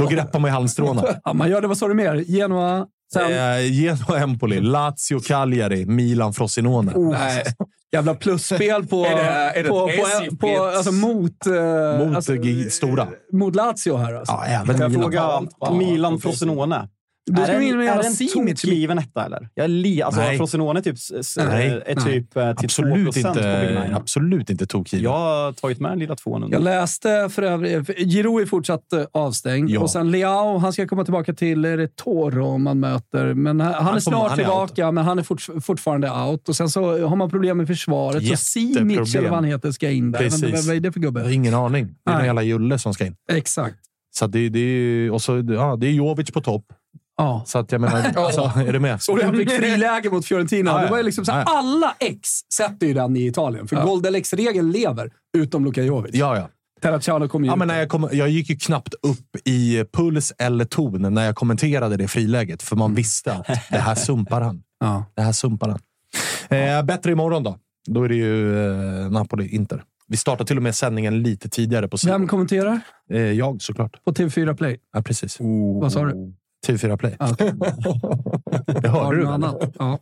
Speaker 6: då greppar man ju halmstråna.
Speaker 3: Ja, man gör det. Vad sa du mer? Genoa? Sen
Speaker 6: Eh, Genoa-Empoli, Lazio-Cagliari, Milan-Frosinone.
Speaker 4: Nej.
Speaker 3: Oh. jävla plusspel på...
Speaker 4: Är det- är det
Speaker 3: på,
Speaker 4: ett
Speaker 3: på,
Speaker 4: SJP?
Speaker 3: på alltså mot... eh,
Speaker 6: Mot
Speaker 3: alltså,
Speaker 6: G- stora.
Speaker 3: mot Lazio här alltså.
Speaker 6: Ja, även
Speaker 5: Jag
Speaker 6: Milan.
Speaker 5: frågar Milan Frosinone.
Speaker 3: Då
Speaker 5: Är
Speaker 3: ska vi in
Speaker 5: den,
Speaker 3: med
Speaker 5: är
Speaker 3: jävla
Speaker 5: den
Speaker 3: Simic.
Speaker 5: tokgiven etta eller? Jag är li, alltså,
Speaker 6: Nej.
Speaker 5: Frosinone typ, s- s-
Speaker 6: Nej.
Speaker 5: är typ eh, till 2
Speaker 6: Absolut
Speaker 5: procent på Big
Speaker 6: inte,
Speaker 5: Nine.
Speaker 6: absolut inte tokgiven.
Speaker 5: Jag har tagit med den lilla tvåan under.
Speaker 3: Jag läste för övrigt... eh, för Giroud är fortsatt eh, avstängd.
Speaker 6: Ja.
Speaker 3: Och sen Leao, han ska komma tillbaka till är det Toro om man möter. Men han, han, är
Speaker 6: kommer-
Speaker 3: snart
Speaker 6: han är
Speaker 3: tillbaka, men han är fort, fortfarande out. Och sen så har man problem med försvaret. Så Simic,
Speaker 6: Jätteproblem.
Speaker 3: eller vad han heter, ska in där.
Speaker 6: Precis.
Speaker 3: Men Vad vad är det för
Speaker 6: Jag har
Speaker 3: gubbe?
Speaker 6: ingen aning. Det är någon
Speaker 3: Nej.
Speaker 6: jävla julle som ska in.
Speaker 3: Exakt.
Speaker 6: Så att det, det, är, ju- och så, ja, det är Jovic på topp.
Speaker 3: Ja.
Speaker 6: Så att jag menar, alltså, är du med?
Speaker 3: Och han fick friläge mot Fiorentina.
Speaker 6: Ja, ja.
Speaker 3: Det var ju liksom så här,
Speaker 6: Ja, ja.
Speaker 3: alla ex sätter ju den i Italien, för
Speaker 4: Ja.
Speaker 3: Goldelec-regeln lever, utom Luka Jovic.
Speaker 6: Ja, ja.
Speaker 3: Terracciano kom ju
Speaker 6: ja
Speaker 3: ut.
Speaker 6: men när jag, kom, jag gick ju knappt upp i puls eller ton när jag kommenterade det friläget, för
Speaker 3: Mm.
Speaker 6: man visste att det här sumpar han.
Speaker 3: Ja.
Speaker 6: Det här sumpar han. Eh, bättre imorgon då. Då är det ju eh, Napoli-Inter. Vi startar till och med sändningen lite tidigare på
Speaker 3: Vem
Speaker 6: sidan.
Speaker 3: kommenterar?
Speaker 6: Eh, jag såklart.
Speaker 3: På TV4 Play.
Speaker 6: Ja, precis. Oh.
Speaker 3: Vad sa du?
Speaker 6: TV4 Play.
Speaker 3: Ja, okej.
Speaker 6: Det hörde
Speaker 3: du
Speaker 6: du
Speaker 3: något
Speaker 6: väl?
Speaker 3: annat? Ja. Ah,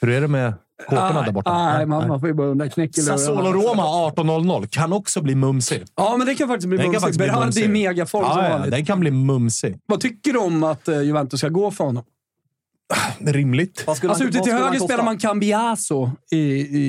Speaker 6: Hur är det med kåporna där borta?
Speaker 3: Nej, man, man får ju bara undra. Knäck i lurarna.
Speaker 6: Sassuolo-Roma 18.00 kan också bli mumsig.
Speaker 3: Ja, men det kan faktiskt bli
Speaker 6: Den kan
Speaker 3: bumsigt.
Speaker 6: faktiskt bli
Speaker 3: Berardi i
Speaker 6: bumsig.
Speaker 3: megaform som
Speaker 6: Ja, ja,
Speaker 3: vanligt.
Speaker 6: den kan bli mumsig.
Speaker 3: Vad tycker du om att eh, Juventus ska gå för honom?
Speaker 6: Ah, Rimligt.
Speaker 5: Vad skulle
Speaker 3: Alltså,
Speaker 5: han-
Speaker 3: ute
Speaker 5: vad
Speaker 3: till
Speaker 5: skulle
Speaker 3: höger
Speaker 5: han kosta?
Speaker 3: spelar man Cambiaso i,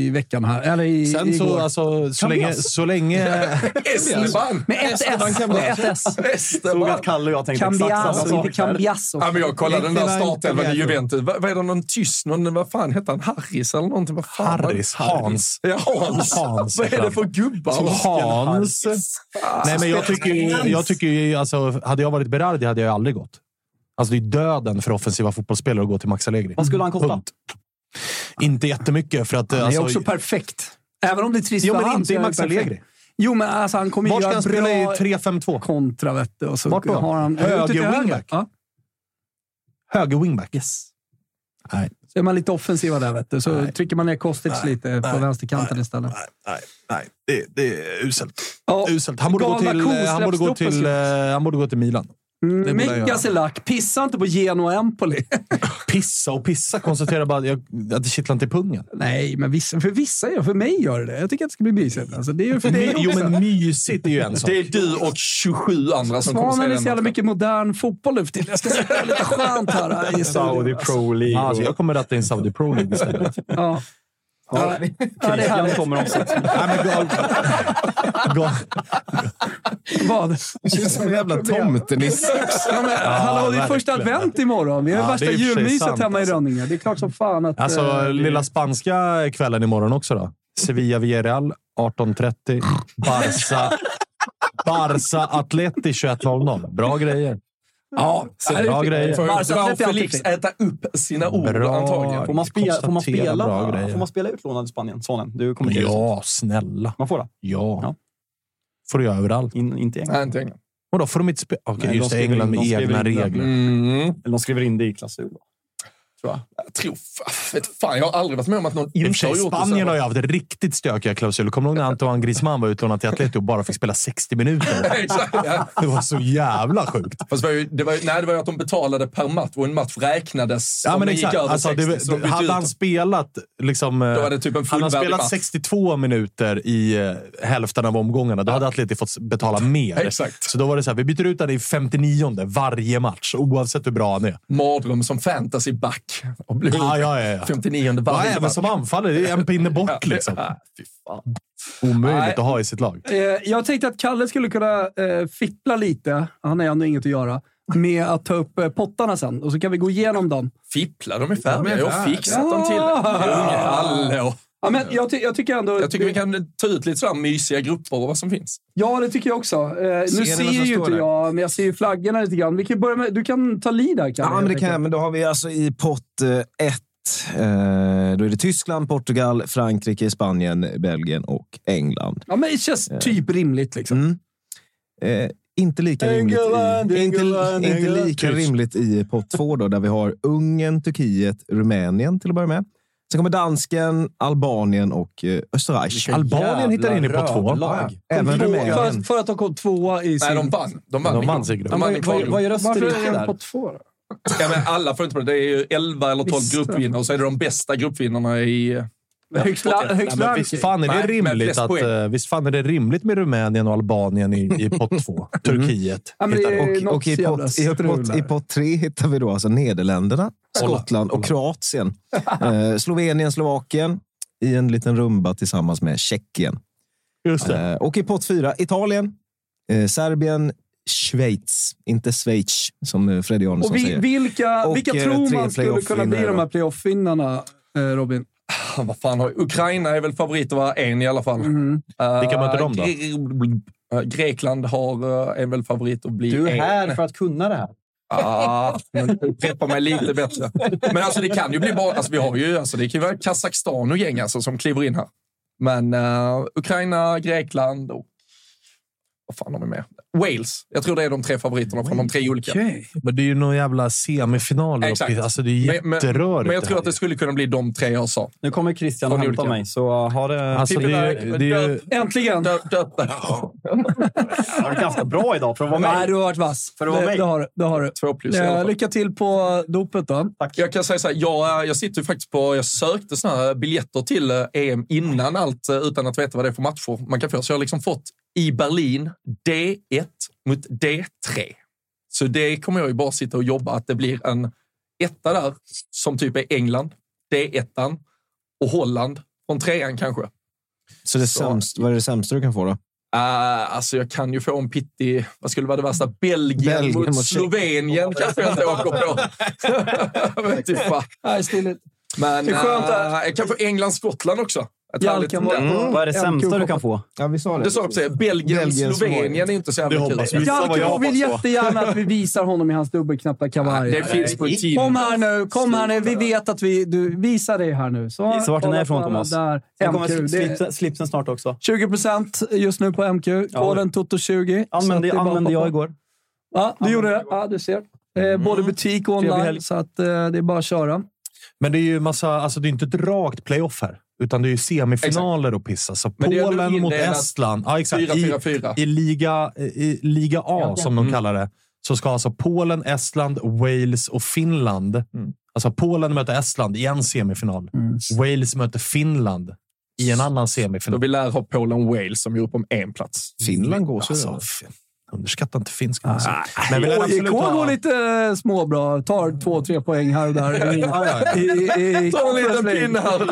Speaker 3: i veckan här. Eller i,
Speaker 6: Sen
Speaker 3: igår.
Speaker 6: så, alltså, så länge... Så länge
Speaker 4: Esteban! alltså,
Speaker 3: med ett S. Med ett S.
Speaker 5: Såg
Speaker 4: Esteban!
Speaker 5: att Kalle och jag tänkte exakt samma
Speaker 3: Cambiaso,
Speaker 5: sak.
Speaker 3: inte Cambiaso.
Speaker 4: Ja, men jag kollade den där
Speaker 7: Esteban
Speaker 4: startelvan i
Speaker 7: Cambiaso.
Speaker 4: Juventus. Vad vad är det? Någon tyst? Någon, vad fan hette han? Harris eller någonting? Vad fan var det?
Speaker 6: Harris. Hans.
Speaker 4: Ja, Hans.
Speaker 6: Hans.
Speaker 4: Vad är det för gubbar?
Speaker 6: Hans.
Speaker 3: Ah,
Speaker 6: Nej, men jag tycker ju... Jag tycker ju alltså, hade jag varit Berardi hade jag aldrig gått. Alltså, det är döden för offensiva fotbollsspelare att gå till Max Allegri.
Speaker 5: Vad skulle han kosta?
Speaker 6: Punkt. Inte jättemycket. För att,
Speaker 3: Han är
Speaker 6: alltså,
Speaker 3: också perfekt. Även om det är trist
Speaker 6: Jo,
Speaker 3: för
Speaker 6: men
Speaker 3: han,
Speaker 6: inte
Speaker 3: så
Speaker 6: i
Speaker 3: är han
Speaker 6: Max
Speaker 3: perfekt.
Speaker 6: Allegri.
Speaker 3: Jo, men alltså, han kommer ju
Speaker 6: Var ska
Speaker 3: göra
Speaker 6: han spela i
Speaker 3: bra
Speaker 6: 3-5-2?
Speaker 3: kontra, vet du. Och så
Speaker 6: Vart då?
Speaker 3: Har han,
Speaker 6: Höger
Speaker 3: Ute till
Speaker 6: wingback?
Speaker 3: Ja.
Speaker 6: Höger wingback.
Speaker 3: Yes.
Speaker 6: Nej.
Speaker 3: Så är man lite offensiva där, vet du. Så trycker man ner Kostic lite på vänsterkanten istället.
Speaker 6: Nej, nej. Det, det är uselt.
Speaker 3: Ja.
Speaker 6: uselt. Han, borde gå
Speaker 3: Galna
Speaker 6: till,
Speaker 3: ko
Speaker 6: han, borde gå
Speaker 3: släpps
Speaker 6: till,
Speaker 3: loppen,
Speaker 6: eh, han borde gå till Milan.
Speaker 3: Mm,
Speaker 6: det borde han
Speaker 3: Mika
Speaker 6: göra.
Speaker 3: Selak, pissa inte på Genoa Empoli.
Speaker 6: Pissa och pissa. Konstatera bara att, jag, att det kittlar inte i pungen.
Speaker 3: Nej, men vissa, för vissa gör För mig gör det det Jag tycker att det ska bli mysigt. Alltså, det är ju för dig
Speaker 6: Mm. My, jo,
Speaker 3: också.
Speaker 6: men mysigt är ju en sak.
Speaker 4: Det är du och 27 andra som kommer
Speaker 3: Svanen är
Speaker 4: säga
Speaker 3: så
Speaker 4: den.
Speaker 3: jävla mycket modern fotboll nu för tiden. Jag ska sitta lite skönt här. i
Speaker 5: Saudi
Speaker 3: studion.
Speaker 5: Pro League.
Speaker 6: Alltså, jag kommer ratta in Saudi Pro League istället.
Speaker 3: Ja. Ja. Ja, det är
Speaker 5: Christian
Speaker 3: härligt.
Speaker 5: kommer också.
Speaker 6: Nej, men gal, gal,
Speaker 3: Vad?
Speaker 7: Det känns som en jävla tomtenisse.
Speaker 3: Ja, men, hallå, det är
Speaker 6: verkligen.
Speaker 3: första advent imorgon. Vi har
Speaker 6: Ja, det
Speaker 3: värsta
Speaker 6: är i och för sig
Speaker 3: julmyset
Speaker 6: sant,
Speaker 3: hemma i
Speaker 6: alltså.
Speaker 3: Rönninge. Det är klart som fan att...
Speaker 6: alltså,
Speaker 3: eh,
Speaker 6: lilla spanska kvällen imorgon också då. Sevilla Villarreal 18.30. Barca, Barca Atleti 21.00. Bra grejer.
Speaker 3: Ja,
Speaker 6: bra grejer.
Speaker 4: Får Felix äta upp sina ord
Speaker 6: Bra.
Speaker 4: antagligen.
Speaker 5: Får man, spela, får, man
Speaker 6: Konstatera bra
Speaker 5: spela,
Speaker 6: grejer.
Speaker 5: får man spela utlånad i Spanien? Sonen, du kommer till det.
Speaker 6: Ja, snälla.
Speaker 5: Man får det.
Speaker 6: Ja.
Speaker 5: Ja.
Speaker 6: får du göra överallt.
Speaker 5: In, inte i England.
Speaker 4: Nej, inte England.
Speaker 6: Vadå, får de inte spela? Okej,
Speaker 5: Nej,
Speaker 6: just
Speaker 5: de
Speaker 6: det.
Speaker 5: skriver
Speaker 6: England
Speaker 5: in-
Speaker 6: med
Speaker 5: de skriver
Speaker 6: egna
Speaker 5: in den.
Speaker 6: regler.
Speaker 4: Mm.
Speaker 5: Eller de skriver in det i klausul. va?
Speaker 4: Jag tror... f- Vet fan, jag har aldrig varit med om att någon
Speaker 6: I och för
Speaker 4: inte har
Speaker 6: sig,
Speaker 4: gjort det.
Speaker 6: Spanien
Speaker 4: så.
Speaker 6: har ju haft riktigt stökiga klausuler. Kommer du ihåg när Antoine Griezmann var utlånad till Atletico och bara fick spela 60 minuter?
Speaker 4: Exakt, ja.
Speaker 6: Det var så jävla sjukt.
Speaker 4: Fast det var ju, det var ju, nej, det var ju att de betalade per match och en match räknades
Speaker 6: Ja,
Speaker 4: om
Speaker 6: men
Speaker 4: den
Speaker 6: exakt.
Speaker 4: gick över
Speaker 6: Alltså,
Speaker 4: 60.
Speaker 6: det,
Speaker 4: så de bytte
Speaker 6: hade
Speaker 4: ut
Speaker 6: han
Speaker 4: dem.
Speaker 6: spelat... Liksom, eh,
Speaker 4: var det typ en
Speaker 6: hade han
Speaker 4: fullvärdig
Speaker 6: spelat
Speaker 4: match.
Speaker 6: 62 minuter i eh, hälften av omgångarna, då hade Atleti fått betala mer.
Speaker 4: Exakt.
Speaker 6: Så då var det så här, vi byter ut honom i 59 varje match, oavsett hur bra han är.
Speaker 4: Mardröm som fantasyback. Och blev
Speaker 6: Ja, ja, ja, ja.
Speaker 4: 59
Speaker 6: Ja,
Speaker 4: varje
Speaker 6: även som anfallare, det är en pinne bort liksom.
Speaker 4: Ja, fy fan.
Speaker 6: Omöjligt
Speaker 3: Nej.
Speaker 6: att ha i sitt lag.
Speaker 3: Eh, jag tänkte att Kalle skulle kunna eh, fippla lite, han har ändå inget att göra, med att ta upp eh, pottarna sen. Och så kan vi gå igenom dem.
Speaker 4: Fippla, de är färdiga. Jag har fixat dem till
Speaker 3: Ja.
Speaker 4: Unge, Hallå!
Speaker 3: Ja, men jag, ty- jag tycker ändå...
Speaker 4: Jag tycker vi kan ta ut lite sådär mysiga grupper och vad som finns.
Speaker 3: Ja, det tycker jag också. Eh, nu
Speaker 7: ni vad
Speaker 3: ser
Speaker 7: som
Speaker 3: ju
Speaker 7: står
Speaker 3: inte
Speaker 7: där?
Speaker 3: jag, men jag ser ju flaggorna lite grann. Vi kan börja med, du kan ta lid där, Kalle.
Speaker 7: Ja, men det
Speaker 3: helt
Speaker 7: kan jag.
Speaker 3: enkelt.
Speaker 7: Men då har vi alltså i pott 1. Då är det Tyskland, Portugal, Frankrike, Spanien, Belgien och England.
Speaker 3: Ja, men det känns typ rimligt liksom.
Speaker 7: Mm. Eh, inte lika rimligt
Speaker 5: England,
Speaker 7: i, inte,
Speaker 5: England,
Speaker 7: inte
Speaker 5: England.
Speaker 7: lika rimligt i pott 2 då, där vi har Ungern, Turkiet, Rumänien till att börja med. Sen kommer dansken, Albanien och eh, Österreich.
Speaker 4: Vilka
Speaker 6: Albanien hittar in i pott två.
Speaker 7: Ja,
Speaker 6: Ja.
Speaker 7: Även Rumänien.
Speaker 3: För, för att de kom tvåa i sin...
Speaker 4: Nej, de vann. De vann,
Speaker 6: De
Speaker 4: i-
Speaker 6: vann sin grupp.
Speaker 4: De vann i
Speaker 5: Vad, vad
Speaker 4: kvalgruppen.
Speaker 5: gör
Speaker 3: Varför
Speaker 5: Österrike
Speaker 3: är de
Speaker 5: där?
Speaker 3: på två då?
Speaker 4: Ja, men alla får inte på det. Det är ju 11 eller 12
Speaker 3: Visst.
Speaker 4: gruppvinnare och så är det de bästa gruppvinnarna i...
Speaker 3: Högst,
Speaker 4: okej. Nej,
Speaker 3: högst
Speaker 4: men
Speaker 6: Visst
Speaker 3: ranking.
Speaker 6: fan, är det
Speaker 4: Nej, men
Speaker 6: rimligt
Speaker 4: flest
Speaker 6: att,
Speaker 4: poäng.
Speaker 6: eh, visst fan är det rimligt med Rumänien och Albanien i, i pott två? Turkiet.
Speaker 3: Ja, men det
Speaker 6: hittar in.
Speaker 3: är
Speaker 7: Och,
Speaker 3: något
Speaker 7: och i
Speaker 3: jävla
Speaker 7: pott- i pott-
Speaker 3: strul
Speaker 7: i
Speaker 3: där.
Speaker 7: pott tre hittar vi då alltså Nederländerna, Skottland och Kroatien. Eh, Slovenien, Slovakien i en liten rumba tillsammans med Tjeckien.
Speaker 6: Just det.
Speaker 7: Eh, och i pott fyra, Italien, eh, Serbien, Schweiz. Inte Schweiz, som eh, Freddy
Speaker 3: Och
Speaker 7: Arnesson
Speaker 3: vi,
Speaker 7: säger.
Speaker 3: vilka,
Speaker 7: Och,
Speaker 3: vilka
Speaker 7: eh,
Speaker 3: tror
Speaker 7: tre
Speaker 3: man skulle kunna bli
Speaker 7: playoff-vinnare
Speaker 3: de här
Speaker 7: då.
Speaker 3: playoff-vinnarna, eh, Robin?
Speaker 4: Fan, Ah, Vad fan har... Ukraina är väl favorit att vara en i alla fall.
Speaker 5: Mm.
Speaker 4: Eh,
Speaker 6: Vilka möter de då?
Speaker 4: Gre- eh, Grekland har, eh, är väl favorit att bli
Speaker 5: Du är
Speaker 4: en.
Speaker 5: här för att kunna det här.
Speaker 4: Ah, men preppa mig lite bättre. Men alltså det kan ju bli bara... Alltså vi har ju... Alltså det kan ju vara Kazakstan och gäng alltså, som kliver in här. Men eh, Ukraina, Grekland och... Vad fan har vi med? Wales. Jag tror det är de tre favoriterna från de tre olika.
Speaker 6: Men det är ju någon jävla semifinal.
Speaker 4: Exakt.
Speaker 6: Exakt. Alltså, det är jätterörigt.
Speaker 4: men, men jag
Speaker 6: det
Speaker 4: tror
Speaker 6: här
Speaker 4: att det
Speaker 6: ju.
Speaker 4: skulle kunna bli de tre jag sa.
Speaker 5: Nu kommer Christian och
Speaker 4: Från
Speaker 5: hämta
Speaker 4: olika.
Speaker 5: mig, så ha det...
Speaker 6: Alltså, det är, ju- det är ju...
Speaker 3: Äntligen!
Speaker 4: Döp, döp det.
Speaker 5: Jag har varit ganska bra idag för att vara med.
Speaker 3: Nej, du har varit
Speaker 4: alltså,
Speaker 3: vass.
Speaker 5: att vara
Speaker 3: det,
Speaker 5: mig.
Speaker 3: det har du. Det har du.
Speaker 4: Två plus i alla
Speaker 3: Eh,
Speaker 4: fall.
Speaker 3: lycka till på dopet då.
Speaker 4: Jag kan säga så här, jag, eh, jag sitter ju faktiskt på, jag sökte såna här biljetter till eh, EM innan allt eh, utan att veta vad det är för matcher man kan få. Så jag har liksom fått i Berlin D1 mot D3. Så det kommer jag ju bara sitta och jobba att det blir en etta där som typ är England, D1 och Holland från trean kanske.
Speaker 7: Så det sämst, vad är det sämsta du kan få då?
Speaker 4: Uh, alltså jag kan ju få en pittig, vad skulle vara det värsta? Belgien,
Speaker 7: Belgien
Speaker 4: mot,
Speaker 7: mot Tjeckien.
Speaker 4: Slovenien kanske jag inte åker på. Jag vet inte fan.
Speaker 3: Nej, stiligt.
Speaker 4: Men
Speaker 3: Det är skönt
Speaker 4: eh,
Speaker 3: att-
Speaker 4: jag kan få England-Skottland också. Ett
Speaker 3: Jalka
Speaker 4: härligt- Mm.
Speaker 3: kan vara på
Speaker 5: Vad är det sämsta
Speaker 3: MK.
Speaker 5: du kan få?
Speaker 7: Ja, vi sa
Speaker 4: Det sa jag precis. Belgien,
Speaker 7: Belgien,
Speaker 4: Slovenien är inte så
Speaker 6: Det
Speaker 4: jävla
Speaker 6: hoppas
Speaker 4: kul.
Speaker 6: vi. Gissa vad jag
Speaker 3: Jalkemo vill
Speaker 6: hoppas på.
Speaker 3: jättegärna att vi visar honom i hans dubbelknappta kavaj.
Speaker 4: Det finns på team.
Speaker 3: Kom här nu, kom här nu. Vi vet att vi... Du, visa dig här nu. Så,
Speaker 5: Så vart den är
Speaker 3: kolla
Speaker 5: ifrån,
Speaker 3: på alla
Speaker 5: Thomas?
Speaker 3: Där.
Speaker 5: Sen kommer
Speaker 3: MQ. Det är
Speaker 5: slipsen, slipsen snart också.
Speaker 3: 20 just nu på MQ. Koden Toto20.
Speaker 5: Använde, använde jag igår.
Speaker 3: Ja, du gjorde det. Ja, du ser. Eh, både butik och
Speaker 5: Trevlig
Speaker 3: online,
Speaker 5: helg.
Speaker 3: så att, eh, det är bara att köra.
Speaker 6: Men det är ju massa, alltså det är inte ett rakt playoff här. Utan det är ju semifinaler och pissa. Så
Speaker 4: Men det är ändå
Speaker 6: Polen mot
Speaker 4: indelat
Speaker 6: Estland. Ja, exakt. I,
Speaker 4: 4-4-4.
Speaker 6: i, liga, I Liga A, som
Speaker 4: Mm.
Speaker 6: de kallar det, så ska alltså Polen, Estland, Wales och Finland.
Speaker 4: Mm.
Speaker 6: Alltså Polen möter Estland i en semifinal. Wales möter Finland i en annan
Speaker 4: Då
Speaker 6: semifinal.
Speaker 4: vi lär ha Polen-Wales som gjorde upp om en plats.
Speaker 7: Finland går så.
Speaker 6: Alltså, f- underskatta inte finskan. Alltså.
Speaker 4: Ah,
Speaker 6: Men vi lär
Speaker 3: AIK
Speaker 6: absolut ha-
Speaker 3: går lite eh, småbra. Tar två, tre poäng här och där. I, i, i, i,
Speaker 4: Ta en liten pinne här.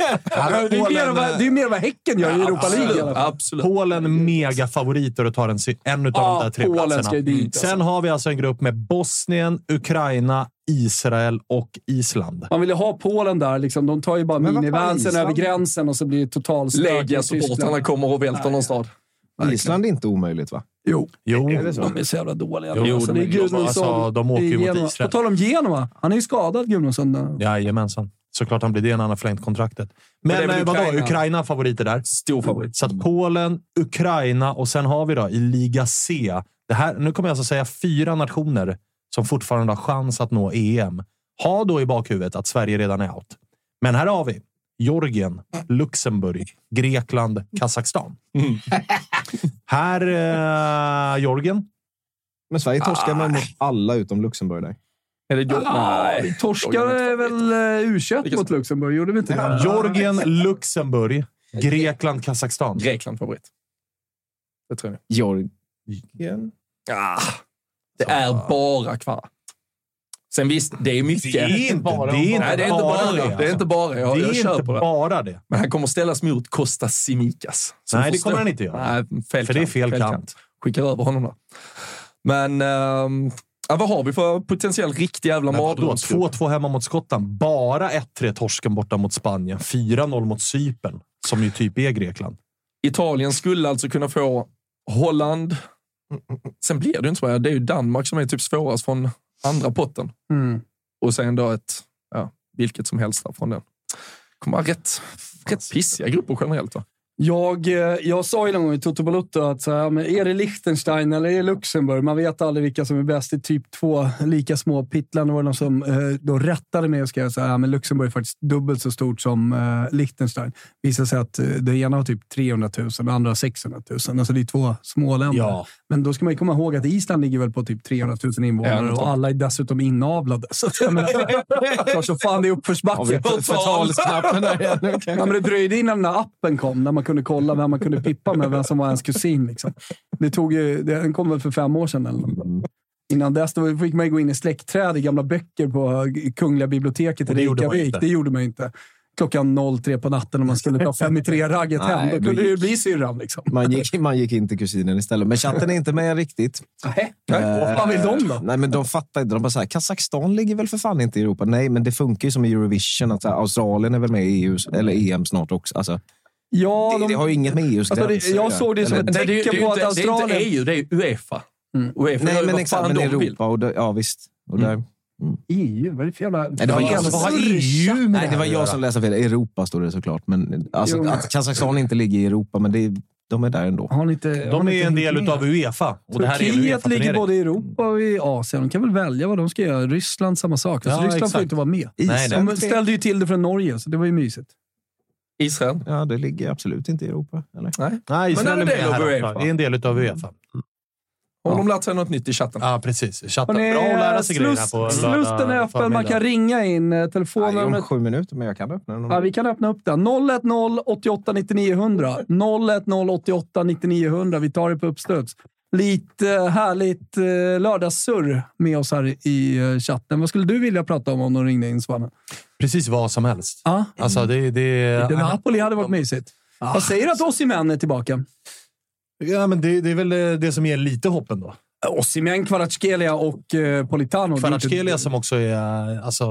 Speaker 3: Det är mer än vad- det är mer än vad Häcken gör i Europa League. i alla
Speaker 4: eh, Absolut. Absolut.
Speaker 3: fall.
Speaker 6: Polen mega favoriter och tar en, se- en av
Speaker 3: Ja,
Speaker 6: de där tre
Speaker 3: Polen
Speaker 6: platserna. Mm.
Speaker 3: ska ju dit, alltså.
Speaker 6: Sen har vi alltså en grupp med Bosnien, Ukraina, Israel och Island.
Speaker 3: Man vill ju ha Polen där. Liksom. De tar ju bara
Speaker 6: Men vad fan,
Speaker 3: minivansen
Speaker 6: Island?
Speaker 3: över gränsen och så blir det totalstöd.
Speaker 4: Lägga supportrarna kommer och välter någon stad.
Speaker 7: Island är inte omöjligt, va?
Speaker 3: Jo.
Speaker 6: Jo,
Speaker 3: De är så jävla dåliga.
Speaker 6: Jo,
Speaker 3: alltså,
Speaker 6: de
Speaker 3: det är
Speaker 6: är glada.
Speaker 3: Gudmundsson.
Speaker 6: Alltså, de åker ju
Speaker 3: Det är
Speaker 6: mot
Speaker 3: Genoa.
Speaker 6: Israel.
Speaker 3: På tal om Genoa. Han är ju skadad, Gudmundsson.
Speaker 6: Jajamensan. Såklart han blir det när han har förlängt kontraktet. Men,
Speaker 3: det är väl
Speaker 6: eh, vadå?
Speaker 3: Ukraina? Mm.
Speaker 6: Ukraina. favoriter där.
Speaker 4: Stor favorit.
Speaker 6: Så att Polen, Ukraina och sen har vi då i Liga C. Det här, nu kommer jag alltså säga fyra nationer som fortfarande har chans att nå EM. Ha då i bakhuvudet att Sverige redan är out. Men här har vi Georgien, Luxemburg, Grekland, Kazakstan.
Speaker 3: Mm.
Speaker 6: Här, eh, Georgien.
Speaker 7: Men Sverige torskar man mot alla utom Luxemburg där.
Speaker 4: Är det Georgien?
Speaker 3: Ah, vi torskade väl eh, U21 mot Luxemburg, gjorde vi inte det?
Speaker 6: Georgien, Luxemburg, Grekland, Kazakstan.
Speaker 4: Grekland favorit. Det tror jag.
Speaker 7: Georgien?
Speaker 4: Ah, det är bara kvar. Sen visst, det är mycket.
Speaker 6: Det är inte bara det. är inte
Speaker 4: Nej, det är inte bara det. Det är inte bara det. Jag,
Speaker 6: Det
Speaker 4: jag
Speaker 6: är
Speaker 4: kör
Speaker 6: inte
Speaker 4: på det.
Speaker 6: bara det.
Speaker 4: Men han kommer ställas mot Kostas Simikas.
Speaker 6: Nej, det kommer han inte göra.
Speaker 4: Nej, fel
Speaker 6: För det är
Speaker 4: kant,
Speaker 6: fel kant.
Speaker 4: Skickar över honom då. Men ehm, ja, vad har vi för potentiell riktig jävla
Speaker 6: Men vadå,
Speaker 4: mardrömsgrupp?
Speaker 6: 2-2 hemma mot Skottland. Bara 1-3 torsken borta mot Spanien. 4-0 mot Cypern, som ju typ är Grekland.
Speaker 4: Italien skulle alltså kunna få Holland. Sen blir det ju inte så. här. Det är ju Danmark som är typ svårast från andra potten.
Speaker 3: Mm.
Speaker 4: Och sen då ett, ja, vilket som helst där från den. Kommer vara rätt, rätt pissiga grupper generellt. Va?
Speaker 3: Jag, eh, jag sa ju någon gång i Toto Balotto att så här, men är det Liechtenstein eller är det Luxemburg? Man vet aldrig vilka som är bäst. Det är typ två lika små pittlar. Det var någon som eh, då rättade mig och skrev så här, ja, men Luxemburg är faktiskt dubbelt så stort som eh, Liechtenstein. Det visar sig att eh, det ena har typ 300 000 och det andra har 600 000. Alltså det är två små länder.
Speaker 6: Ja.
Speaker 3: Men då ska man ju komma ihåg att Island ligger väl på typ 300 000 invånare och alla är dessutom inavlade. Så att jag menar, klart som fan det är uppförsbacke.
Speaker 7: Förtalsknappen där igen. Nu kan
Speaker 3: Ja,
Speaker 7: jag-
Speaker 3: men det dröjde innan den där appen kom, där man kunde kolla vem man kunde pippa med, vem som var ens kusin. Liksom. Det tog ju, det- den kom väl för fem år sedan eller något. Innan dess då fick man ju gå in i släktträd i gamla böcker på Kungliga biblioteket i
Speaker 6: Och det gjorde man
Speaker 3: Reykjavik.
Speaker 6: inte.
Speaker 3: Det gjorde man ju inte. Klockan 03 på natten när man skulle ta fem i tre-ragget hem.
Speaker 7: Nej,
Speaker 3: Då kunde
Speaker 7: men-
Speaker 3: det ju bli syrran. Liksom.
Speaker 7: Man gick, man gick in till kusinen istället. Men chatten är inte med riktigt.
Speaker 3: Nej, vad fan vill de då?
Speaker 7: Eh, Nej, men de fattar inte. De bara så här, Kazakstan ligger väl för fan inte i Europa? Nej, men det funkar ju som i Eurovision. Att så här, Australien är väl med i EU, eller EM snart också. Alltså,
Speaker 3: Ja,
Speaker 7: det, det har ju inget med EUs
Speaker 3: Alltså, det-
Speaker 7: gränser
Speaker 3: jag
Speaker 7: att göra.
Speaker 3: såg det som
Speaker 7: Eller-
Speaker 3: ett
Speaker 4: Nej, det, är ju- det, är ju
Speaker 3: på att
Speaker 4: inte, det är inte
Speaker 3: Australien- Mm.
Speaker 4: EU, det är Uefa. Uefa gör
Speaker 7: Nej,
Speaker 4: ju
Speaker 7: men
Speaker 4: vad
Speaker 7: exakt.
Speaker 4: fan
Speaker 7: Men
Speaker 4: de vill. Mm.
Speaker 7: Europa och där, ja, visst. Och där.
Speaker 3: EU, vad är det för jävla...
Speaker 7: Nej, det var jag som-
Speaker 6: Vad har
Speaker 4: E
Speaker 6: EU med
Speaker 7: Nej, det
Speaker 6: här
Speaker 7: var
Speaker 6: att
Speaker 7: jag
Speaker 6: göra?
Speaker 7: som läste fel. Europa står det såklart. Men, alltså,
Speaker 3: Jo.
Speaker 7: att Kazakstan inte ligger i Europa, men det, de är där ändå.
Speaker 3: Har ni inte, har
Speaker 6: De
Speaker 3: ni
Speaker 6: är
Speaker 3: inte
Speaker 6: en
Speaker 3: hängt med?
Speaker 6: del av Uefa. Och det här är en
Speaker 3: Turkiet ligger
Speaker 6: UEFA-turnering.
Speaker 3: både i Europa och i Asien. De kan väl välja vad de ska göra. Ryssland samma sak. Alltså,
Speaker 6: Ja,
Speaker 3: Ryssland får
Speaker 6: exakt.
Speaker 3: inte vara med.
Speaker 6: Nej,
Speaker 7: Island.
Speaker 3: De ställde ju till det från Norge, så det var ju mysigt.
Speaker 4: Israel.
Speaker 7: Ja, det ligger absolut inte i Europa. Eller?
Speaker 6: Nej, Israel
Speaker 4: Men
Speaker 6: är
Speaker 4: det är
Speaker 6: med
Speaker 4: en del av
Speaker 6: här
Speaker 4: UEFA.
Speaker 6: också. Det är en del av Uefa.
Speaker 4: Har de lärt sig något nytt i chatten?
Speaker 6: Ja, precis. Chatten.
Speaker 3: Hörrni,
Speaker 6: Bra att lära sig grejer här
Speaker 3: sluss,
Speaker 6: på
Speaker 3: slussen är
Speaker 6: lördag
Speaker 3: öppen. Man kan
Speaker 6: förmiddag.
Speaker 3: ringa in.
Speaker 7: Nej,
Speaker 3: Eh,
Speaker 7: det är om
Speaker 3: Telefonnumret...
Speaker 7: sju minuter, men jag kan öppna den. om-
Speaker 3: Ja, vi kan öppna upp den. 010 88 9900. 010 88 9900. Vi tar det på uppstuds. Lite eh, härligt eh, lördagssurr med oss här i eh, chatten. Vad skulle du vilja prata om om de ringde in, Svanen?
Speaker 6: Precis vad som helst.
Speaker 3: Ja.
Speaker 6: Alltså, det, det,
Speaker 3: Lite Napoli hade varit mysigt. Vad säger du att Osimhen är tillbaka?
Speaker 6: ja, men det, det är väl eh, det som ger lite hopp ändå.
Speaker 3: Osimhen, Kvaratskhelia och eh, Politano.
Speaker 6: Kvaratskhelia som också är eh, alltså,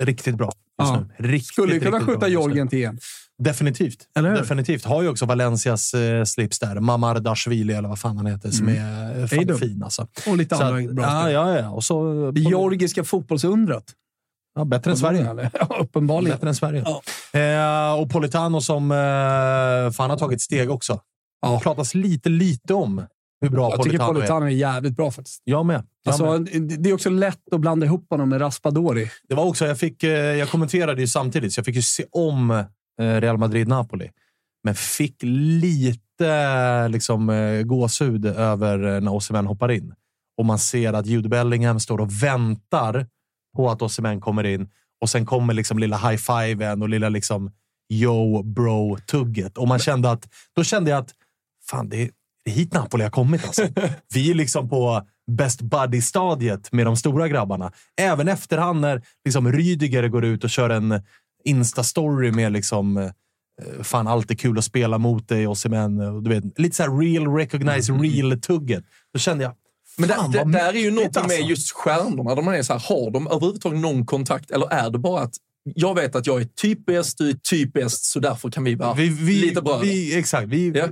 Speaker 6: riktigt bra just
Speaker 3: Ja.
Speaker 6: nu. Riktigt,
Speaker 3: Skulle ju kunna
Speaker 6: riktigt bra
Speaker 3: skjuta
Speaker 6: just nu.
Speaker 3: Jorgen till EM.
Speaker 6: Definitivt.
Speaker 3: Eller hur?
Speaker 6: Definitivt. Har ju också Valencias eh, slips där. Mamardashvili eller vad fan han heter, som är eh,
Speaker 3: Mm. Hej då.
Speaker 6: fan fin alltså.
Speaker 3: Och lite
Speaker 6: Så
Speaker 3: andra
Speaker 6: att-
Speaker 3: bra
Speaker 6: ja,
Speaker 3: spelare.
Speaker 6: ja, ja. Och så,
Speaker 3: Det georgiska fotbollsundret.
Speaker 6: ja, bättre än Sverige.
Speaker 3: Eller? Ja, uppenbarligen.
Speaker 6: Bättre än Sverige. Eh, och Politano som eh, fan har tagit steg också. Det pratas lite, lite om hur bra
Speaker 3: Jag tycker
Speaker 6: Politano, är.
Speaker 3: Politano är jävligt bra faktiskt.
Speaker 6: Jag med. Jag
Speaker 3: Alltså,
Speaker 6: med.
Speaker 3: det det är också lätt att blanda ihop honom med Raspadori.
Speaker 6: Det var också, jag, fick, eh, jag kommenterade ju samtidigt, så jag fick ju se om eh, Real Madrid-Napoli. Men fick lite eh, liksom, eh, gåshud över eh, när Osimhen hoppar in. Och man ser att Jude Bellingham står och väntar på att Osimhen kommer in. Och sen kommer liksom lilla high-fiven och lilla liksom yo bro-tugget. Och man kände att, då kände jag att fan, det är det är hit Napoli har kommit. Alltså. Vi är liksom på best buddy-stadiet med de stora grabbarna. Även efterhand när liksom Rydiger går ut och kör en Insta-story med liksom eh, Fan, allt är kul att
Speaker 4: Mm.
Speaker 6: spela mot dig, Osimhen. och Du vet, lite så här real recognize real-tugget. Då kände jag,
Speaker 4: Men där,
Speaker 6: Fan,
Speaker 4: där-
Speaker 6: vad
Speaker 4: där är ju
Speaker 6: mäktigt,
Speaker 4: någonting
Speaker 6: alltså.
Speaker 4: med just stjärnorna. Där man är så här, har de överhuvudtaget någon kontakt eller är det bara att jag vet att jag är typ bäst, du är typ bäst, så därför kan vi vara
Speaker 6: Vi, vi,
Speaker 4: lite bröder.
Speaker 6: Vi, exakt. Vi,
Speaker 4: Ja.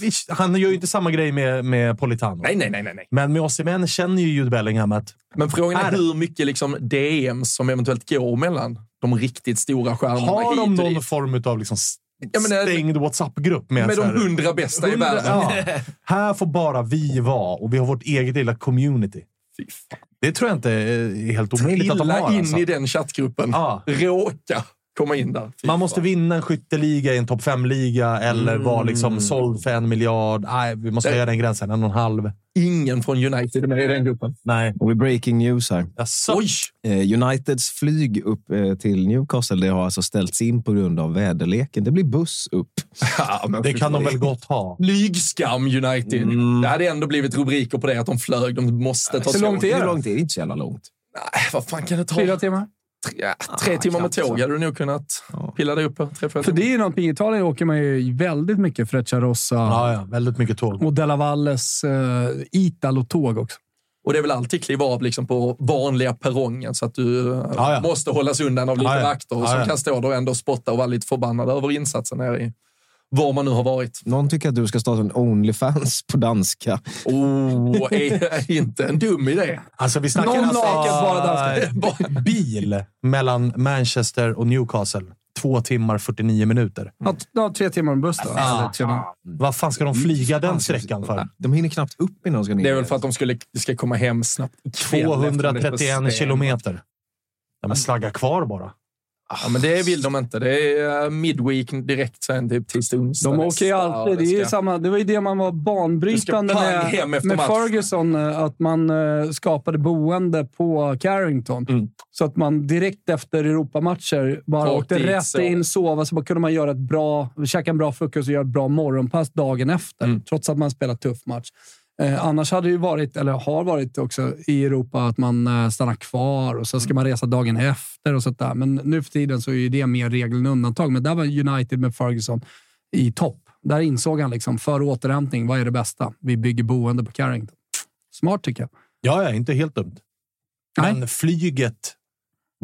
Speaker 6: vi, han gör ju inte samma grej med, med Politano.
Speaker 4: Nej, nej, nej, nej, nej.
Speaker 6: Men med Osimhen känner ju Jude Bellingham att
Speaker 4: Men frågan är
Speaker 6: Är-
Speaker 4: hur mycket liksom DMs som eventuellt går mellan de riktigt stora stjärnorna
Speaker 6: har
Speaker 4: hit och
Speaker 6: de någon
Speaker 4: dit.
Speaker 6: form av liksom s-
Speaker 4: Ja, men, eh,
Speaker 6: stängd WhatsApp-grupp med,
Speaker 4: Med
Speaker 6: så
Speaker 4: de
Speaker 6: här-
Speaker 4: hundra bästa i
Speaker 6: Hundra-
Speaker 4: världen.
Speaker 6: Ja. Här får bara vi vara och vi har vårt eget lilla community.
Speaker 4: Fy fan.
Speaker 6: Det tror jag inte är helt omöjligt att de
Speaker 4: Trilla
Speaker 6: har.
Speaker 4: in
Speaker 6: alltså.
Speaker 4: i den chattgruppen.
Speaker 6: Ja.
Speaker 4: Råka komma in där. Fy
Speaker 6: Man måste
Speaker 4: fan.
Speaker 6: vinna en skytteliga i en topp fem-liga eller vara liksom såld för en miljard. Nej, vi måste
Speaker 4: Mm. Det-
Speaker 6: höja den gränsen. En och en halv.
Speaker 4: Ingen från United är med i den gruppen.
Speaker 6: Nej.
Speaker 7: Och vi breaking news här.
Speaker 6: Jaså?
Speaker 4: Oj!
Speaker 7: Eh, Uniteds flyg upp eh, till Newcastle det har alltså ställts in på grund av väderleken. Det blir buss upp.
Speaker 4: Ja, men
Speaker 6: Det
Speaker 4: fy
Speaker 6: kan de
Speaker 4: fan.
Speaker 6: väl gott ha?
Speaker 4: Flygskam United. Det hade ändå blivit rubriker på det att de flög. De måste ta
Speaker 3: Hur långt är
Speaker 4: tåg.
Speaker 3: det?
Speaker 7: Hur långt är det? Inte så jävla långt.
Speaker 4: Nej, vad fan kan det ta?
Speaker 3: Fyra timmar?
Speaker 4: Ja, tre
Speaker 7: Ah,
Speaker 4: timmar med
Speaker 7: knappt
Speaker 4: tåg
Speaker 7: så.
Speaker 4: hade du nog kunnat pilla dig upp på. Tre, fyra
Speaker 3: För
Speaker 4: timmar.
Speaker 3: det är ju någonting. I Italien åker man ju väldigt mycket Frecciarossa
Speaker 6: Ja, ja. Väldigt mycket tåg. Mm.
Speaker 3: och Della Valles eh, Italo-tåg också.
Speaker 4: Och det är väl alltid kliva av liksom på vanliga perrongen så att du eh,
Speaker 6: Ja, ja.
Speaker 4: måste hållas undan av lite
Speaker 6: Ja, ja.
Speaker 4: vakter
Speaker 6: Ja,
Speaker 4: som
Speaker 6: ja.
Speaker 4: kan stå där och ändå spotta och vara lite förbannade över insatsen här i var man nu har varit.
Speaker 7: Någon tycker att du ska starta en Onlyfans på danska.
Speaker 4: Oh, är inte en dum idé.
Speaker 6: Alltså, vi snackar
Speaker 4: Någon
Speaker 6: alltså
Speaker 4: naken bara danskar.
Speaker 6: bil mellan Manchester och Newcastle. Två timmar 49 minuter.
Speaker 3: Ja, t- Ja, tre timmar med buss då. Eller tre timmar.
Speaker 6: Vad fan ska de flyga den sträckan för?
Speaker 7: De hinner knappt upp innan de ska ner.
Speaker 4: Det är väl för att de skulle, ska komma hem snabbt. ikväll efter det på sten. Mm.
Speaker 6: 231 kilometer. Ja, men slagga kvar bara.
Speaker 4: Ja, men det vill de inte. Det är eh, midweek direkt sen typ tisdag, onsdag.
Speaker 3: De åker ju
Speaker 4: nästa.
Speaker 3: alltid. Det, är ju
Speaker 4: ska-
Speaker 3: samma, det var ju det man var banbrytande
Speaker 4: Du ska
Speaker 3: med,
Speaker 4: pang hem efter
Speaker 3: med
Speaker 4: matchen.
Speaker 3: Ferguson. eh, Att man eh, skapade boende på Carrington.
Speaker 4: Mm.
Speaker 3: Så att man direkt efter Europamatcher bara
Speaker 4: Rakt
Speaker 3: åkte
Speaker 4: dit,
Speaker 3: rätt
Speaker 4: så.
Speaker 3: in, sova, så bara kunde man göra ett bra, käka en bra frukost och göra ett bra morgonpass dagen efter.
Speaker 4: Mm.
Speaker 3: Trots att man spelat tuff match. Eh, annars hade det ju varit, eller har varit också i Europa, att man eh, stannar kvar och sen ska man resa dagen efter och sånt där. Men nu för tiden så är ju det mer regel än undantag. Men där var United med Ferguson i topp. Där insåg han liksom, för återhämtning, vad är det bästa? Vi bygger boende på Carrington. Smart tycker jag.
Speaker 6: Ja, ja, inte helt dumt.
Speaker 3: Nej.
Speaker 6: Men flyget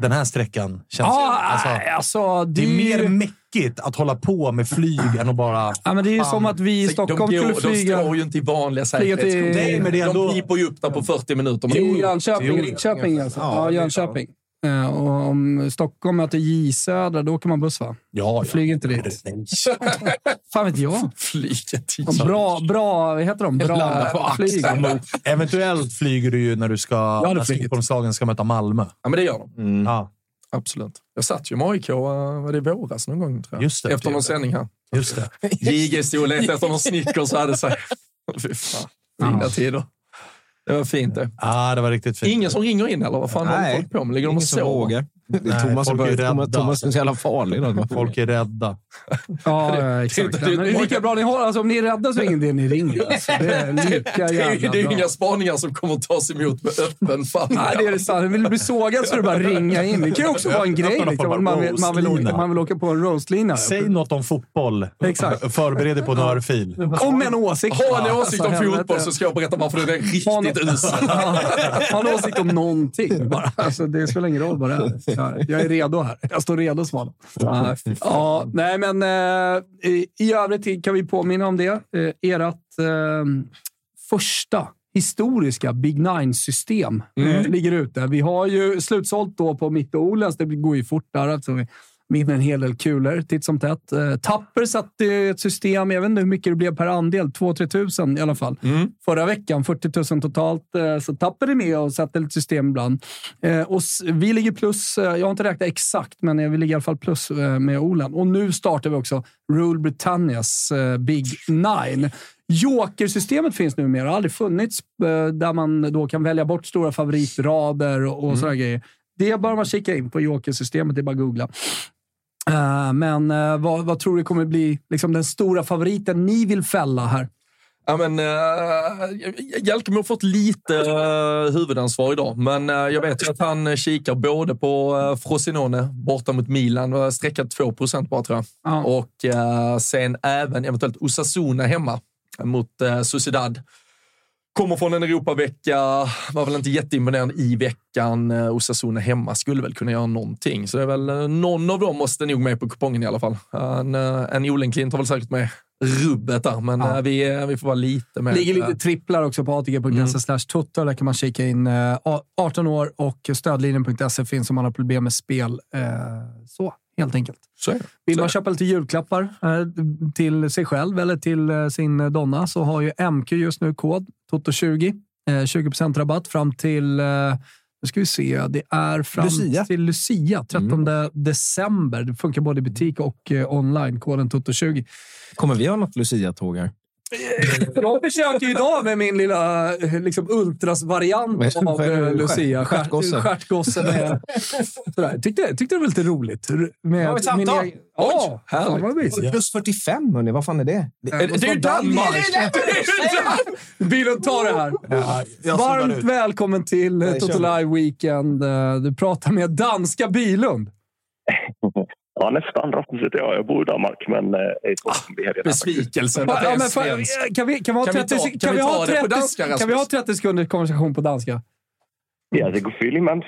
Speaker 6: den här sträckan känns...
Speaker 3: Ja,
Speaker 6: alltså,
Speaker 3: nej, alltså,
Speaker 6: det är mer
Speaker 3: ju-
Speaker 6: mäckigt att hålla på med flyg än att bara...
Speaker 3: Ja, men det är ju
Speaker 6: Fan.
Speaker 3: som att vi i
Speaker 4: De
Speaker 3: Stockholm
Speaker 4: går-
Speaker 3: skulle flyga...
Speaker 4: De står ju inte i vanliga
Speaker 3: Flyga till-
Speaker 4: säkerhetskontroller.
Speaker 6: Nej, men det är ändå-
Speaker 4: De piper ju upp där på 40 minuter. Men
Speaker 3: Jo, Jönköping,
Speaker 6: Jo.
Speaker 3: Linköping alltså.
Speaker 7: Ja,
Speaker 3: Ja,
Speaker 7: det är
Speaker 3: Jönköping. Eh, Och om Stockholm möter J Södra, då åker man buss va?
Speaker 6: Ja, ja.
Speaker 3: Flyger inte dit.
Speaker 6: Nej.
Speaker 3: Fan vet jag.
Speaker 4: Flyga till
Speaker 3: Bra, bra, vad heter de?
Speaker 4: Landa på
Speaker 3: Bra
Speaker 4: axeln.
Speaker 3: flyg.
Speaker 6: Eventuellt flyger du ju när du ska...
Speaker 3: hade
Speaker 6: när
Speaker 3: flugit.
Speaker 6: Stockholmslagen ska möta Malmö. Mm.
Speaker 4: Ja, men det gör de.
Speaker 6: Ja,
Speaker 4: Absolut. Jag satt ju med AIK eh, var det i våras någon gång, tror jag.
Speaker 6: Just det.
Speaker 4: efter någon sändning här.
Speaker 6: just det.
Speaker 4: JG stod och letade efter någon Snickers och hade sig. Fy fan. Fina tider. Det var fint det.
Speaker 6: Ja, det var riktigt fint.
Speaker 4: Ingen som ringer in eller vad fan håller
Speaker 7: Nej.
Speaker 4: folk på med? Ligger de
Speaker 7: Ingen
Speaker 4: och
Speaker 7: som
Speaker 4: sover?
Speaker 7: vågar. Det är
Speaker 6: Nej,
Speaker 7: Thomas, som
Speaker 6: folk är
Speaker 7: börjar- Thomas,
Speaker 6: rädda.
Speaker 7: Thomas är så jävla farlig. då.
Speaker 6: Folk är rädda.
Speaker 3: Ja, ja,
Speaker 4: det-
Speaker 3: exakt.
Speaker 4: det-
Speaker 3: Men det är lika bra ni har. Alltså, om ni är rädda så är det ingen idé ni ringer. Alltså. Det
Speaker 4: Det
Speaker 3: är lika
Speaker 4: är, ju-
Speaker 3: jävla
Speaker 4: det är ju
Speaker 3: bra.
Speaker 4: inga spaningar som kommer att tas emot med öppen famn.
Speaker 3: Nej, det är det sant. Vill du bli sågad så är det bara att ringa in. Det kan ju också vara en grej. Liksom. Man, vill, man, vill åka, man vill åka på en roastlina.
Speaker 6: Säg något om fotboll.
Speaker 3: Exakt.
Speaker 6: Förbered dig på en örfil.
Speaker 3: Om en åsikt.
Speaker 4: Har en åsikt om
Speaker 3: Alltså,
Speaker 4: fotboll
Speaker 3: helvete.
Speaker 4: så ska jag berätta varför den är
Speaker 3: Fan.
Speaker 4: riktigt usel.
Speaker 3: Jag har en åsikt om någonting bara. Alltså, det spelar ingen roll vad det är. Jag- Jag är redo här. Jag står redo, Svanen. Ja, nej, men eh, i, i övrigt kan vi påminna om det. Eh, ert eh, första historiska Big Nine-system eh, ligger ute. Vi har ju slutsålt då på Mitt och Olens. Det går ju fort där eftersom vi vinner en hel del kulor titt som tätt. Eh, Tapper satte ju ett system, jag vet inte hur mycket det blev per andel, 2-3 tusen i alla fall. Förra veckan 40 000 totalt, eh, så Tapper är med och satte ett system ibland. Eh, Och s- vi ligger plus, eh, jag har inte räknat exakt, men eh, vi ligger i alla fall plus eh, med Olen. Och nu startar vi också Rule Britannias eh, Big Nine. Jokersystemet finns numera, har aldrig funnits, eh, där man då kan välja bort stora favoritrader och, och sådana grejer. Det bör man kika in på Jokersystemet, det är bara att googla. Eh, Men eh, vad, vad tror du kommer bli liksom den stora favoriten ni vill fälla här?
Speaker 4: Ja, men, uh, Jalkemo har fått lite eh, huvudansvar idag, men eh, jag vet ju att han eh, kikar både på uh, Frosinone borta mot Milan, uh, sträckat 2 bara tror jag,
Speaker 3: Ja.
Speaker 4: och eh, sen även eventuellt Osasuna hemma mot eh, Sociedad. Kommer från en Europavecka, var väl inte jätteimponerad i veckan. Eh, Osasuna hemma skulle väl kunna göra någonting. Så det är väl, eh, någon av dem måste nog med på kupongen i alla fall. En, eh, en Olenklint har väl säkert med rubbet där, men eh, vi, eh, vi får vara lite med.
Speaker 3: Ligger lite tripplar också på atg.se
Speaker 4: eh, Mm.
Speaker 3: slash tutto. Där kan man kika in eh, a- 18 år och stödlinjen.se finns om man har problem med spel. Eh, så, helt enkelt.
Speaker 4: Så är det.
Speaker 3: Vill
Speaker 4: Så är
Speaker 3: man
Speaker 4: det.
Speaker 3: köpa lite julklappar eh, till sig själv eller till eh, sin eh, donna så har ju MQ just nu kod TOTO20. Eh, 20% rabatt fram till, eh, nu ska vi se, det är fram
Speaker 7: Lucia. Mm.
Speaker 3: till Lucia, 13 december. Det funkar både i butik och eh, online, koden TOTO20.
Speaker 7: Kommer vi ha något Lucia-tåg här?
Speaker 3: Eh, Jag försöker ju idag med min lilla eh, liksom,
Speaker 7: Vad
Speaker 3: ultras-variant
Speaker 7: är det-
Speaker 3: av
Speaker 7: vad är det-
Speaker 3: eh, Lucia.
Speaker 7: stjärt- stjärtgossen?
Speaker 3: Stjärtgossen. är- sådär. Tyckte, tyckte det var lite roligt. r- Med
Speaker 7: Ja, ett samtal.
Speaker 3: egen- Ja, fan vad mysigt.
Speaker 7: Plus 45, hörni. Vad fan är Alltså, det?
Speaker 4: Det är det är ju Danmark!
Speaker 3: Bilen tar det här.
Speaker 8: jag zoomar
Speaker 3: Varmt
Speaker 8: ut.
Speaker 3: välkommen till eh,
Speaker 7: kör
Speaker 3: Toto
Speaker 7: vi.
Speaker 3: Live Weekend. Eh, Du pratar med danska Bilund.
Speaker 2: Ja, nästan. Rasmus heter jag. Jag bor i Danmark, men eh, är ah,
Speaker 4: Besvikelsen att det
Speaker 3: Ja,
Speaker 4: är
Speaker 3: men fan,
Speaker 4: svenskt.
Speaker 3: Kan vi kan vi ha
Speaker 4: Kan vi
Speaker 3: 30
Speaker 4: ta-
Speaker 3: sek-
Speaker 4: kan
Speaker 3: kan vi
Speaker 4: vi
Speaker 3: ha
Speaker 4: ta det på
Speaker 3: 30
Speaker 4: danska,
Speaker 3: kan vi ha
Speaker 4: Rasmus?
Speaker 3: 30 sekunders konversation på danska?
Speaker 2: Ja, det går fylligt, man.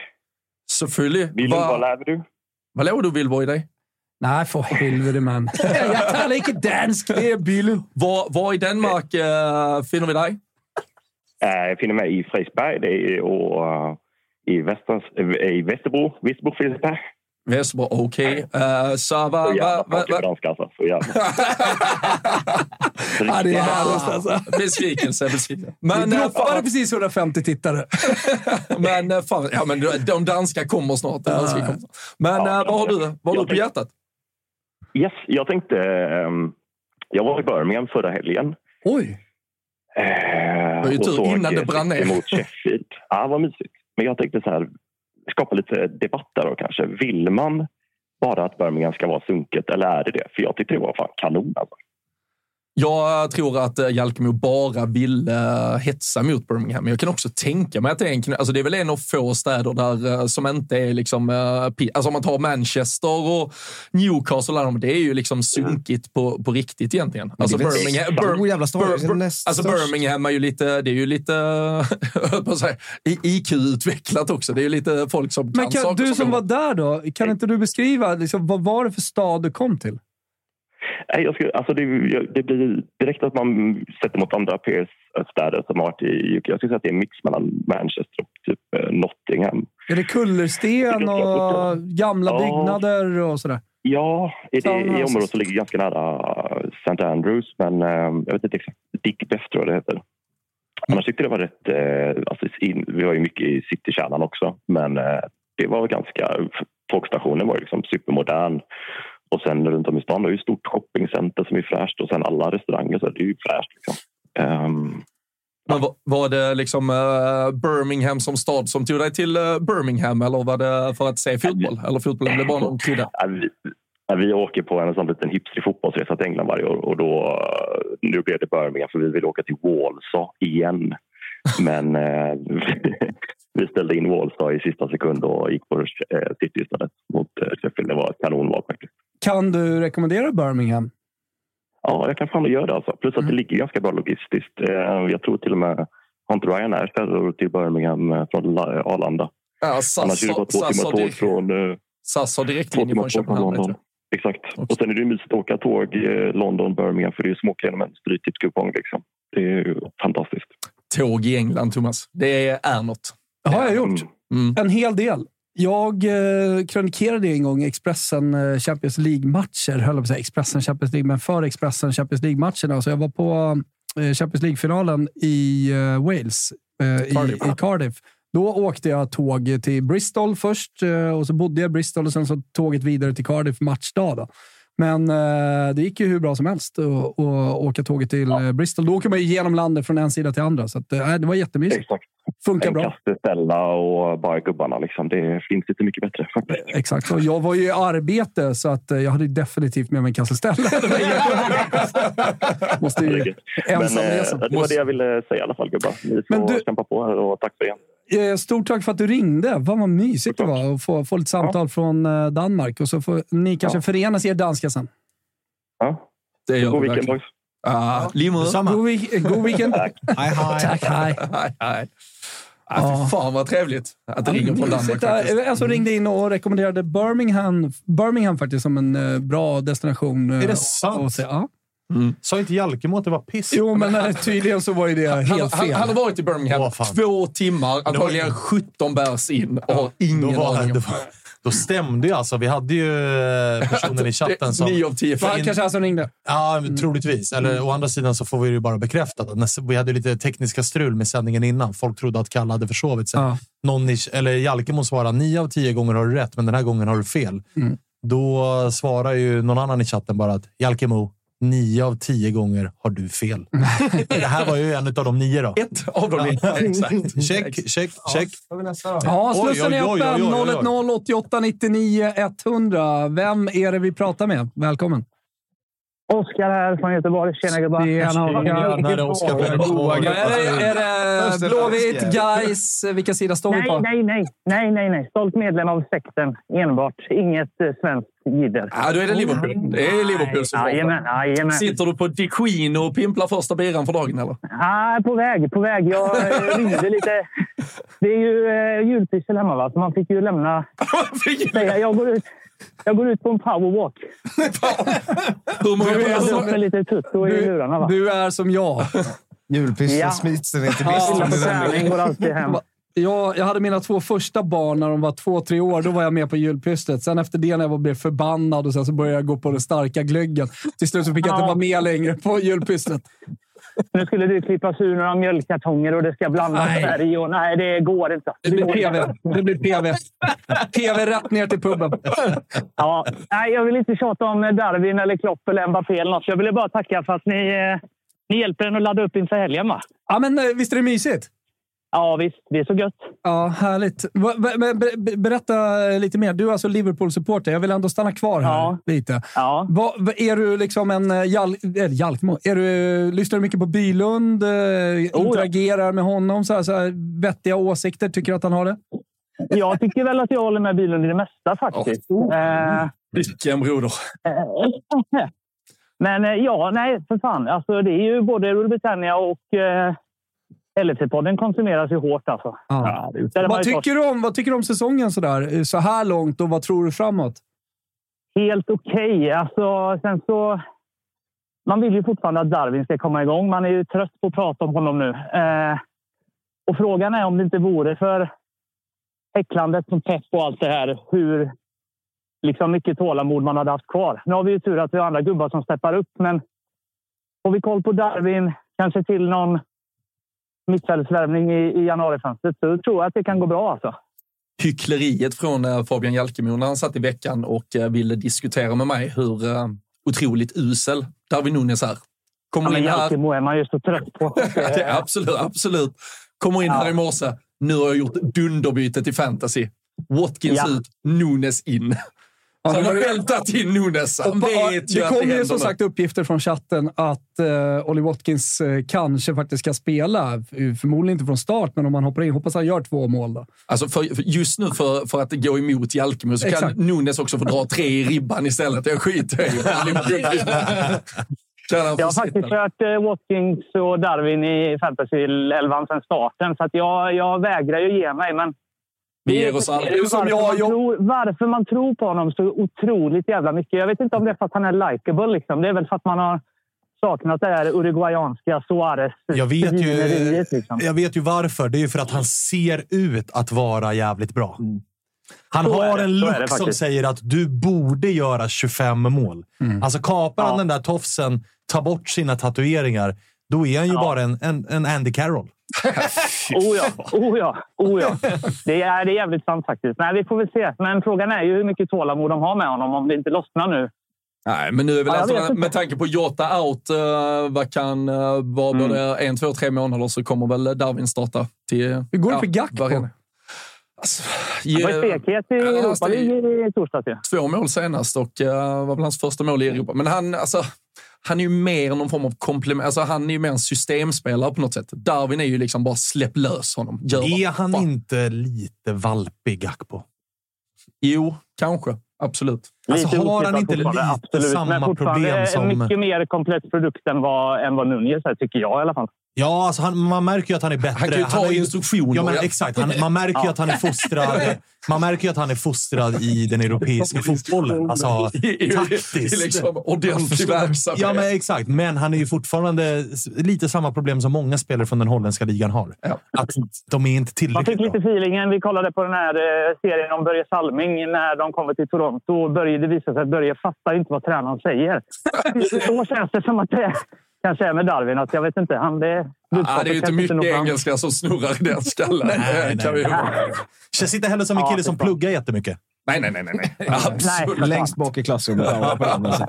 Speaker 4: Selvfølgelig.
Speaker 2: Bilen, vad
Speaker 4: Hva,
Speaker 2: lever du?
Speaker 4: hva laver du, Vilborg, i dag?
Speaker 3: Nej, för helvete man. Jag talar inte dansk, det är Bilund.
Speaker 4: Hvor, hvor i Danmark øh, finder vi dig?
Speaker 2: Eh, Jag finner mig i Fredriksberg det är, och eh, i, Västers, eh, i Västerbro. Visbo, Fredriksberg.
Speaker 4: Vestbro, okay. Uh, så hvad...
Speaker 2: Så
Speaker 4: Hva, hva,
Speaker 2: jävla pratar
Speaker 4: hva?
Speaker 2: jag danska alltså. Så jävla.
Speaker 3: Ja, det är härligt alltså.
Speaker 4: Besvikelse, besvikelse.
Speaker 3: Vi
Speaker 4: Men, øh,
Speaker 3: droppade
Speaker 4: fan,
Speaker 3: precis 150 tittare.
Speaker 4: men, øh, fan, ja, men de danska kommer snart. De danska kommer. snart. Men
Speaker 2: Ja,
Speaker 4: øh, hvad har du, hvad har du på hjärtat?
Speaker 2: Yes, jag tänkte... ehm, jag var i Birmingham förra helgen.
Speaker 3: Oj!
Speaker 2: Eh,
Speaker 4: var ju
Speaker 2: och
Speaker 4: tur
Speaker 2: såg
Speaker 4: innan det brann ner.
Speaker 2: City Mot Sheffield. Ja, vad mysigt. Men jag tänkte så här, skapa lite debatt där då kanske. Vill man bara att Birmingham ska vara sunket eller är det det? För jag tyckte det var fan kanon. Alltså.
Speaker 4: Jag tror att eh, Jalkemo bara vill eh, hetsa mot Birmingham. Men Jag kan också tänka mig att det är en kn- alltså Det är väl en av få städer där eh, som inte är liksom... eh, pi- alltså om man tar Manchester och Newcastle, och alla de, det är ju liksom sunkigt på, på riktigt egentligen. Alltså
Speaker 7: väl en
Speaker 4: Birmingham,
Speaker 7: stor
Speaker 4: Bir-
Speaker 7: jävla stad.
Speaker 4: Bir-
Speaker 7: Det är
Speaker 4: Bir-
Speaker 7: näst
Speaker 4: alltså
Speaker 7: störst.
Speaker 4: Birmingham är ju lite... Det är ju lite... jag höll på att säga, i- IQ-utvecklat också. Det är ju lite folk som
Speaker 3: Men
Speaker 4: kan
Speaker 3: kan,
Speaker 4: saker
Speaker 3: du som
Speaker 4: går-
Speaker 3: var där då, kan inte du beskriva liksom, vad var det för stad du kom till?
Speaker 2: Nej, jag skulle, alltså det, jag- det blir direkt att man sätter mot andra peers eh, städer som har varit i UK. Jag skulle säga att det är en mix mellan Manchester och typ eh, Nottingham.
Speaker 3: Är det kullersten och gamla
Speaker 2: Ja.
Speaker 3: byggnader och sådär? alltså,
Speaker 2: Ja, i, det, i
Speaker 3: Townhouses.
Speaker 2: området som ligger ganska nära St. Andrews, men eh, jag vet inte exakt. Digbeth tror jag det heter. Annars tyckte jag det var rätt... Eh, alltså, in, vi var ju mycket i citykärnan också, men eh, det var ganska... Tågstationen var ju liksom supermodern. Och sen runt om i stan har ju ett stort shoppingcenter som är fräscht och sen alla restauranger, så det är ju fräscht. Liksom. Ehm,
Speaker 4: Men var, var det liksom eh, Birmingham som stad som tog dig till eh, Birmingham eller var det för att se fotboll? Eller fotbollen blev bara någon krydda?
Speaker 2: Ja, vi, ja, vi åker på en sån liten hipstrig fotbollsresa till England varje år och då, eh, nu blev det Birmingham för vi vill åka till Walsall igen. Men eh, vi, vi ställde in Walsall i sista sekund och gick på eh, City istället mot eh, Sheffield. Det var ett kanonval faktiskt.
Speaker 3: Kan du rekommendera Birmingham?
Speaker 2: Ja, jag kan fan göra det alltså. Plus att det ligger ganska bra logistiskt. Eh, jag tror till och med har inte Ryanair färdor till Birmingham eh, från La- Arlanda?
Speaker 4: Ja,
Speaker 2: Annars
Speaker 4: SAS,
Speaker 2: är det bara två
Speaker 4: SAS,
Speaker 2: timmar
Speaker 4: har
Speaker 2: tåg
Speaker 4: direkt,
Speaker 2: från... Eh,
Speaker 4: SAS har
Speaker 2: Två
Speaker 4: direktlinje
Speaker 2: timmar
Speaker 4: från
Speaker 2: tåg från
Speaker 4: Köpenhamn. vet
Speaker 2: London.
Speaker 4: jag.
Speaker 2: Exakt. Och sen är det ju mysigt att åka tåg eh, London, Birmingham för det är ju som att åka genom en stryktipskupong. Liksom. Det är ju fantastiskt.
Speaker 4: Tåg i England, Thomas. Det är något.
Speaker 3: har jag gjort.
Speaker 2: Mm.
Speaker 4: Mm.
Speaker 3: En hel del. Jag eh, krönikerade en gång Expressen eh, Champions League-matcher, höll jag på att säga. Expressen Champions League, men för Expressen Champions League-matcherna. Så jag var på eh, Champions League-finalen i eh, Wales, eh,
Speaker 4: Cardiff.
Speaker 3: I, i Cardiff. Då åkte jag tåg till Bristol först eh, och så bodde jag i Bristol och sen så tåget vidare till Cardiff matchdag. Då. Men eh, det gick ju hur bra som helst att att åka tåget till eh, Bristol. Då åker man ju genom landet från en sida till andra, så att, eh, det var jättemysigt.
Speaker 2: Exakt.
Speaker 3: Funkar
Speaker 2: En
Speaker 3: bra.
Speaker 2: kasse, ställa och bara gubbarna. Liksom. Det finns inte mycket bättre. faktiskt.
Speaker 3: Exakt. Och jag var ju i arbete, så att eh, jag hade ju definitivt med mig en kasse Stella. Det var inga problem. Måste
Speaker 2: Det är
Speaker 3: ju
Speaker 2: gött. Men eh,
Speaker 3: ensamresa.
Speaker 2: det var det jag ville säga i alla fall gubbar. Ni
Speaker 3: Men
Speaker 2: får
Speaker 3: du-
Speaker 2: kämpa på här och tack för igen.
Speaker 3: Eh, Stort tack för att du ringde. Vad vad mysigt det var att få, få lite samtal från eh, Danmark. Och så får ni kanske förenas i er danska sen.
Speaker 2: Ja.
Speaker 4: Det gör
Speaker 2: God
Speaker 4: vi
Speaker 2: weekend
Speaker 4: verkligen.
Speaker 2: boys.
Speaker 4: Ah, Limo.
Speaker 3: God,
Speaker 4: eh,
Speaker 3: week- god weekend.
Speaker 7: Hej, hej.
Speaker 3: Tack, hej.
Speaker 4: Nej, nej. Ah, fy fan vad trevligt att det ringer från Danmark
Speaker 3: Sitta-
Speaker 4: faktiskt.
Speaker 3: En som Eh, ringde in och rekommenderade Birmingham, Birmingham faktiskt som en eh, bra destination. eh,
Speaker 6: Är det
Speaker 3: att-
Speaker 6: sant? Mm.
Speaker 3: att se. Ja.
Speaker 6: Sa inte Jalkemo att det var piss?
Speaker 3: Jo, men eh, tydligen så var ju det
Speaker 4: Han,
Speaker 3: helt
Speaker 4: han,
Speaker 3: fel.
Speaker 4: han har varit i Birmingham
Speaker 6: Åh, fan.
Speaker 4: två timmar, antagligen 17 bärs in och har
Speaker 6: Då,
Speaker 4: ingen
Speaker 6: var,
Speaker 4: aning.
Speaker 6: då,
Speaker 4: om-
Speaker 6: var, då stämde ju alltså. Vi hade ju eh, personen i chatten som...
Speaker 4: Nio av tio alltså
Speaker 3: Var
Speaker 4: fel.
Speaker 3: han kanske han som ringde?
Speaker 6: Ja,
Speaker 4: Mm.
Speaker 6: troligtvis. Eller å andra sidan så får vi det ju bara bekräftat. att nästa- Vi hade ju lite tekniska strul med sändningen innan. Folk trodde att Kalle hade försovit sig.
Speaker 3: Ja.
Speaker 6: Någon i, eller Jalkemo svarade nio av tio gånger har du rätt, men den här gången har du fel.
Speaker 4: Mm.
Speaker 6: Då svarar ju någon annan i chatten bara att Jalkemo, nio av tio gånger har du fel. det här var ju en av de nio då.
Speaker 4: Ett av dem är... Exakt.
Speaker 6: Check, check, check.
Speaker 3: Ja,
Speaker 6: Oj,
Speaker 3: slussen
Speaker 6: oj,
Speaker 3: är
Speaker 6: oj, oj, oj, oj.
Speaker 3: öppen. 010 88 99 100. Vem är det vi pratar med? Välkommen.
Speaker 9: Oskar här från Göteborg. Tjena gubbar!
Speaker 3: Tjena, Oskar.
Speaker 6: När Oskar började svara.
Speaker 3: Ja, är det, är det
Speaker 5: Österrike.
Speaker 3: Blåvitt, Gais? Vilka sida står vi
Speaker 9: Nej,
Speaker 3: på?
Speaker 9: nej, nej, nej, nej, nej. Stolt medlem av sekten enbart. Inget eh, svenskt jidder.
Speaker 4: Ja, då är det Liverpool. Det är Liverpool som
Speaker 9: Nej, Oh Jajamän, jajamän.
Speaker 4: Sitter du på Diquino och pimplar första biran för dagen eller?
Speaker 9: Ah, på väg, på väg. Jag eh, ringde lite. Det är ju eh, julpyssel hemma, va? så man fick ju lämna. Säga, jag, går ut, jag går ut på en powerwalk.
Speaker 4: Hur många,
Speaker 9: Jag
Speaker 4: hur,
Speaker 9: blåser
Speaker 4: många,
Speaker 9: lite tutto i lurarna. Va?
Speaker 3: Du är som jag.
Speaker 7: Julpyssel
Speaker 9: Ja.
Speaker 7: smits den inte
Speaker 9: Killar på
Speaker 7: mist.
Speaker 9: träning går alltid hem.
Speaker 3: Jag, jag hade mina två första barn när de var två, tre år. Då var jag med på julpysslet. Sen efter det när jag blev förbannad och sen så började jag gå på den starka glöggen. Till slut så fick jag inte
Speaker 9: Ja.
Speaker 3: vara med längre på julpysslet.
Speaker 9: Nu skulle du klippas ur några mjölkkartonger och det ska blandas
Speaker 3: Nej.
Speaker 9: färg. Och, nej, det går inte.
Speaker 3: Det blir PV. Det blir PV. PV rätt ner till puben.
Speaker 9: Ja, nej, jag vill inte tjata om Darwin eller Klopp eller Mbappé eller något. Jag ville bara tacka för att ni, eh, ni hjälper en att ladda upp inför helgen, va?
Speaker 3: Ja, men eh, visst är det mysigt?
Speaker 9: Ja, visst. Det är så gött.
Speaker 3: Ja, härligt. Va- va- men ber- ber- Berätta lite mer. Du är alltså Liverpool-supporter. Jag vill ändå stanna kvar här
Speaker 9: Ja.
Speaker 3: lite.
Speaker 9: Ja.
Speaker 3: Va, va, är du liksom en eh, jal, eller Jalkmo? Är du, lyssnar du mycket på Bylund?
Speaker 9: Oh,
Speaker 3: Eh, interagerar med honom? Så här, så här, vettiga åsikter? Tycker du att han har det?
Speaker 9: Jag tycker väl att jag håller med bilen i det mesta faktiskt. Eh,
Speaker 4: vilken broder.
Speaker 9: eh, Men eh, ja, nej, för fan. Alltså, det är ju både Rule Britannia och eh, LFC-podden konsumeras ju hårt. Alltså.
Speaker 3: Ja.
Speaker 9: Där är man
Speaker 3: Vad
Speaker 9: ju
Speaker 3: tycker, du om, vad tycker du om säsongen så, där, eh, så här långt och vad tror du framåt?
Speaker 9: helt okej. Alltså, sen så... Man vill ju fortfarande att Darwin ska komma igång. Man är ju trött på att prata om honom nu. Eh, och frågan är om det inte vore för häcklandet som Pep och allt det här, hur liksom mycket tålamod man hade haft kvar. Nu har vi ju tur att vi har andra gubbar som steppar upp, men får vi koll på Darwin, kanske till någon mittfältsvärvning i, i januarifönstret, så tror jag att det kan gå bra. Alltså.
Speaker 4: Hyckleriet från eh, Fabian Jalkemo när han satt i veckan och eh, ville diskutera med mig hur eh, otroligt usel Darwin Nunes är.
Speaker 9: Ja,
Speaker 4: Kommer
Speaker 9: men
Speaker 4: in här
Speaker 9: Jalkemo är man ju så trött på.
Speaker 4: Ja, det, absolut, absolut. Kommer in här i morse. Nu har jag gjort dunderbytet i fantasy. Watkins
Speaker 9: Ja.
Speaker 4: ut, Nunes in. Så han har vältat in Nunes. Han vet ju
Speaker 3: det
Speaker 4: att det
Speaker 3: kom
Speaker 4: händer
Speaker 3: ju som
Speaker 4: nu.
Speaker 3: sagt uppgifter från chatten att eh, Olly Watkins eh, kanske faktiskt ska spela. eh, Förmodligen inte från start, men om han hoppar in. Hoppas han gör två mål då.
Speaker 4: Alltså för, för just nu, för, för att gå emot Jalkemo, så
Speaker 3: Exakt.
Speaker 4: kan Nunes också få dra tre i ribban istället. Jag skiter i det. Kan han
Speaker 9: Jag
Speaker 4: få
Speaker 9: har faktiskt
Speaker 4: sitta?
Speaker 9: kört eh, Watkins och Darwin i fantasy-elvan sedan starten, så att jag, jag vägrar ju ge mig. Men
Speaker 4: Vi ger oss
Speaker 9: det är
Speaker 4: aldrig.
Speaker 9: ju varför, man tror, varför man tror på honom så otroligt jävla mycket. Jag vet inte om det är för att han är likeable. Liksom. Det är väl för att man har saknat det här uruguayanska Suarez.
Speaker 6: Jag vet, ju,
Speaker 9: svineriet, Liksom.
Speaker 6: jag vet ju varför. Det är ju för att han ser ut att vara jävligt bra. Han
Speaker 9: Mm. Så är
Speaker 6: har
Speaker 9: det.
Speaker 6: en
Speaker 9: Så är det
Speaker 6: look som
Speaker 9: faktiskt.
Speaker 6: säger att du borde göra 25 mål.
Speaker 4: Mm.
Speaker 6: Alltså kapar han
Speaker 9: Ja.
Speaker 6: den där tofsen, tar bort sina tatueringar, då är han ju bara en, en, en Andy Carroll.
Speaker 9: Oh ja, oh ja, oh ja. Det är, det är jävligt sant faktiskt. Nej, vi får väl se. Men frågan är ju hur mycket tålamod de har med honom om det inte lossnar nu.
Speaker 4: Nej, men nu är väl alltså-
Speaker 9: Ja, jag
Speaker 4: ändå-
Speaker 9: vet inte.
Speaker 4: med tanke på Jota out, eh, vad kan eh, vara både en, två, tre månader så kommer väl Darwin starta till...
Speaker 3: Hur går det för Gakpo?
Speaker 4: varje- Alltså,
Speaker 9: Det var
Speaker 4: ge-
Speaker 9: ju stekhet i
Speaker 4: Ja,
Speaker 9: Europa
Speaker 4: alltså, det-
Speaker 9: League i torsdags ju.
Speaker 4: två mål senast och eh, var väl hans första mål i Europa. Men han, alltså, han är ju mer någon form av komplement. Alltså, han är ju mer en systemspelare på något sätt. Darwin är ju liksom bara släpp lös honom. Gör vad
Speaker 6: Är han
Speaker 4: fan.
Speaker 6: inte lite valpig, Gakpo?
Speaker 4: Jo, kanske. absolut.
Speaker 6: Alltså,
Speaker 9: Lite otippat fortfarande, absolut. Men fortfarande en mycket mer komplex produkt än vad, än vad Nunez är, tycker jag i alla fall.
Speaker 6: Ja, alltså han, man märker ju att han är bättre.
Speaker 4: Han kan ju ta
Speaker 6: är
Speaker 4: instruktioner.
Speaker 6: Ja, men exakt. Han, man märker ju att han är fostrad. Man märker ju att han är fostrad i den europeiska fotbollen. Alltså,
Speaker 4: Det är
Speaker 6: taktiskt.
Speaker 4: liksom ordentlig verksamhet.
Speaker 6: Ja, men exakt. Men han är ju fortfarande s- lite samma problem som många spelare från den holländska ligan har. Att de är inte
Speaker 9: Man
Speaker 6: tillräckligt
Speaker 9: fick lite feelingen. Vi kollade på den här eh, serien om Börje Salming när de kommer till Toronto. Och Börje, det visade sig att Börje fattar inte vad tränaren säger. Så känns det som att det kanske är med Darwin. Att jag vet inte. Han, det,
Speaker 4: Ah, det är ju inte mycket engelska som snurrar i den skallen.
Speaker 6: Nej,
Speaker 4: Det kan vi ju-
Speaker 6: nej. Känns inte heller som en
Speaker 4: Ja,
Speaker 6: kille
Speaker 4: fy
Speaker 6: som
Speaker 4: fan.
Speaker 6: pluggar jättemycket.
Speaker 4: Nej, nej, nej. nej, nej. Absolut.
Speaker 7: Längst bak i klassrummet. alla på andra sidan.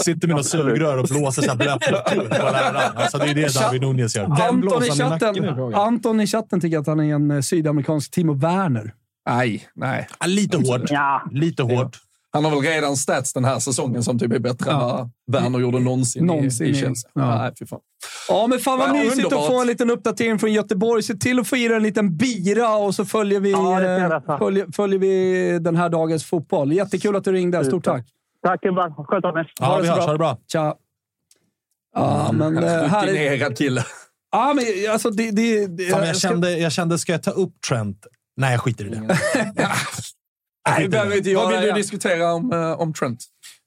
Speaker 6: Sitter med något sugrör och blåser så här blötlukt på läraren. Alltså, det är det David Nunez gör.
Speaker 3: Anton i,
Speaker 6: blåsan i nacken är
Speaker 3: chatten,
Speaker 6: bra,
Speaker 3: Anton i chatten tycker att han är en eh, sydamerikansk Timo Werner.
Speaker 4: Nej, nej.
Speaker 6: lite hårt. Lite hårt.
Speaker 4: Han har väl redan stats den här säsongen som typ är bättre än vad Werner gjorde någonsin,
Speaker 3: Någonsin
Speaker 4: i, i
Speaker 3: i-
Speaker 4: Chelsea.
Speaker 3: ja.
Speaker 4: Nej, fy fan.
Speaker 3: Ja, men fan vad
Speaker 4: Ja,
Speaker 3: mysigt
Speaker 4: underbart.
Speaker 3: att få en liten uppdatering från Göteborg. Se till att få i dig en liten bira och så följer vi, eh, följer, följer vi den här dagens fotboll. Jättekul att du ringde. Stort tack.
Speaker 9: Tack gubbar. Sköt om er.
Speaker 6: Ja, vi hörs. Ha det bra.
Speaker 3: Tja. Ja, men eh, härligt.
Speaker 4: Rutinerad kille.
Speaker 3: Ja, men alltså det... det, det
Speaker 6: Fan, men jag,
Speaker 3: ska-
Speaker 6: kände, jag kände, ska jag ta upp Trent? Nej, jag skiter i det. Jag skiter i det.
Speaker 4: Vad vill du diskutera om, eh, om Trent?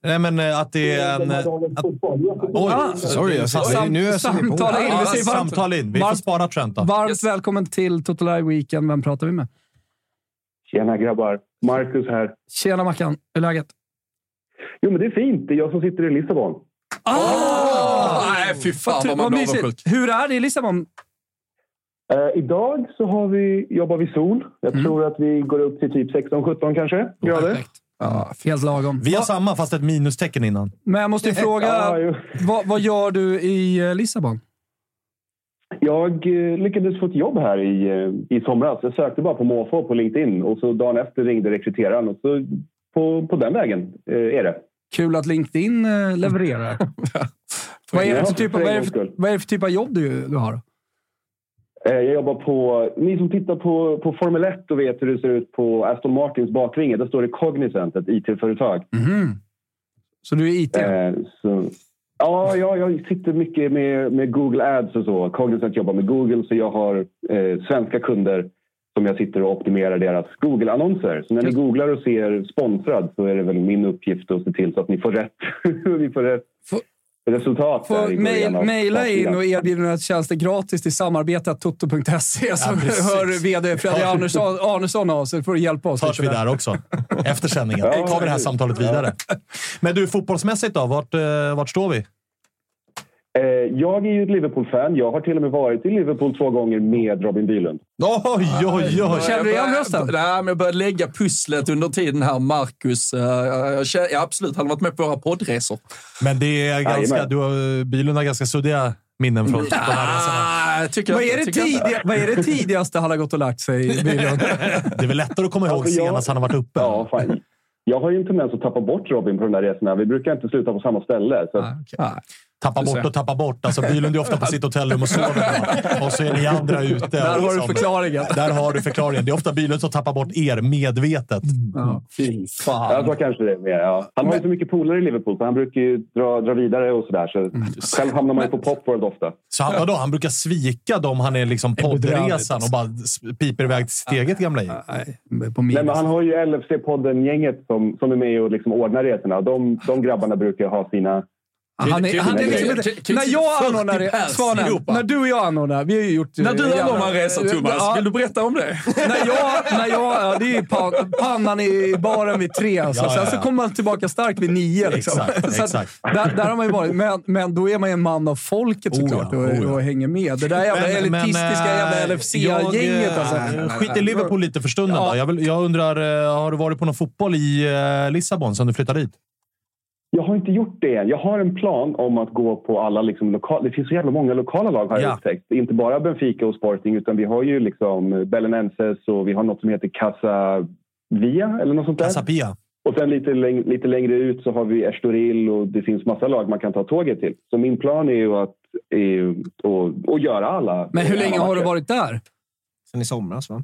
Speaker 6: Nej, men eh, att det är en... eh, Att, oj,
Speaker 3: Ah,
Speaker 7: sorry, alltså,
Speaker 6: Sam-
Speaker 7: nu öser ni på.
Speaker 3: Samtala in.
Speaker 6: Ja,
Speaker 3: Vi säger varmt-
Speaker 6: samtal in. Vi får
Speaker 3: varmt-
Speaker 6: spara Trent då.
Speaker 3: Varmt välkommen till Totolaj Weekend. Vem pratar vi med?
Speaker 10: Tjena grabbar! Marcus här.
Speaker 3: Tjena Mackan, hur är läget?
Speaker 10: Jo, men det är fint. Det är jag som sitter i Lissabon.
Speaker 6: Ah!
Speaker 4: Åh! nej, fy fan vad man blir
Speaker 3: mysigt.
Speaker 4: avundsjuk.
Speaker 3: Hur är det i Lissabon?
Speaker 10: Eh, idag så har vi, jobbar vi sol. Jag tror att vi går upp till typ 16-17 kanske grader.
Speaker 3: Ja, Helt lagom.
Speaker 6: Vi har samma, fast ett minustecken innan.
Speaker 3: Men jag måste ju fråga,
Speaker 10: Ja, jo.
Speaker 3: vad, vad gör du i eh, Lissabon?
Speaker 10: Jag eh, lyckades få ett jobb här i, eh, i somras. Jag sökte bara på måfå på LinkedIn och så dagen efter ringde rekryteraren. Och så på, på den vägen eh, är det.
Speaker 3: Kul att LinkedIn eh, levererar. vad, är det för
Speaker 10: Ja,
Speaker 3: typ,
Speaker 10: för
Speaker 3: av- vad, är det
Speaker 10: en gångs
Speaker 3: för,
Speaker 10: skull.
Speaker 3: vad är det för typ av jobb du, du har?
Speaker 10: Eh, Jag jobbar på... Ni som tittar på, på Formel 1 och vet hur det ser ut på Aston Martins bakvinge. Där står det Cognizant, ett IT-företag.
Speaker 3: Mm. Så du är IT?
Speaker 10: Eh, så, ja, jag, jag sitter mycket med, med Google Ads och så. Cognizant jobbar med Google, så jag har eh, svenska kunder som jag sitter och optimerar deras Google-annonser. Så när ni googlar och ser sponsrad så är det väl min uppgift att se till så att ni får rätt, ni får rätt resultat. där i
Speaker 3: Får
Speaker 10: början
Speaker 3: mail,
Speaker 10: av
Speaker 3: mejla in
Speaker 10: startsidan.
Speaker 3: och erbjuda dina tjänster gratis till samarbete.toto.se så
Speaker 6: precis.
Speaker 3: hör vd Fredrik Arnesson, Arnesson av sig. får du hjälpa oss.
Speaker 6: Hörs vi
Speaker 3: lite
Speaker 6: där också? Efter sändningen.
Speaker 10: Ja,
Speaker 6: tar vi det här
Speaker 10: precis.
Speaker 6: samtalet vidare. Men du, fotbollsmässigt då? Vart, eh, vart står vi?
Speaker 10: Eh, jag är ju ett Liverpool-fan. Jag har till och med varit i Liverpool två gånger med Robin Bylund.
Speaker 6: Oj, oj, oj!
Speaker 3: Känner du igen rösten?
Speaker 4: Nej, men jag började lägga pusslet under tiden här, Marcus. Eh, jag känner- Ja, absolut, han har varit med på våra poddresor.
Speaker 6: Men det är ganska...
Speaker 10: Jajamän.
Speaker 6: Du har, eh, bilen har ganska suddiga minnen från de här resorna.
Speaker 4: Ah, jag tycker
Speaker 3: Vad
Speaker 4: inte,
Speaker 3: är, det
Speaker 4: tycker inte.
Speaker 3: tidiga, vad är det tidigaste han har gått och lagt sig? Bylund?
Speaker 6: Det är väl lättare att komma ihåg
Speaker 10: Alltså, jag-
Speaker 6: senast han har varit uppe?
Speaker 10: Ja, fan. Jag har ju en tendens att tappa bort Robin på de där resorna. Vi brukar inte sluta på samma ställe. Så att
Speaker 4: Ah,
Speaker 6: Tappa bort och tappa bort. Alltså, Bylund är ofta på sitt hotellrum och sover bra. Och så är ni andra ute. och
Speaker 3: Där har du
Speaker 6: liksom-
Speaker 3: förklaringen.
Speaker 6: Där har du förklaringen. Det är ofta Bylund som tappar bort er medvetet.
Speaker 4: Fy
Speaker 10: Ja,
Speaker 4: fan.
Speaker 10: så kanske det är mer. Ja. Han har ju så mycket polare i Liverpool, så han brukar ju dra, dra vidare och sådär. Så själv hamnar man ju på Popworld ofta.
Speaker 6: Så han, vadå, han brukar svika dem han är liksom
Speaker 3: bedrövligt,
Speaker 6: poddresan
Speaker 3: alltså.
Speaker 6: och bara s- piper iväg till sitt eget gamla gäng.
Speaker 3: Nej, på
Speaker 10: Nej,
Speaker 3: min.
Speaker 10: men han har ju LFC-podden-gänget som, som är med och liksom ordnar resorna. De, de grabbarna brukar ha sina...
Speaker 3: Han är, han är liksom inte... När jag
Speaker 4: 40
Speaker 3: anordnar det,
Speaker 4: pers i
Speaker 3: Svanen,
Speaker 4: Europa.
Speaker 3: när du och jag anordnar, vi har ju gjort...
Speaker 4: När du
Speaker 3: eh,
Speaker 4: anordnar en resa, Thomas,
Speaker 3: Ja,
Speaker 4: vill du berätta om det?
Speaker 3: när jag, när jag, ja, det är ju pan, pannan i baren vid tre. Alltså.
Speaker 6: Ja, ja, ja.
Speaker 3: Sen så kommer man tillbaka stark vid nio. Liksom.
Speaker 6: Exakt,
Speaker 3: Så att
Speaker 6: exakt.
Speaker 3: Där, där har man ju varit. Men, men då är man ju en man av folket
Speaker 6: Oh ja,
Speaker 3: såklart och,
Speaker 6: oh ja.
Speaker 3: och hänger med. Det där jävla
Speaker 6: Men- men,
Speaker 3: elitistiska
Speaker 6: eh,
Speaker 3: jävla LFC-gänget.
Speaker 6: jag,
Speaker 3: Alltså.
Speaker 6: eh, Skit i Liverpool lite för stunden då. Jag, vill, jag undrar, eh, har du varit på någon fotboll i eh, Lissabon sen du flyttade dit?
Speaker 10: Jag har inte gjort det än. Jag har en plan om att gå på alla liksom lokala... Det finns så jävla många lokala lag har jag
Speaker 6: Ja.
Speaker 10: upptäckt. Inte bara Benfica och Sporting, utan vi har ju liksom Belenenses och vi har något som heter Casa Via eller något sånt där.
Speaker 6: Casapia.
Speaker 10: Och sen lite, läng- lite längre ut så har vi Estoril och det finns massa lag man kan ta tåget till. Så min plan är ju att eh, och, och göra alla.
Speaker 3: Men hur
Speaker 10: alla
Speaker 3: länge har du
Speaker 10: matcher.
Speaker 3: varit där?
Speaker 7: Sen i somras, va?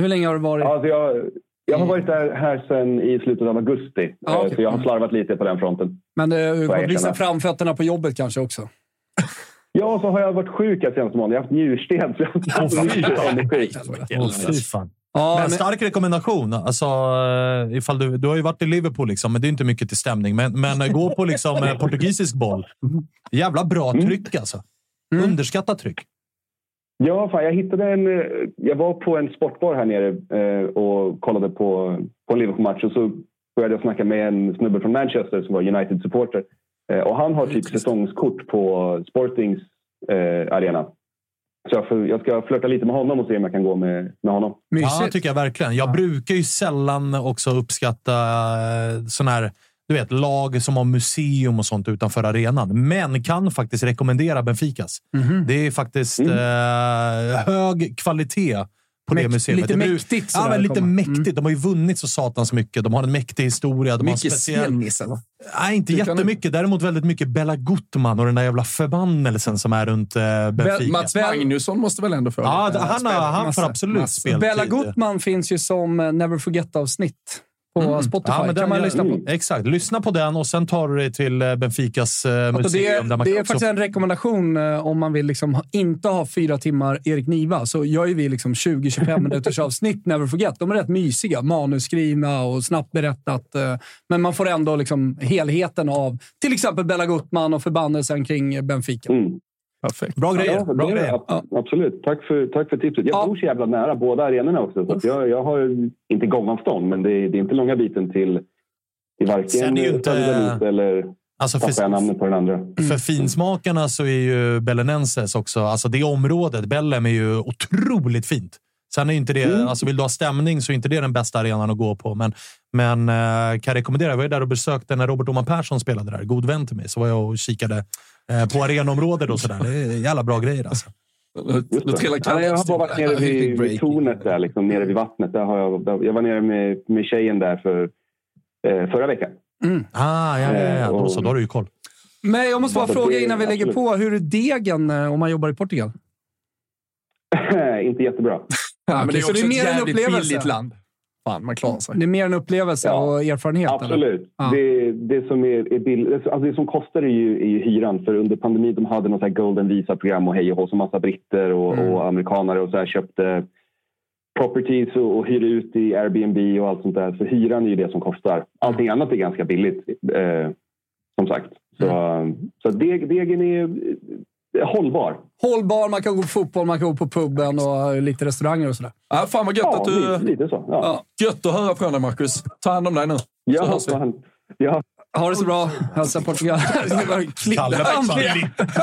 Speaker 3: Hur länge har du varit?
Speaker 10: Alltså jag, Jag har varit där här sedan i slutet av augusti,
Speaker 3: Ja,
Speaker 10: eh,
Speaker 3: okej.
Speaker 10: så jag har slarvat lite på den fronten.
Speaker 3: Men
Speaker 10: Får jag
Speaker 3: eh, visa
Speaker 10: erkänna.
Speaker 3: framfötterna på jobbet kanske också.
Speaker 10: Ja, och så har jag varit sjuk här senaste månaden. Jag har haft njursten, så jag har haft
Speaker 6: Åh, fy
Speaker 10: mindre
Speaker 6: fan.
Speaker 10: energi.
Speaker 6: Åh, fy fan.
Speaker 3: Ja,
Speaker 6: men,
Speaker 3: men-
Speaker 6: stark rekommendation. Alltså, eh, ifall du, du har ju varit i Liverpool, liksom, men det är inte mycket till stämning. Men, men eh, gå på liksom, eh, portugisisk boll. Jävla bra tryck alltså. Underskattat tryck.
Speaker 10: Ja, fan, jag hittade en... eh, Jag var på en sportbar här nere eh, och kollade på, på en Liverpool-match och så började jag snacka med en snubbe från Manchester som var United-supporter. Eh, och han har typ säsongskort på Sportings eh, arena. Så jag, får, jag ska flirta lite med honom och se om jag kan gå med, med honom.
Speaker 6: Ja, tycker jag verkligen. Jag brukar ju sällan också uppskatta eh, sån här, du vet, lag som har museum och sånt utanför arenan. Men kan faktiskt rekommendera Benficas.
Speaker 3: Mm.
Speaker 6: Det är faktiskt eh, hög kvalitet på det
Speaker 3: Mäkt-
Speaker 6: museet.
Speaker 3: lite
Speaker 6: det bru-
Speaker 3: mäktigt sådär
Speaker 6: Ja, men lite
Speaker 3: kommer.
Speaker 6: mäktigt. De har ju vunnit så satans mycket. De har en mäktig historia. De har en
Speaker 3: Mycket snemis, eller?
Speaker 6: Nej, inte
Speaker 3: Du kan-
Speaker 6: jättemycket. Däremot väldigt mycket Bella Gutman och den där jävla förbannelsen som är runt eh, Benfica.
Speaker 4: Mats Magnusson måste väl ändå få
Speaker 6: Ja,
Speaker 4: lite
Speaker 6: han, har,
Speaker 4: spel-
Speaker 6: han får
Speaker 4: massa-
Speaker 6: absolut
Speaker 4: massa-
Speaker 6: speltid.
Speaker 3: Bella Gutman finns ju som eh, Never Forget-avsnitt på Spotify.
Speaker 6: Mm. Ja, men
Speaker 3: kan
Speaker 6: den-
Speaker 3: man lyssna på.
Speaker 6: Mm. Exakt. Lyssna på den och sen tar du dig till eh, Benficas eh,
Speaker 3: Alltså det
Speaker 6: museum.
Speaker 3: är,
Speaker 6: där man
Speaker 3: det är
Speaker 6: kan också-
Speaker 3: faktiskt en rekommendation eh, om man vill liksom ha- inte ha fyra timmar Erik Niva. Så gör ju vi liksom 20-25 minuters avsnitt Never Forget. De är rätt mysiga, manusskrivna och snabbt berättat. eh, Men man får ändå liksom helheten av till exempel Bella Gutman och förbannelsen kring Benfica.
Speaker 4: Perfekt.
Speaker 6: Bra
Speaker 10: Ja, det är det. Ab- Absolut. Tack för, tack för tipset. Jag bor så jävla nära båda arenorna också. Så att jag, jag har inte gångavstånd, men det är, det är inte långa biten till, till
Speaker 6: Sen
Speaker 10: varken
Speaker 6: är det ju inte-
Speaker 10: Södermalm eller...
Speaker 6: Alltså,
Speaker 10: tappar
Speaker 6: för-
Speaker 10: jag namnet på den andra.
Speaker 6: För finsmakarna så är ju Bellenenses också, alltså det området, Bellem, är ju otroligt fint. Sen är ju inte det, alltså vill du ha stämning så är inte det den bästa arenan att gå på. Men, men eh, kan jag rekommendera. Jag var ju där och besökte när Robert Oman Persson spelade där. God vän till mig. Så var jag och kikade eh, på arenområdet och sådär. Det är jävla bra grejer alltså.
Speaker 10: Just det. Nej, jag har bara varit nere vid, vid tornet där, liksom, nere vid vattnet. Där har jag, där, jag var nere med, med tjejen där för, eh, förra veckan.
Speaker 3: Mm.
Speaker 10: Eh,
Speaker 6: Ah, ja, ja, ja. Då så, då har du ju koll.
Speaker 3: Men jag måste bara
Speaker 10: Ja,
Speaker 3: fråga
Speaker 10: det-
Speaker 3: innan vi lägger
Speaker 10: absolut.
Speaker 3: på. Hur är degen eh, om man jobbar i Portugal?
Speaker 10: inte jättebra.
Speaker 4: Ja, men det är
Speaker 3: Så
Speaker 4: också
Speaker 3: det är mer
Speaker 4: ett
Speaker 3: en
Speaker 4: jävligt
Speaker 3: upplevelse.
Speaker 4: billigt land. Fan, man klarar sig.
Speaker 3: Det är mer en upplevelse och erfarenhet? eller?
Speaker 10: Absolut.
Speaker 3: Ja.
Speaker 10: Det, det som är, är bill, alltså det som kostar är ju, är ju hyran. För under pandemin de hade något så här Golden Visa-program och hej och hå, så massa britter och,
Speaker 3: Mm.
Speaker 10: och amerikanare och så här köpte properties och, och hyrde ut i Airbnb och allt sånt där. Så hyran är ju det som kostar.
Speaker 3: Mm.
Speaker 10: Allting annat är ganska billigt, eh, som sagt. Så,
Speaker 3: Mm.
Speaker 10: så deg, degen är eh, hållbar.
Speaker 3: Hållbar, man kan gå på fotboll, man kan gå på puben och eh, lite restauranger och sådär.
Speaker 4: Ja, fan vad gött
Speaker 3: Ja,
Speaker 4: att du...
Speaker 3: lite-
Speaker 10: lite så.
Speaker 4: Ja. Gött att höra från dig, Marcus. Ta hand om dig nu.
Speaker 10: Ja,
Speaker 4: fan.
Speaker 10: Ja.
Speaker 3: Ha det så bra. Hälsa Portugal. Det var en klipp.
Speaker 4: Kalle var fan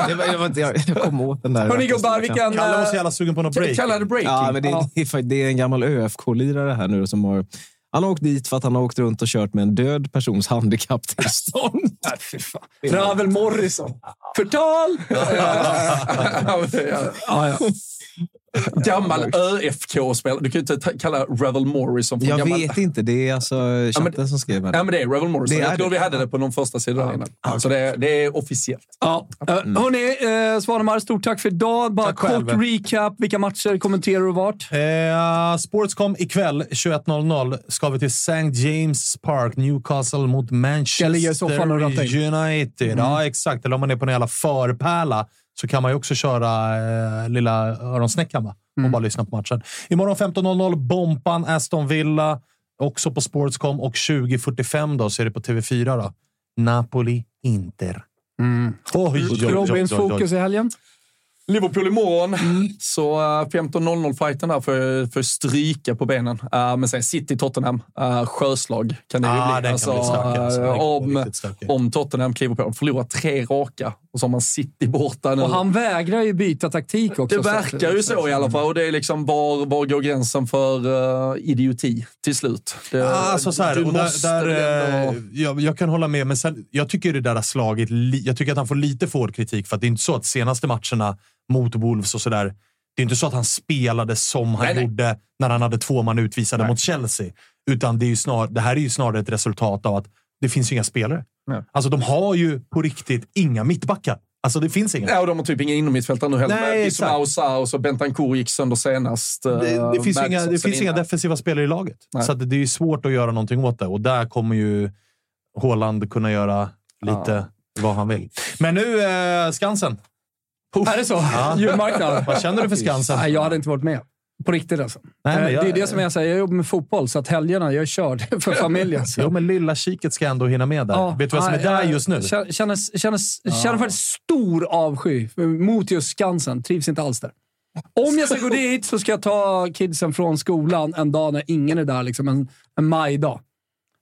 Speaker 7: Det var, det var inte jag, jag kom åt den där.
Speaker 3: Hörni, gubbar, vi kan, Kalle var så
Speaker 6: jävla sugen på något
Speaker 3: break. Kalle hade breaking.
Speaker 7: Ja, men det,
Speaker 3: Ja.
Speaker 7: det är fa- det är en gammal ÖFK-lirare här nu som har... Han har åkt dit för att han har åkt runt och kört med en död persons handikapptillstånd.
Speaker 3: Ravel Morrison. Förtal!
Speaker 4: ja. Gammal ÖFK-spelare. Du kan ju inte ta- kalla Revel Morrison för
Speaker 7: Jag
Speaker 4: gammal...
Speaker 7: vet inte. Det är alltså chatten som skrev här.
Speaker 4: Ja, men det är Revel Morrison.
Speaker 7: Det är
Speaker 4: jag tror
Speaker 7: det.
Speaker 4: vi hade det på någon första sida där innan. Så det, är- det är officiellt.
Speaker 3: Ja. Mm. Hörni, eh, Svanemar, stort tack för idag. Bara kort
Speaker 6: själv.
Speaker 3: recap. Vilka matcher kommenterar du och vart?
Speaker 6: Eh, Sportscom ikväll 21.00 ska vi till St. James Park. Newcastle mot Manchester
Speaker 3: Jag ligger i soffan och rattar in. Mm.
Speaker 6: United. Ja, exakt. Eller om man är på en jävla förpärla så kan man ju också köra eh, lilla öronsnäckan va?
Speaker 3: Mm.
Speaker 6: och bara lyssna på matchen. Imorgon 15.00 Bompan Aston Villa. Också på Sportscom. Och 20.45 då så är det på TV4 då. Napoli Inter. Oj, oj, oj, oj,
Speaker 3: Robins
Speaker 6: oj, oj.
Speaker 3: fokus i helgen?
Speaker 4: Liverpool imorgon.
Speaker 6: Mm.
Speaker 4: Så eh, 15.00-fighten där får jag, får jag stryka på benen. Eh, men sen City-Tottenham. Uh, sjöslag kan det ju
Speaker 6: Ah, den
Speaker 4: bli.
Speaker 6: kan bli stökig, alltså. Den kan
Speaker 4: eh,
Speaker 6: bli
Speaker 4: om,
Speaker 6: riktigt stökig.
Speaker 4: om Tottenham kliver på. De förlorar tre raka och så har man City borta nu.
Speaker 3: Och han vägrar ju byta taktik också.
Speaker 4: det verkar ju så i alla fall. Och det är liksom var, var går gränsen för eh, idioti till slut? Det,
Speaker 6: Ja, alltså så här,
Speaker 4: Ah, du
Speaker 6: och där,
Speaker 4: måste
Speaker 6: där,
Speaker 4: väl ändå-
Speaker 6: eh, jag, jag kan hålla med, men sen, jag tycker det där har slagit... li- Jag tycker att han får lite för hård kritik för att det är inte så att senaste matcherna mot Wolves och sådär, det är inte så att han spelade som han
Speaker 4: Nej, nej.
Speaker 6: gjorde när han hade två man utvisade mot Chelsea. Utan det, är ju snar, det här är ju snarare ett resultat av att det finns ju inga spelare.
Speaker 4: Nej.
Speaker 6: Alltså, de har ju på riktigt inga mittbackar. Alltså det finns inga.
Speaker 4: Ja, och de har typ inga inomhusfältare nu heller.
Speaker 6: Nej,
Speaker 4: Nej,
Speaker 6: exakt.
Speaker 4: exakt. och så Bentancourt gick sönder senast. eh,
Speaker 6: Det,
Speaker 3: Äh,
Speaker 6: det finns, ju inga, det finns inga defensiva spelare i laget.
Speaker 4: Nej.
Speaker 6: Så att det är ju svårt att göra någonting åt det. Och där kommer ju Haaland kunna göra lite vad han vill. Men nu eh, Skansen.
Speaker 3: Är det så? Julmarknad.
Speaker 6: Vad känner du för Skansen?
Speaker 3: Nej, jag hade inte varit med. På riktigt alltså.
Speaker 6: Nej, men
Speaker 3: Eh,
Speaker 6: Äh, jag-
Speaker 3: Det är det som jag säger. Jag jobbar med fotboll, så att helgerna, jag är körd för familjen. Så.
Speaker 6: Jo, men lilla kiket ska ändå hinna med där. Vet du vad som är
Speaker 3: nej,
Speaker 6: där
Speaker 3: jag
Speaker 6: just nu?
Speaker 3: Känner, känner, känner, känner faktiskt stor avsky mot just Skansen. Trivs inte alls där. Om jag ska gå dit så ska jag ta kidsen från skolan en dag när ingen är där. Liksom en, en majdag.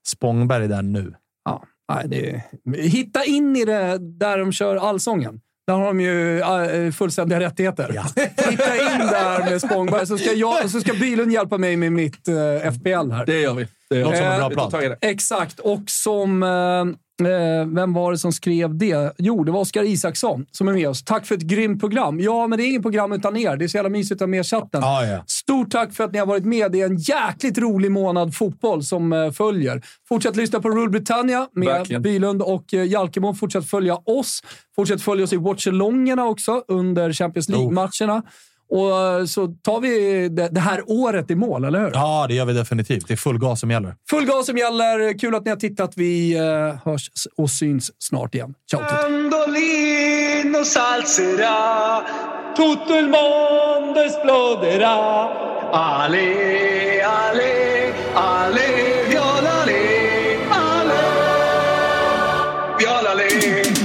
Speaker 6: Spångberg är där nu.
Speaker 3: Ja, nej, det Hitta in i det där de kör allsången. Där har de ju äh, fullständiga rättigheter. Hitta in där med Spångberg, så ska, jag, så ska Bylund hjälpa mig med mitt eh, FPL här.
Speaker 4: Det gör vi. Det gör
Speaker 3: Eh,
Speaker 4: vi. Vi tar tag i det.
Speaker 3: Exakt, och som... eh, eh, Vem var det som skrev det? Jo, det var Oskar Isaksson som är med oss. Tack för ett grymt program. Ja, men det är inget program utan er. Det är så jävla mysigt att ha med er i chatten.
Speaker 6: Ja, ja.
Speaker 3: Stort tack för att ni har varit med. Det är en jäkligt rolig månad fotboll som eh, följer. Fortsätt lyssna på Rule Britannia med
Speaker 4: Verkligen.
Speaker 3: Bylund och eh, Jalkemo. Fortsätt följa oss. Fortsätt följa oss i watchalongerna också under Champions League-matcherna. Och eh, så tar vi det, det här året i mål, eller hur?
Speaker 6: Ja, det gör vi definitivt. Det är full gas som gäller.
Speaker 3: Full gas som gäller. Kul att ni har tittat. Vi eh, hörs och syns snart igen. Ciao! Tutti.
Speaker 11: Mandolino salzerà, tutto il mondo esploderà. Ale, ale, ale, viola le, ale, viola le.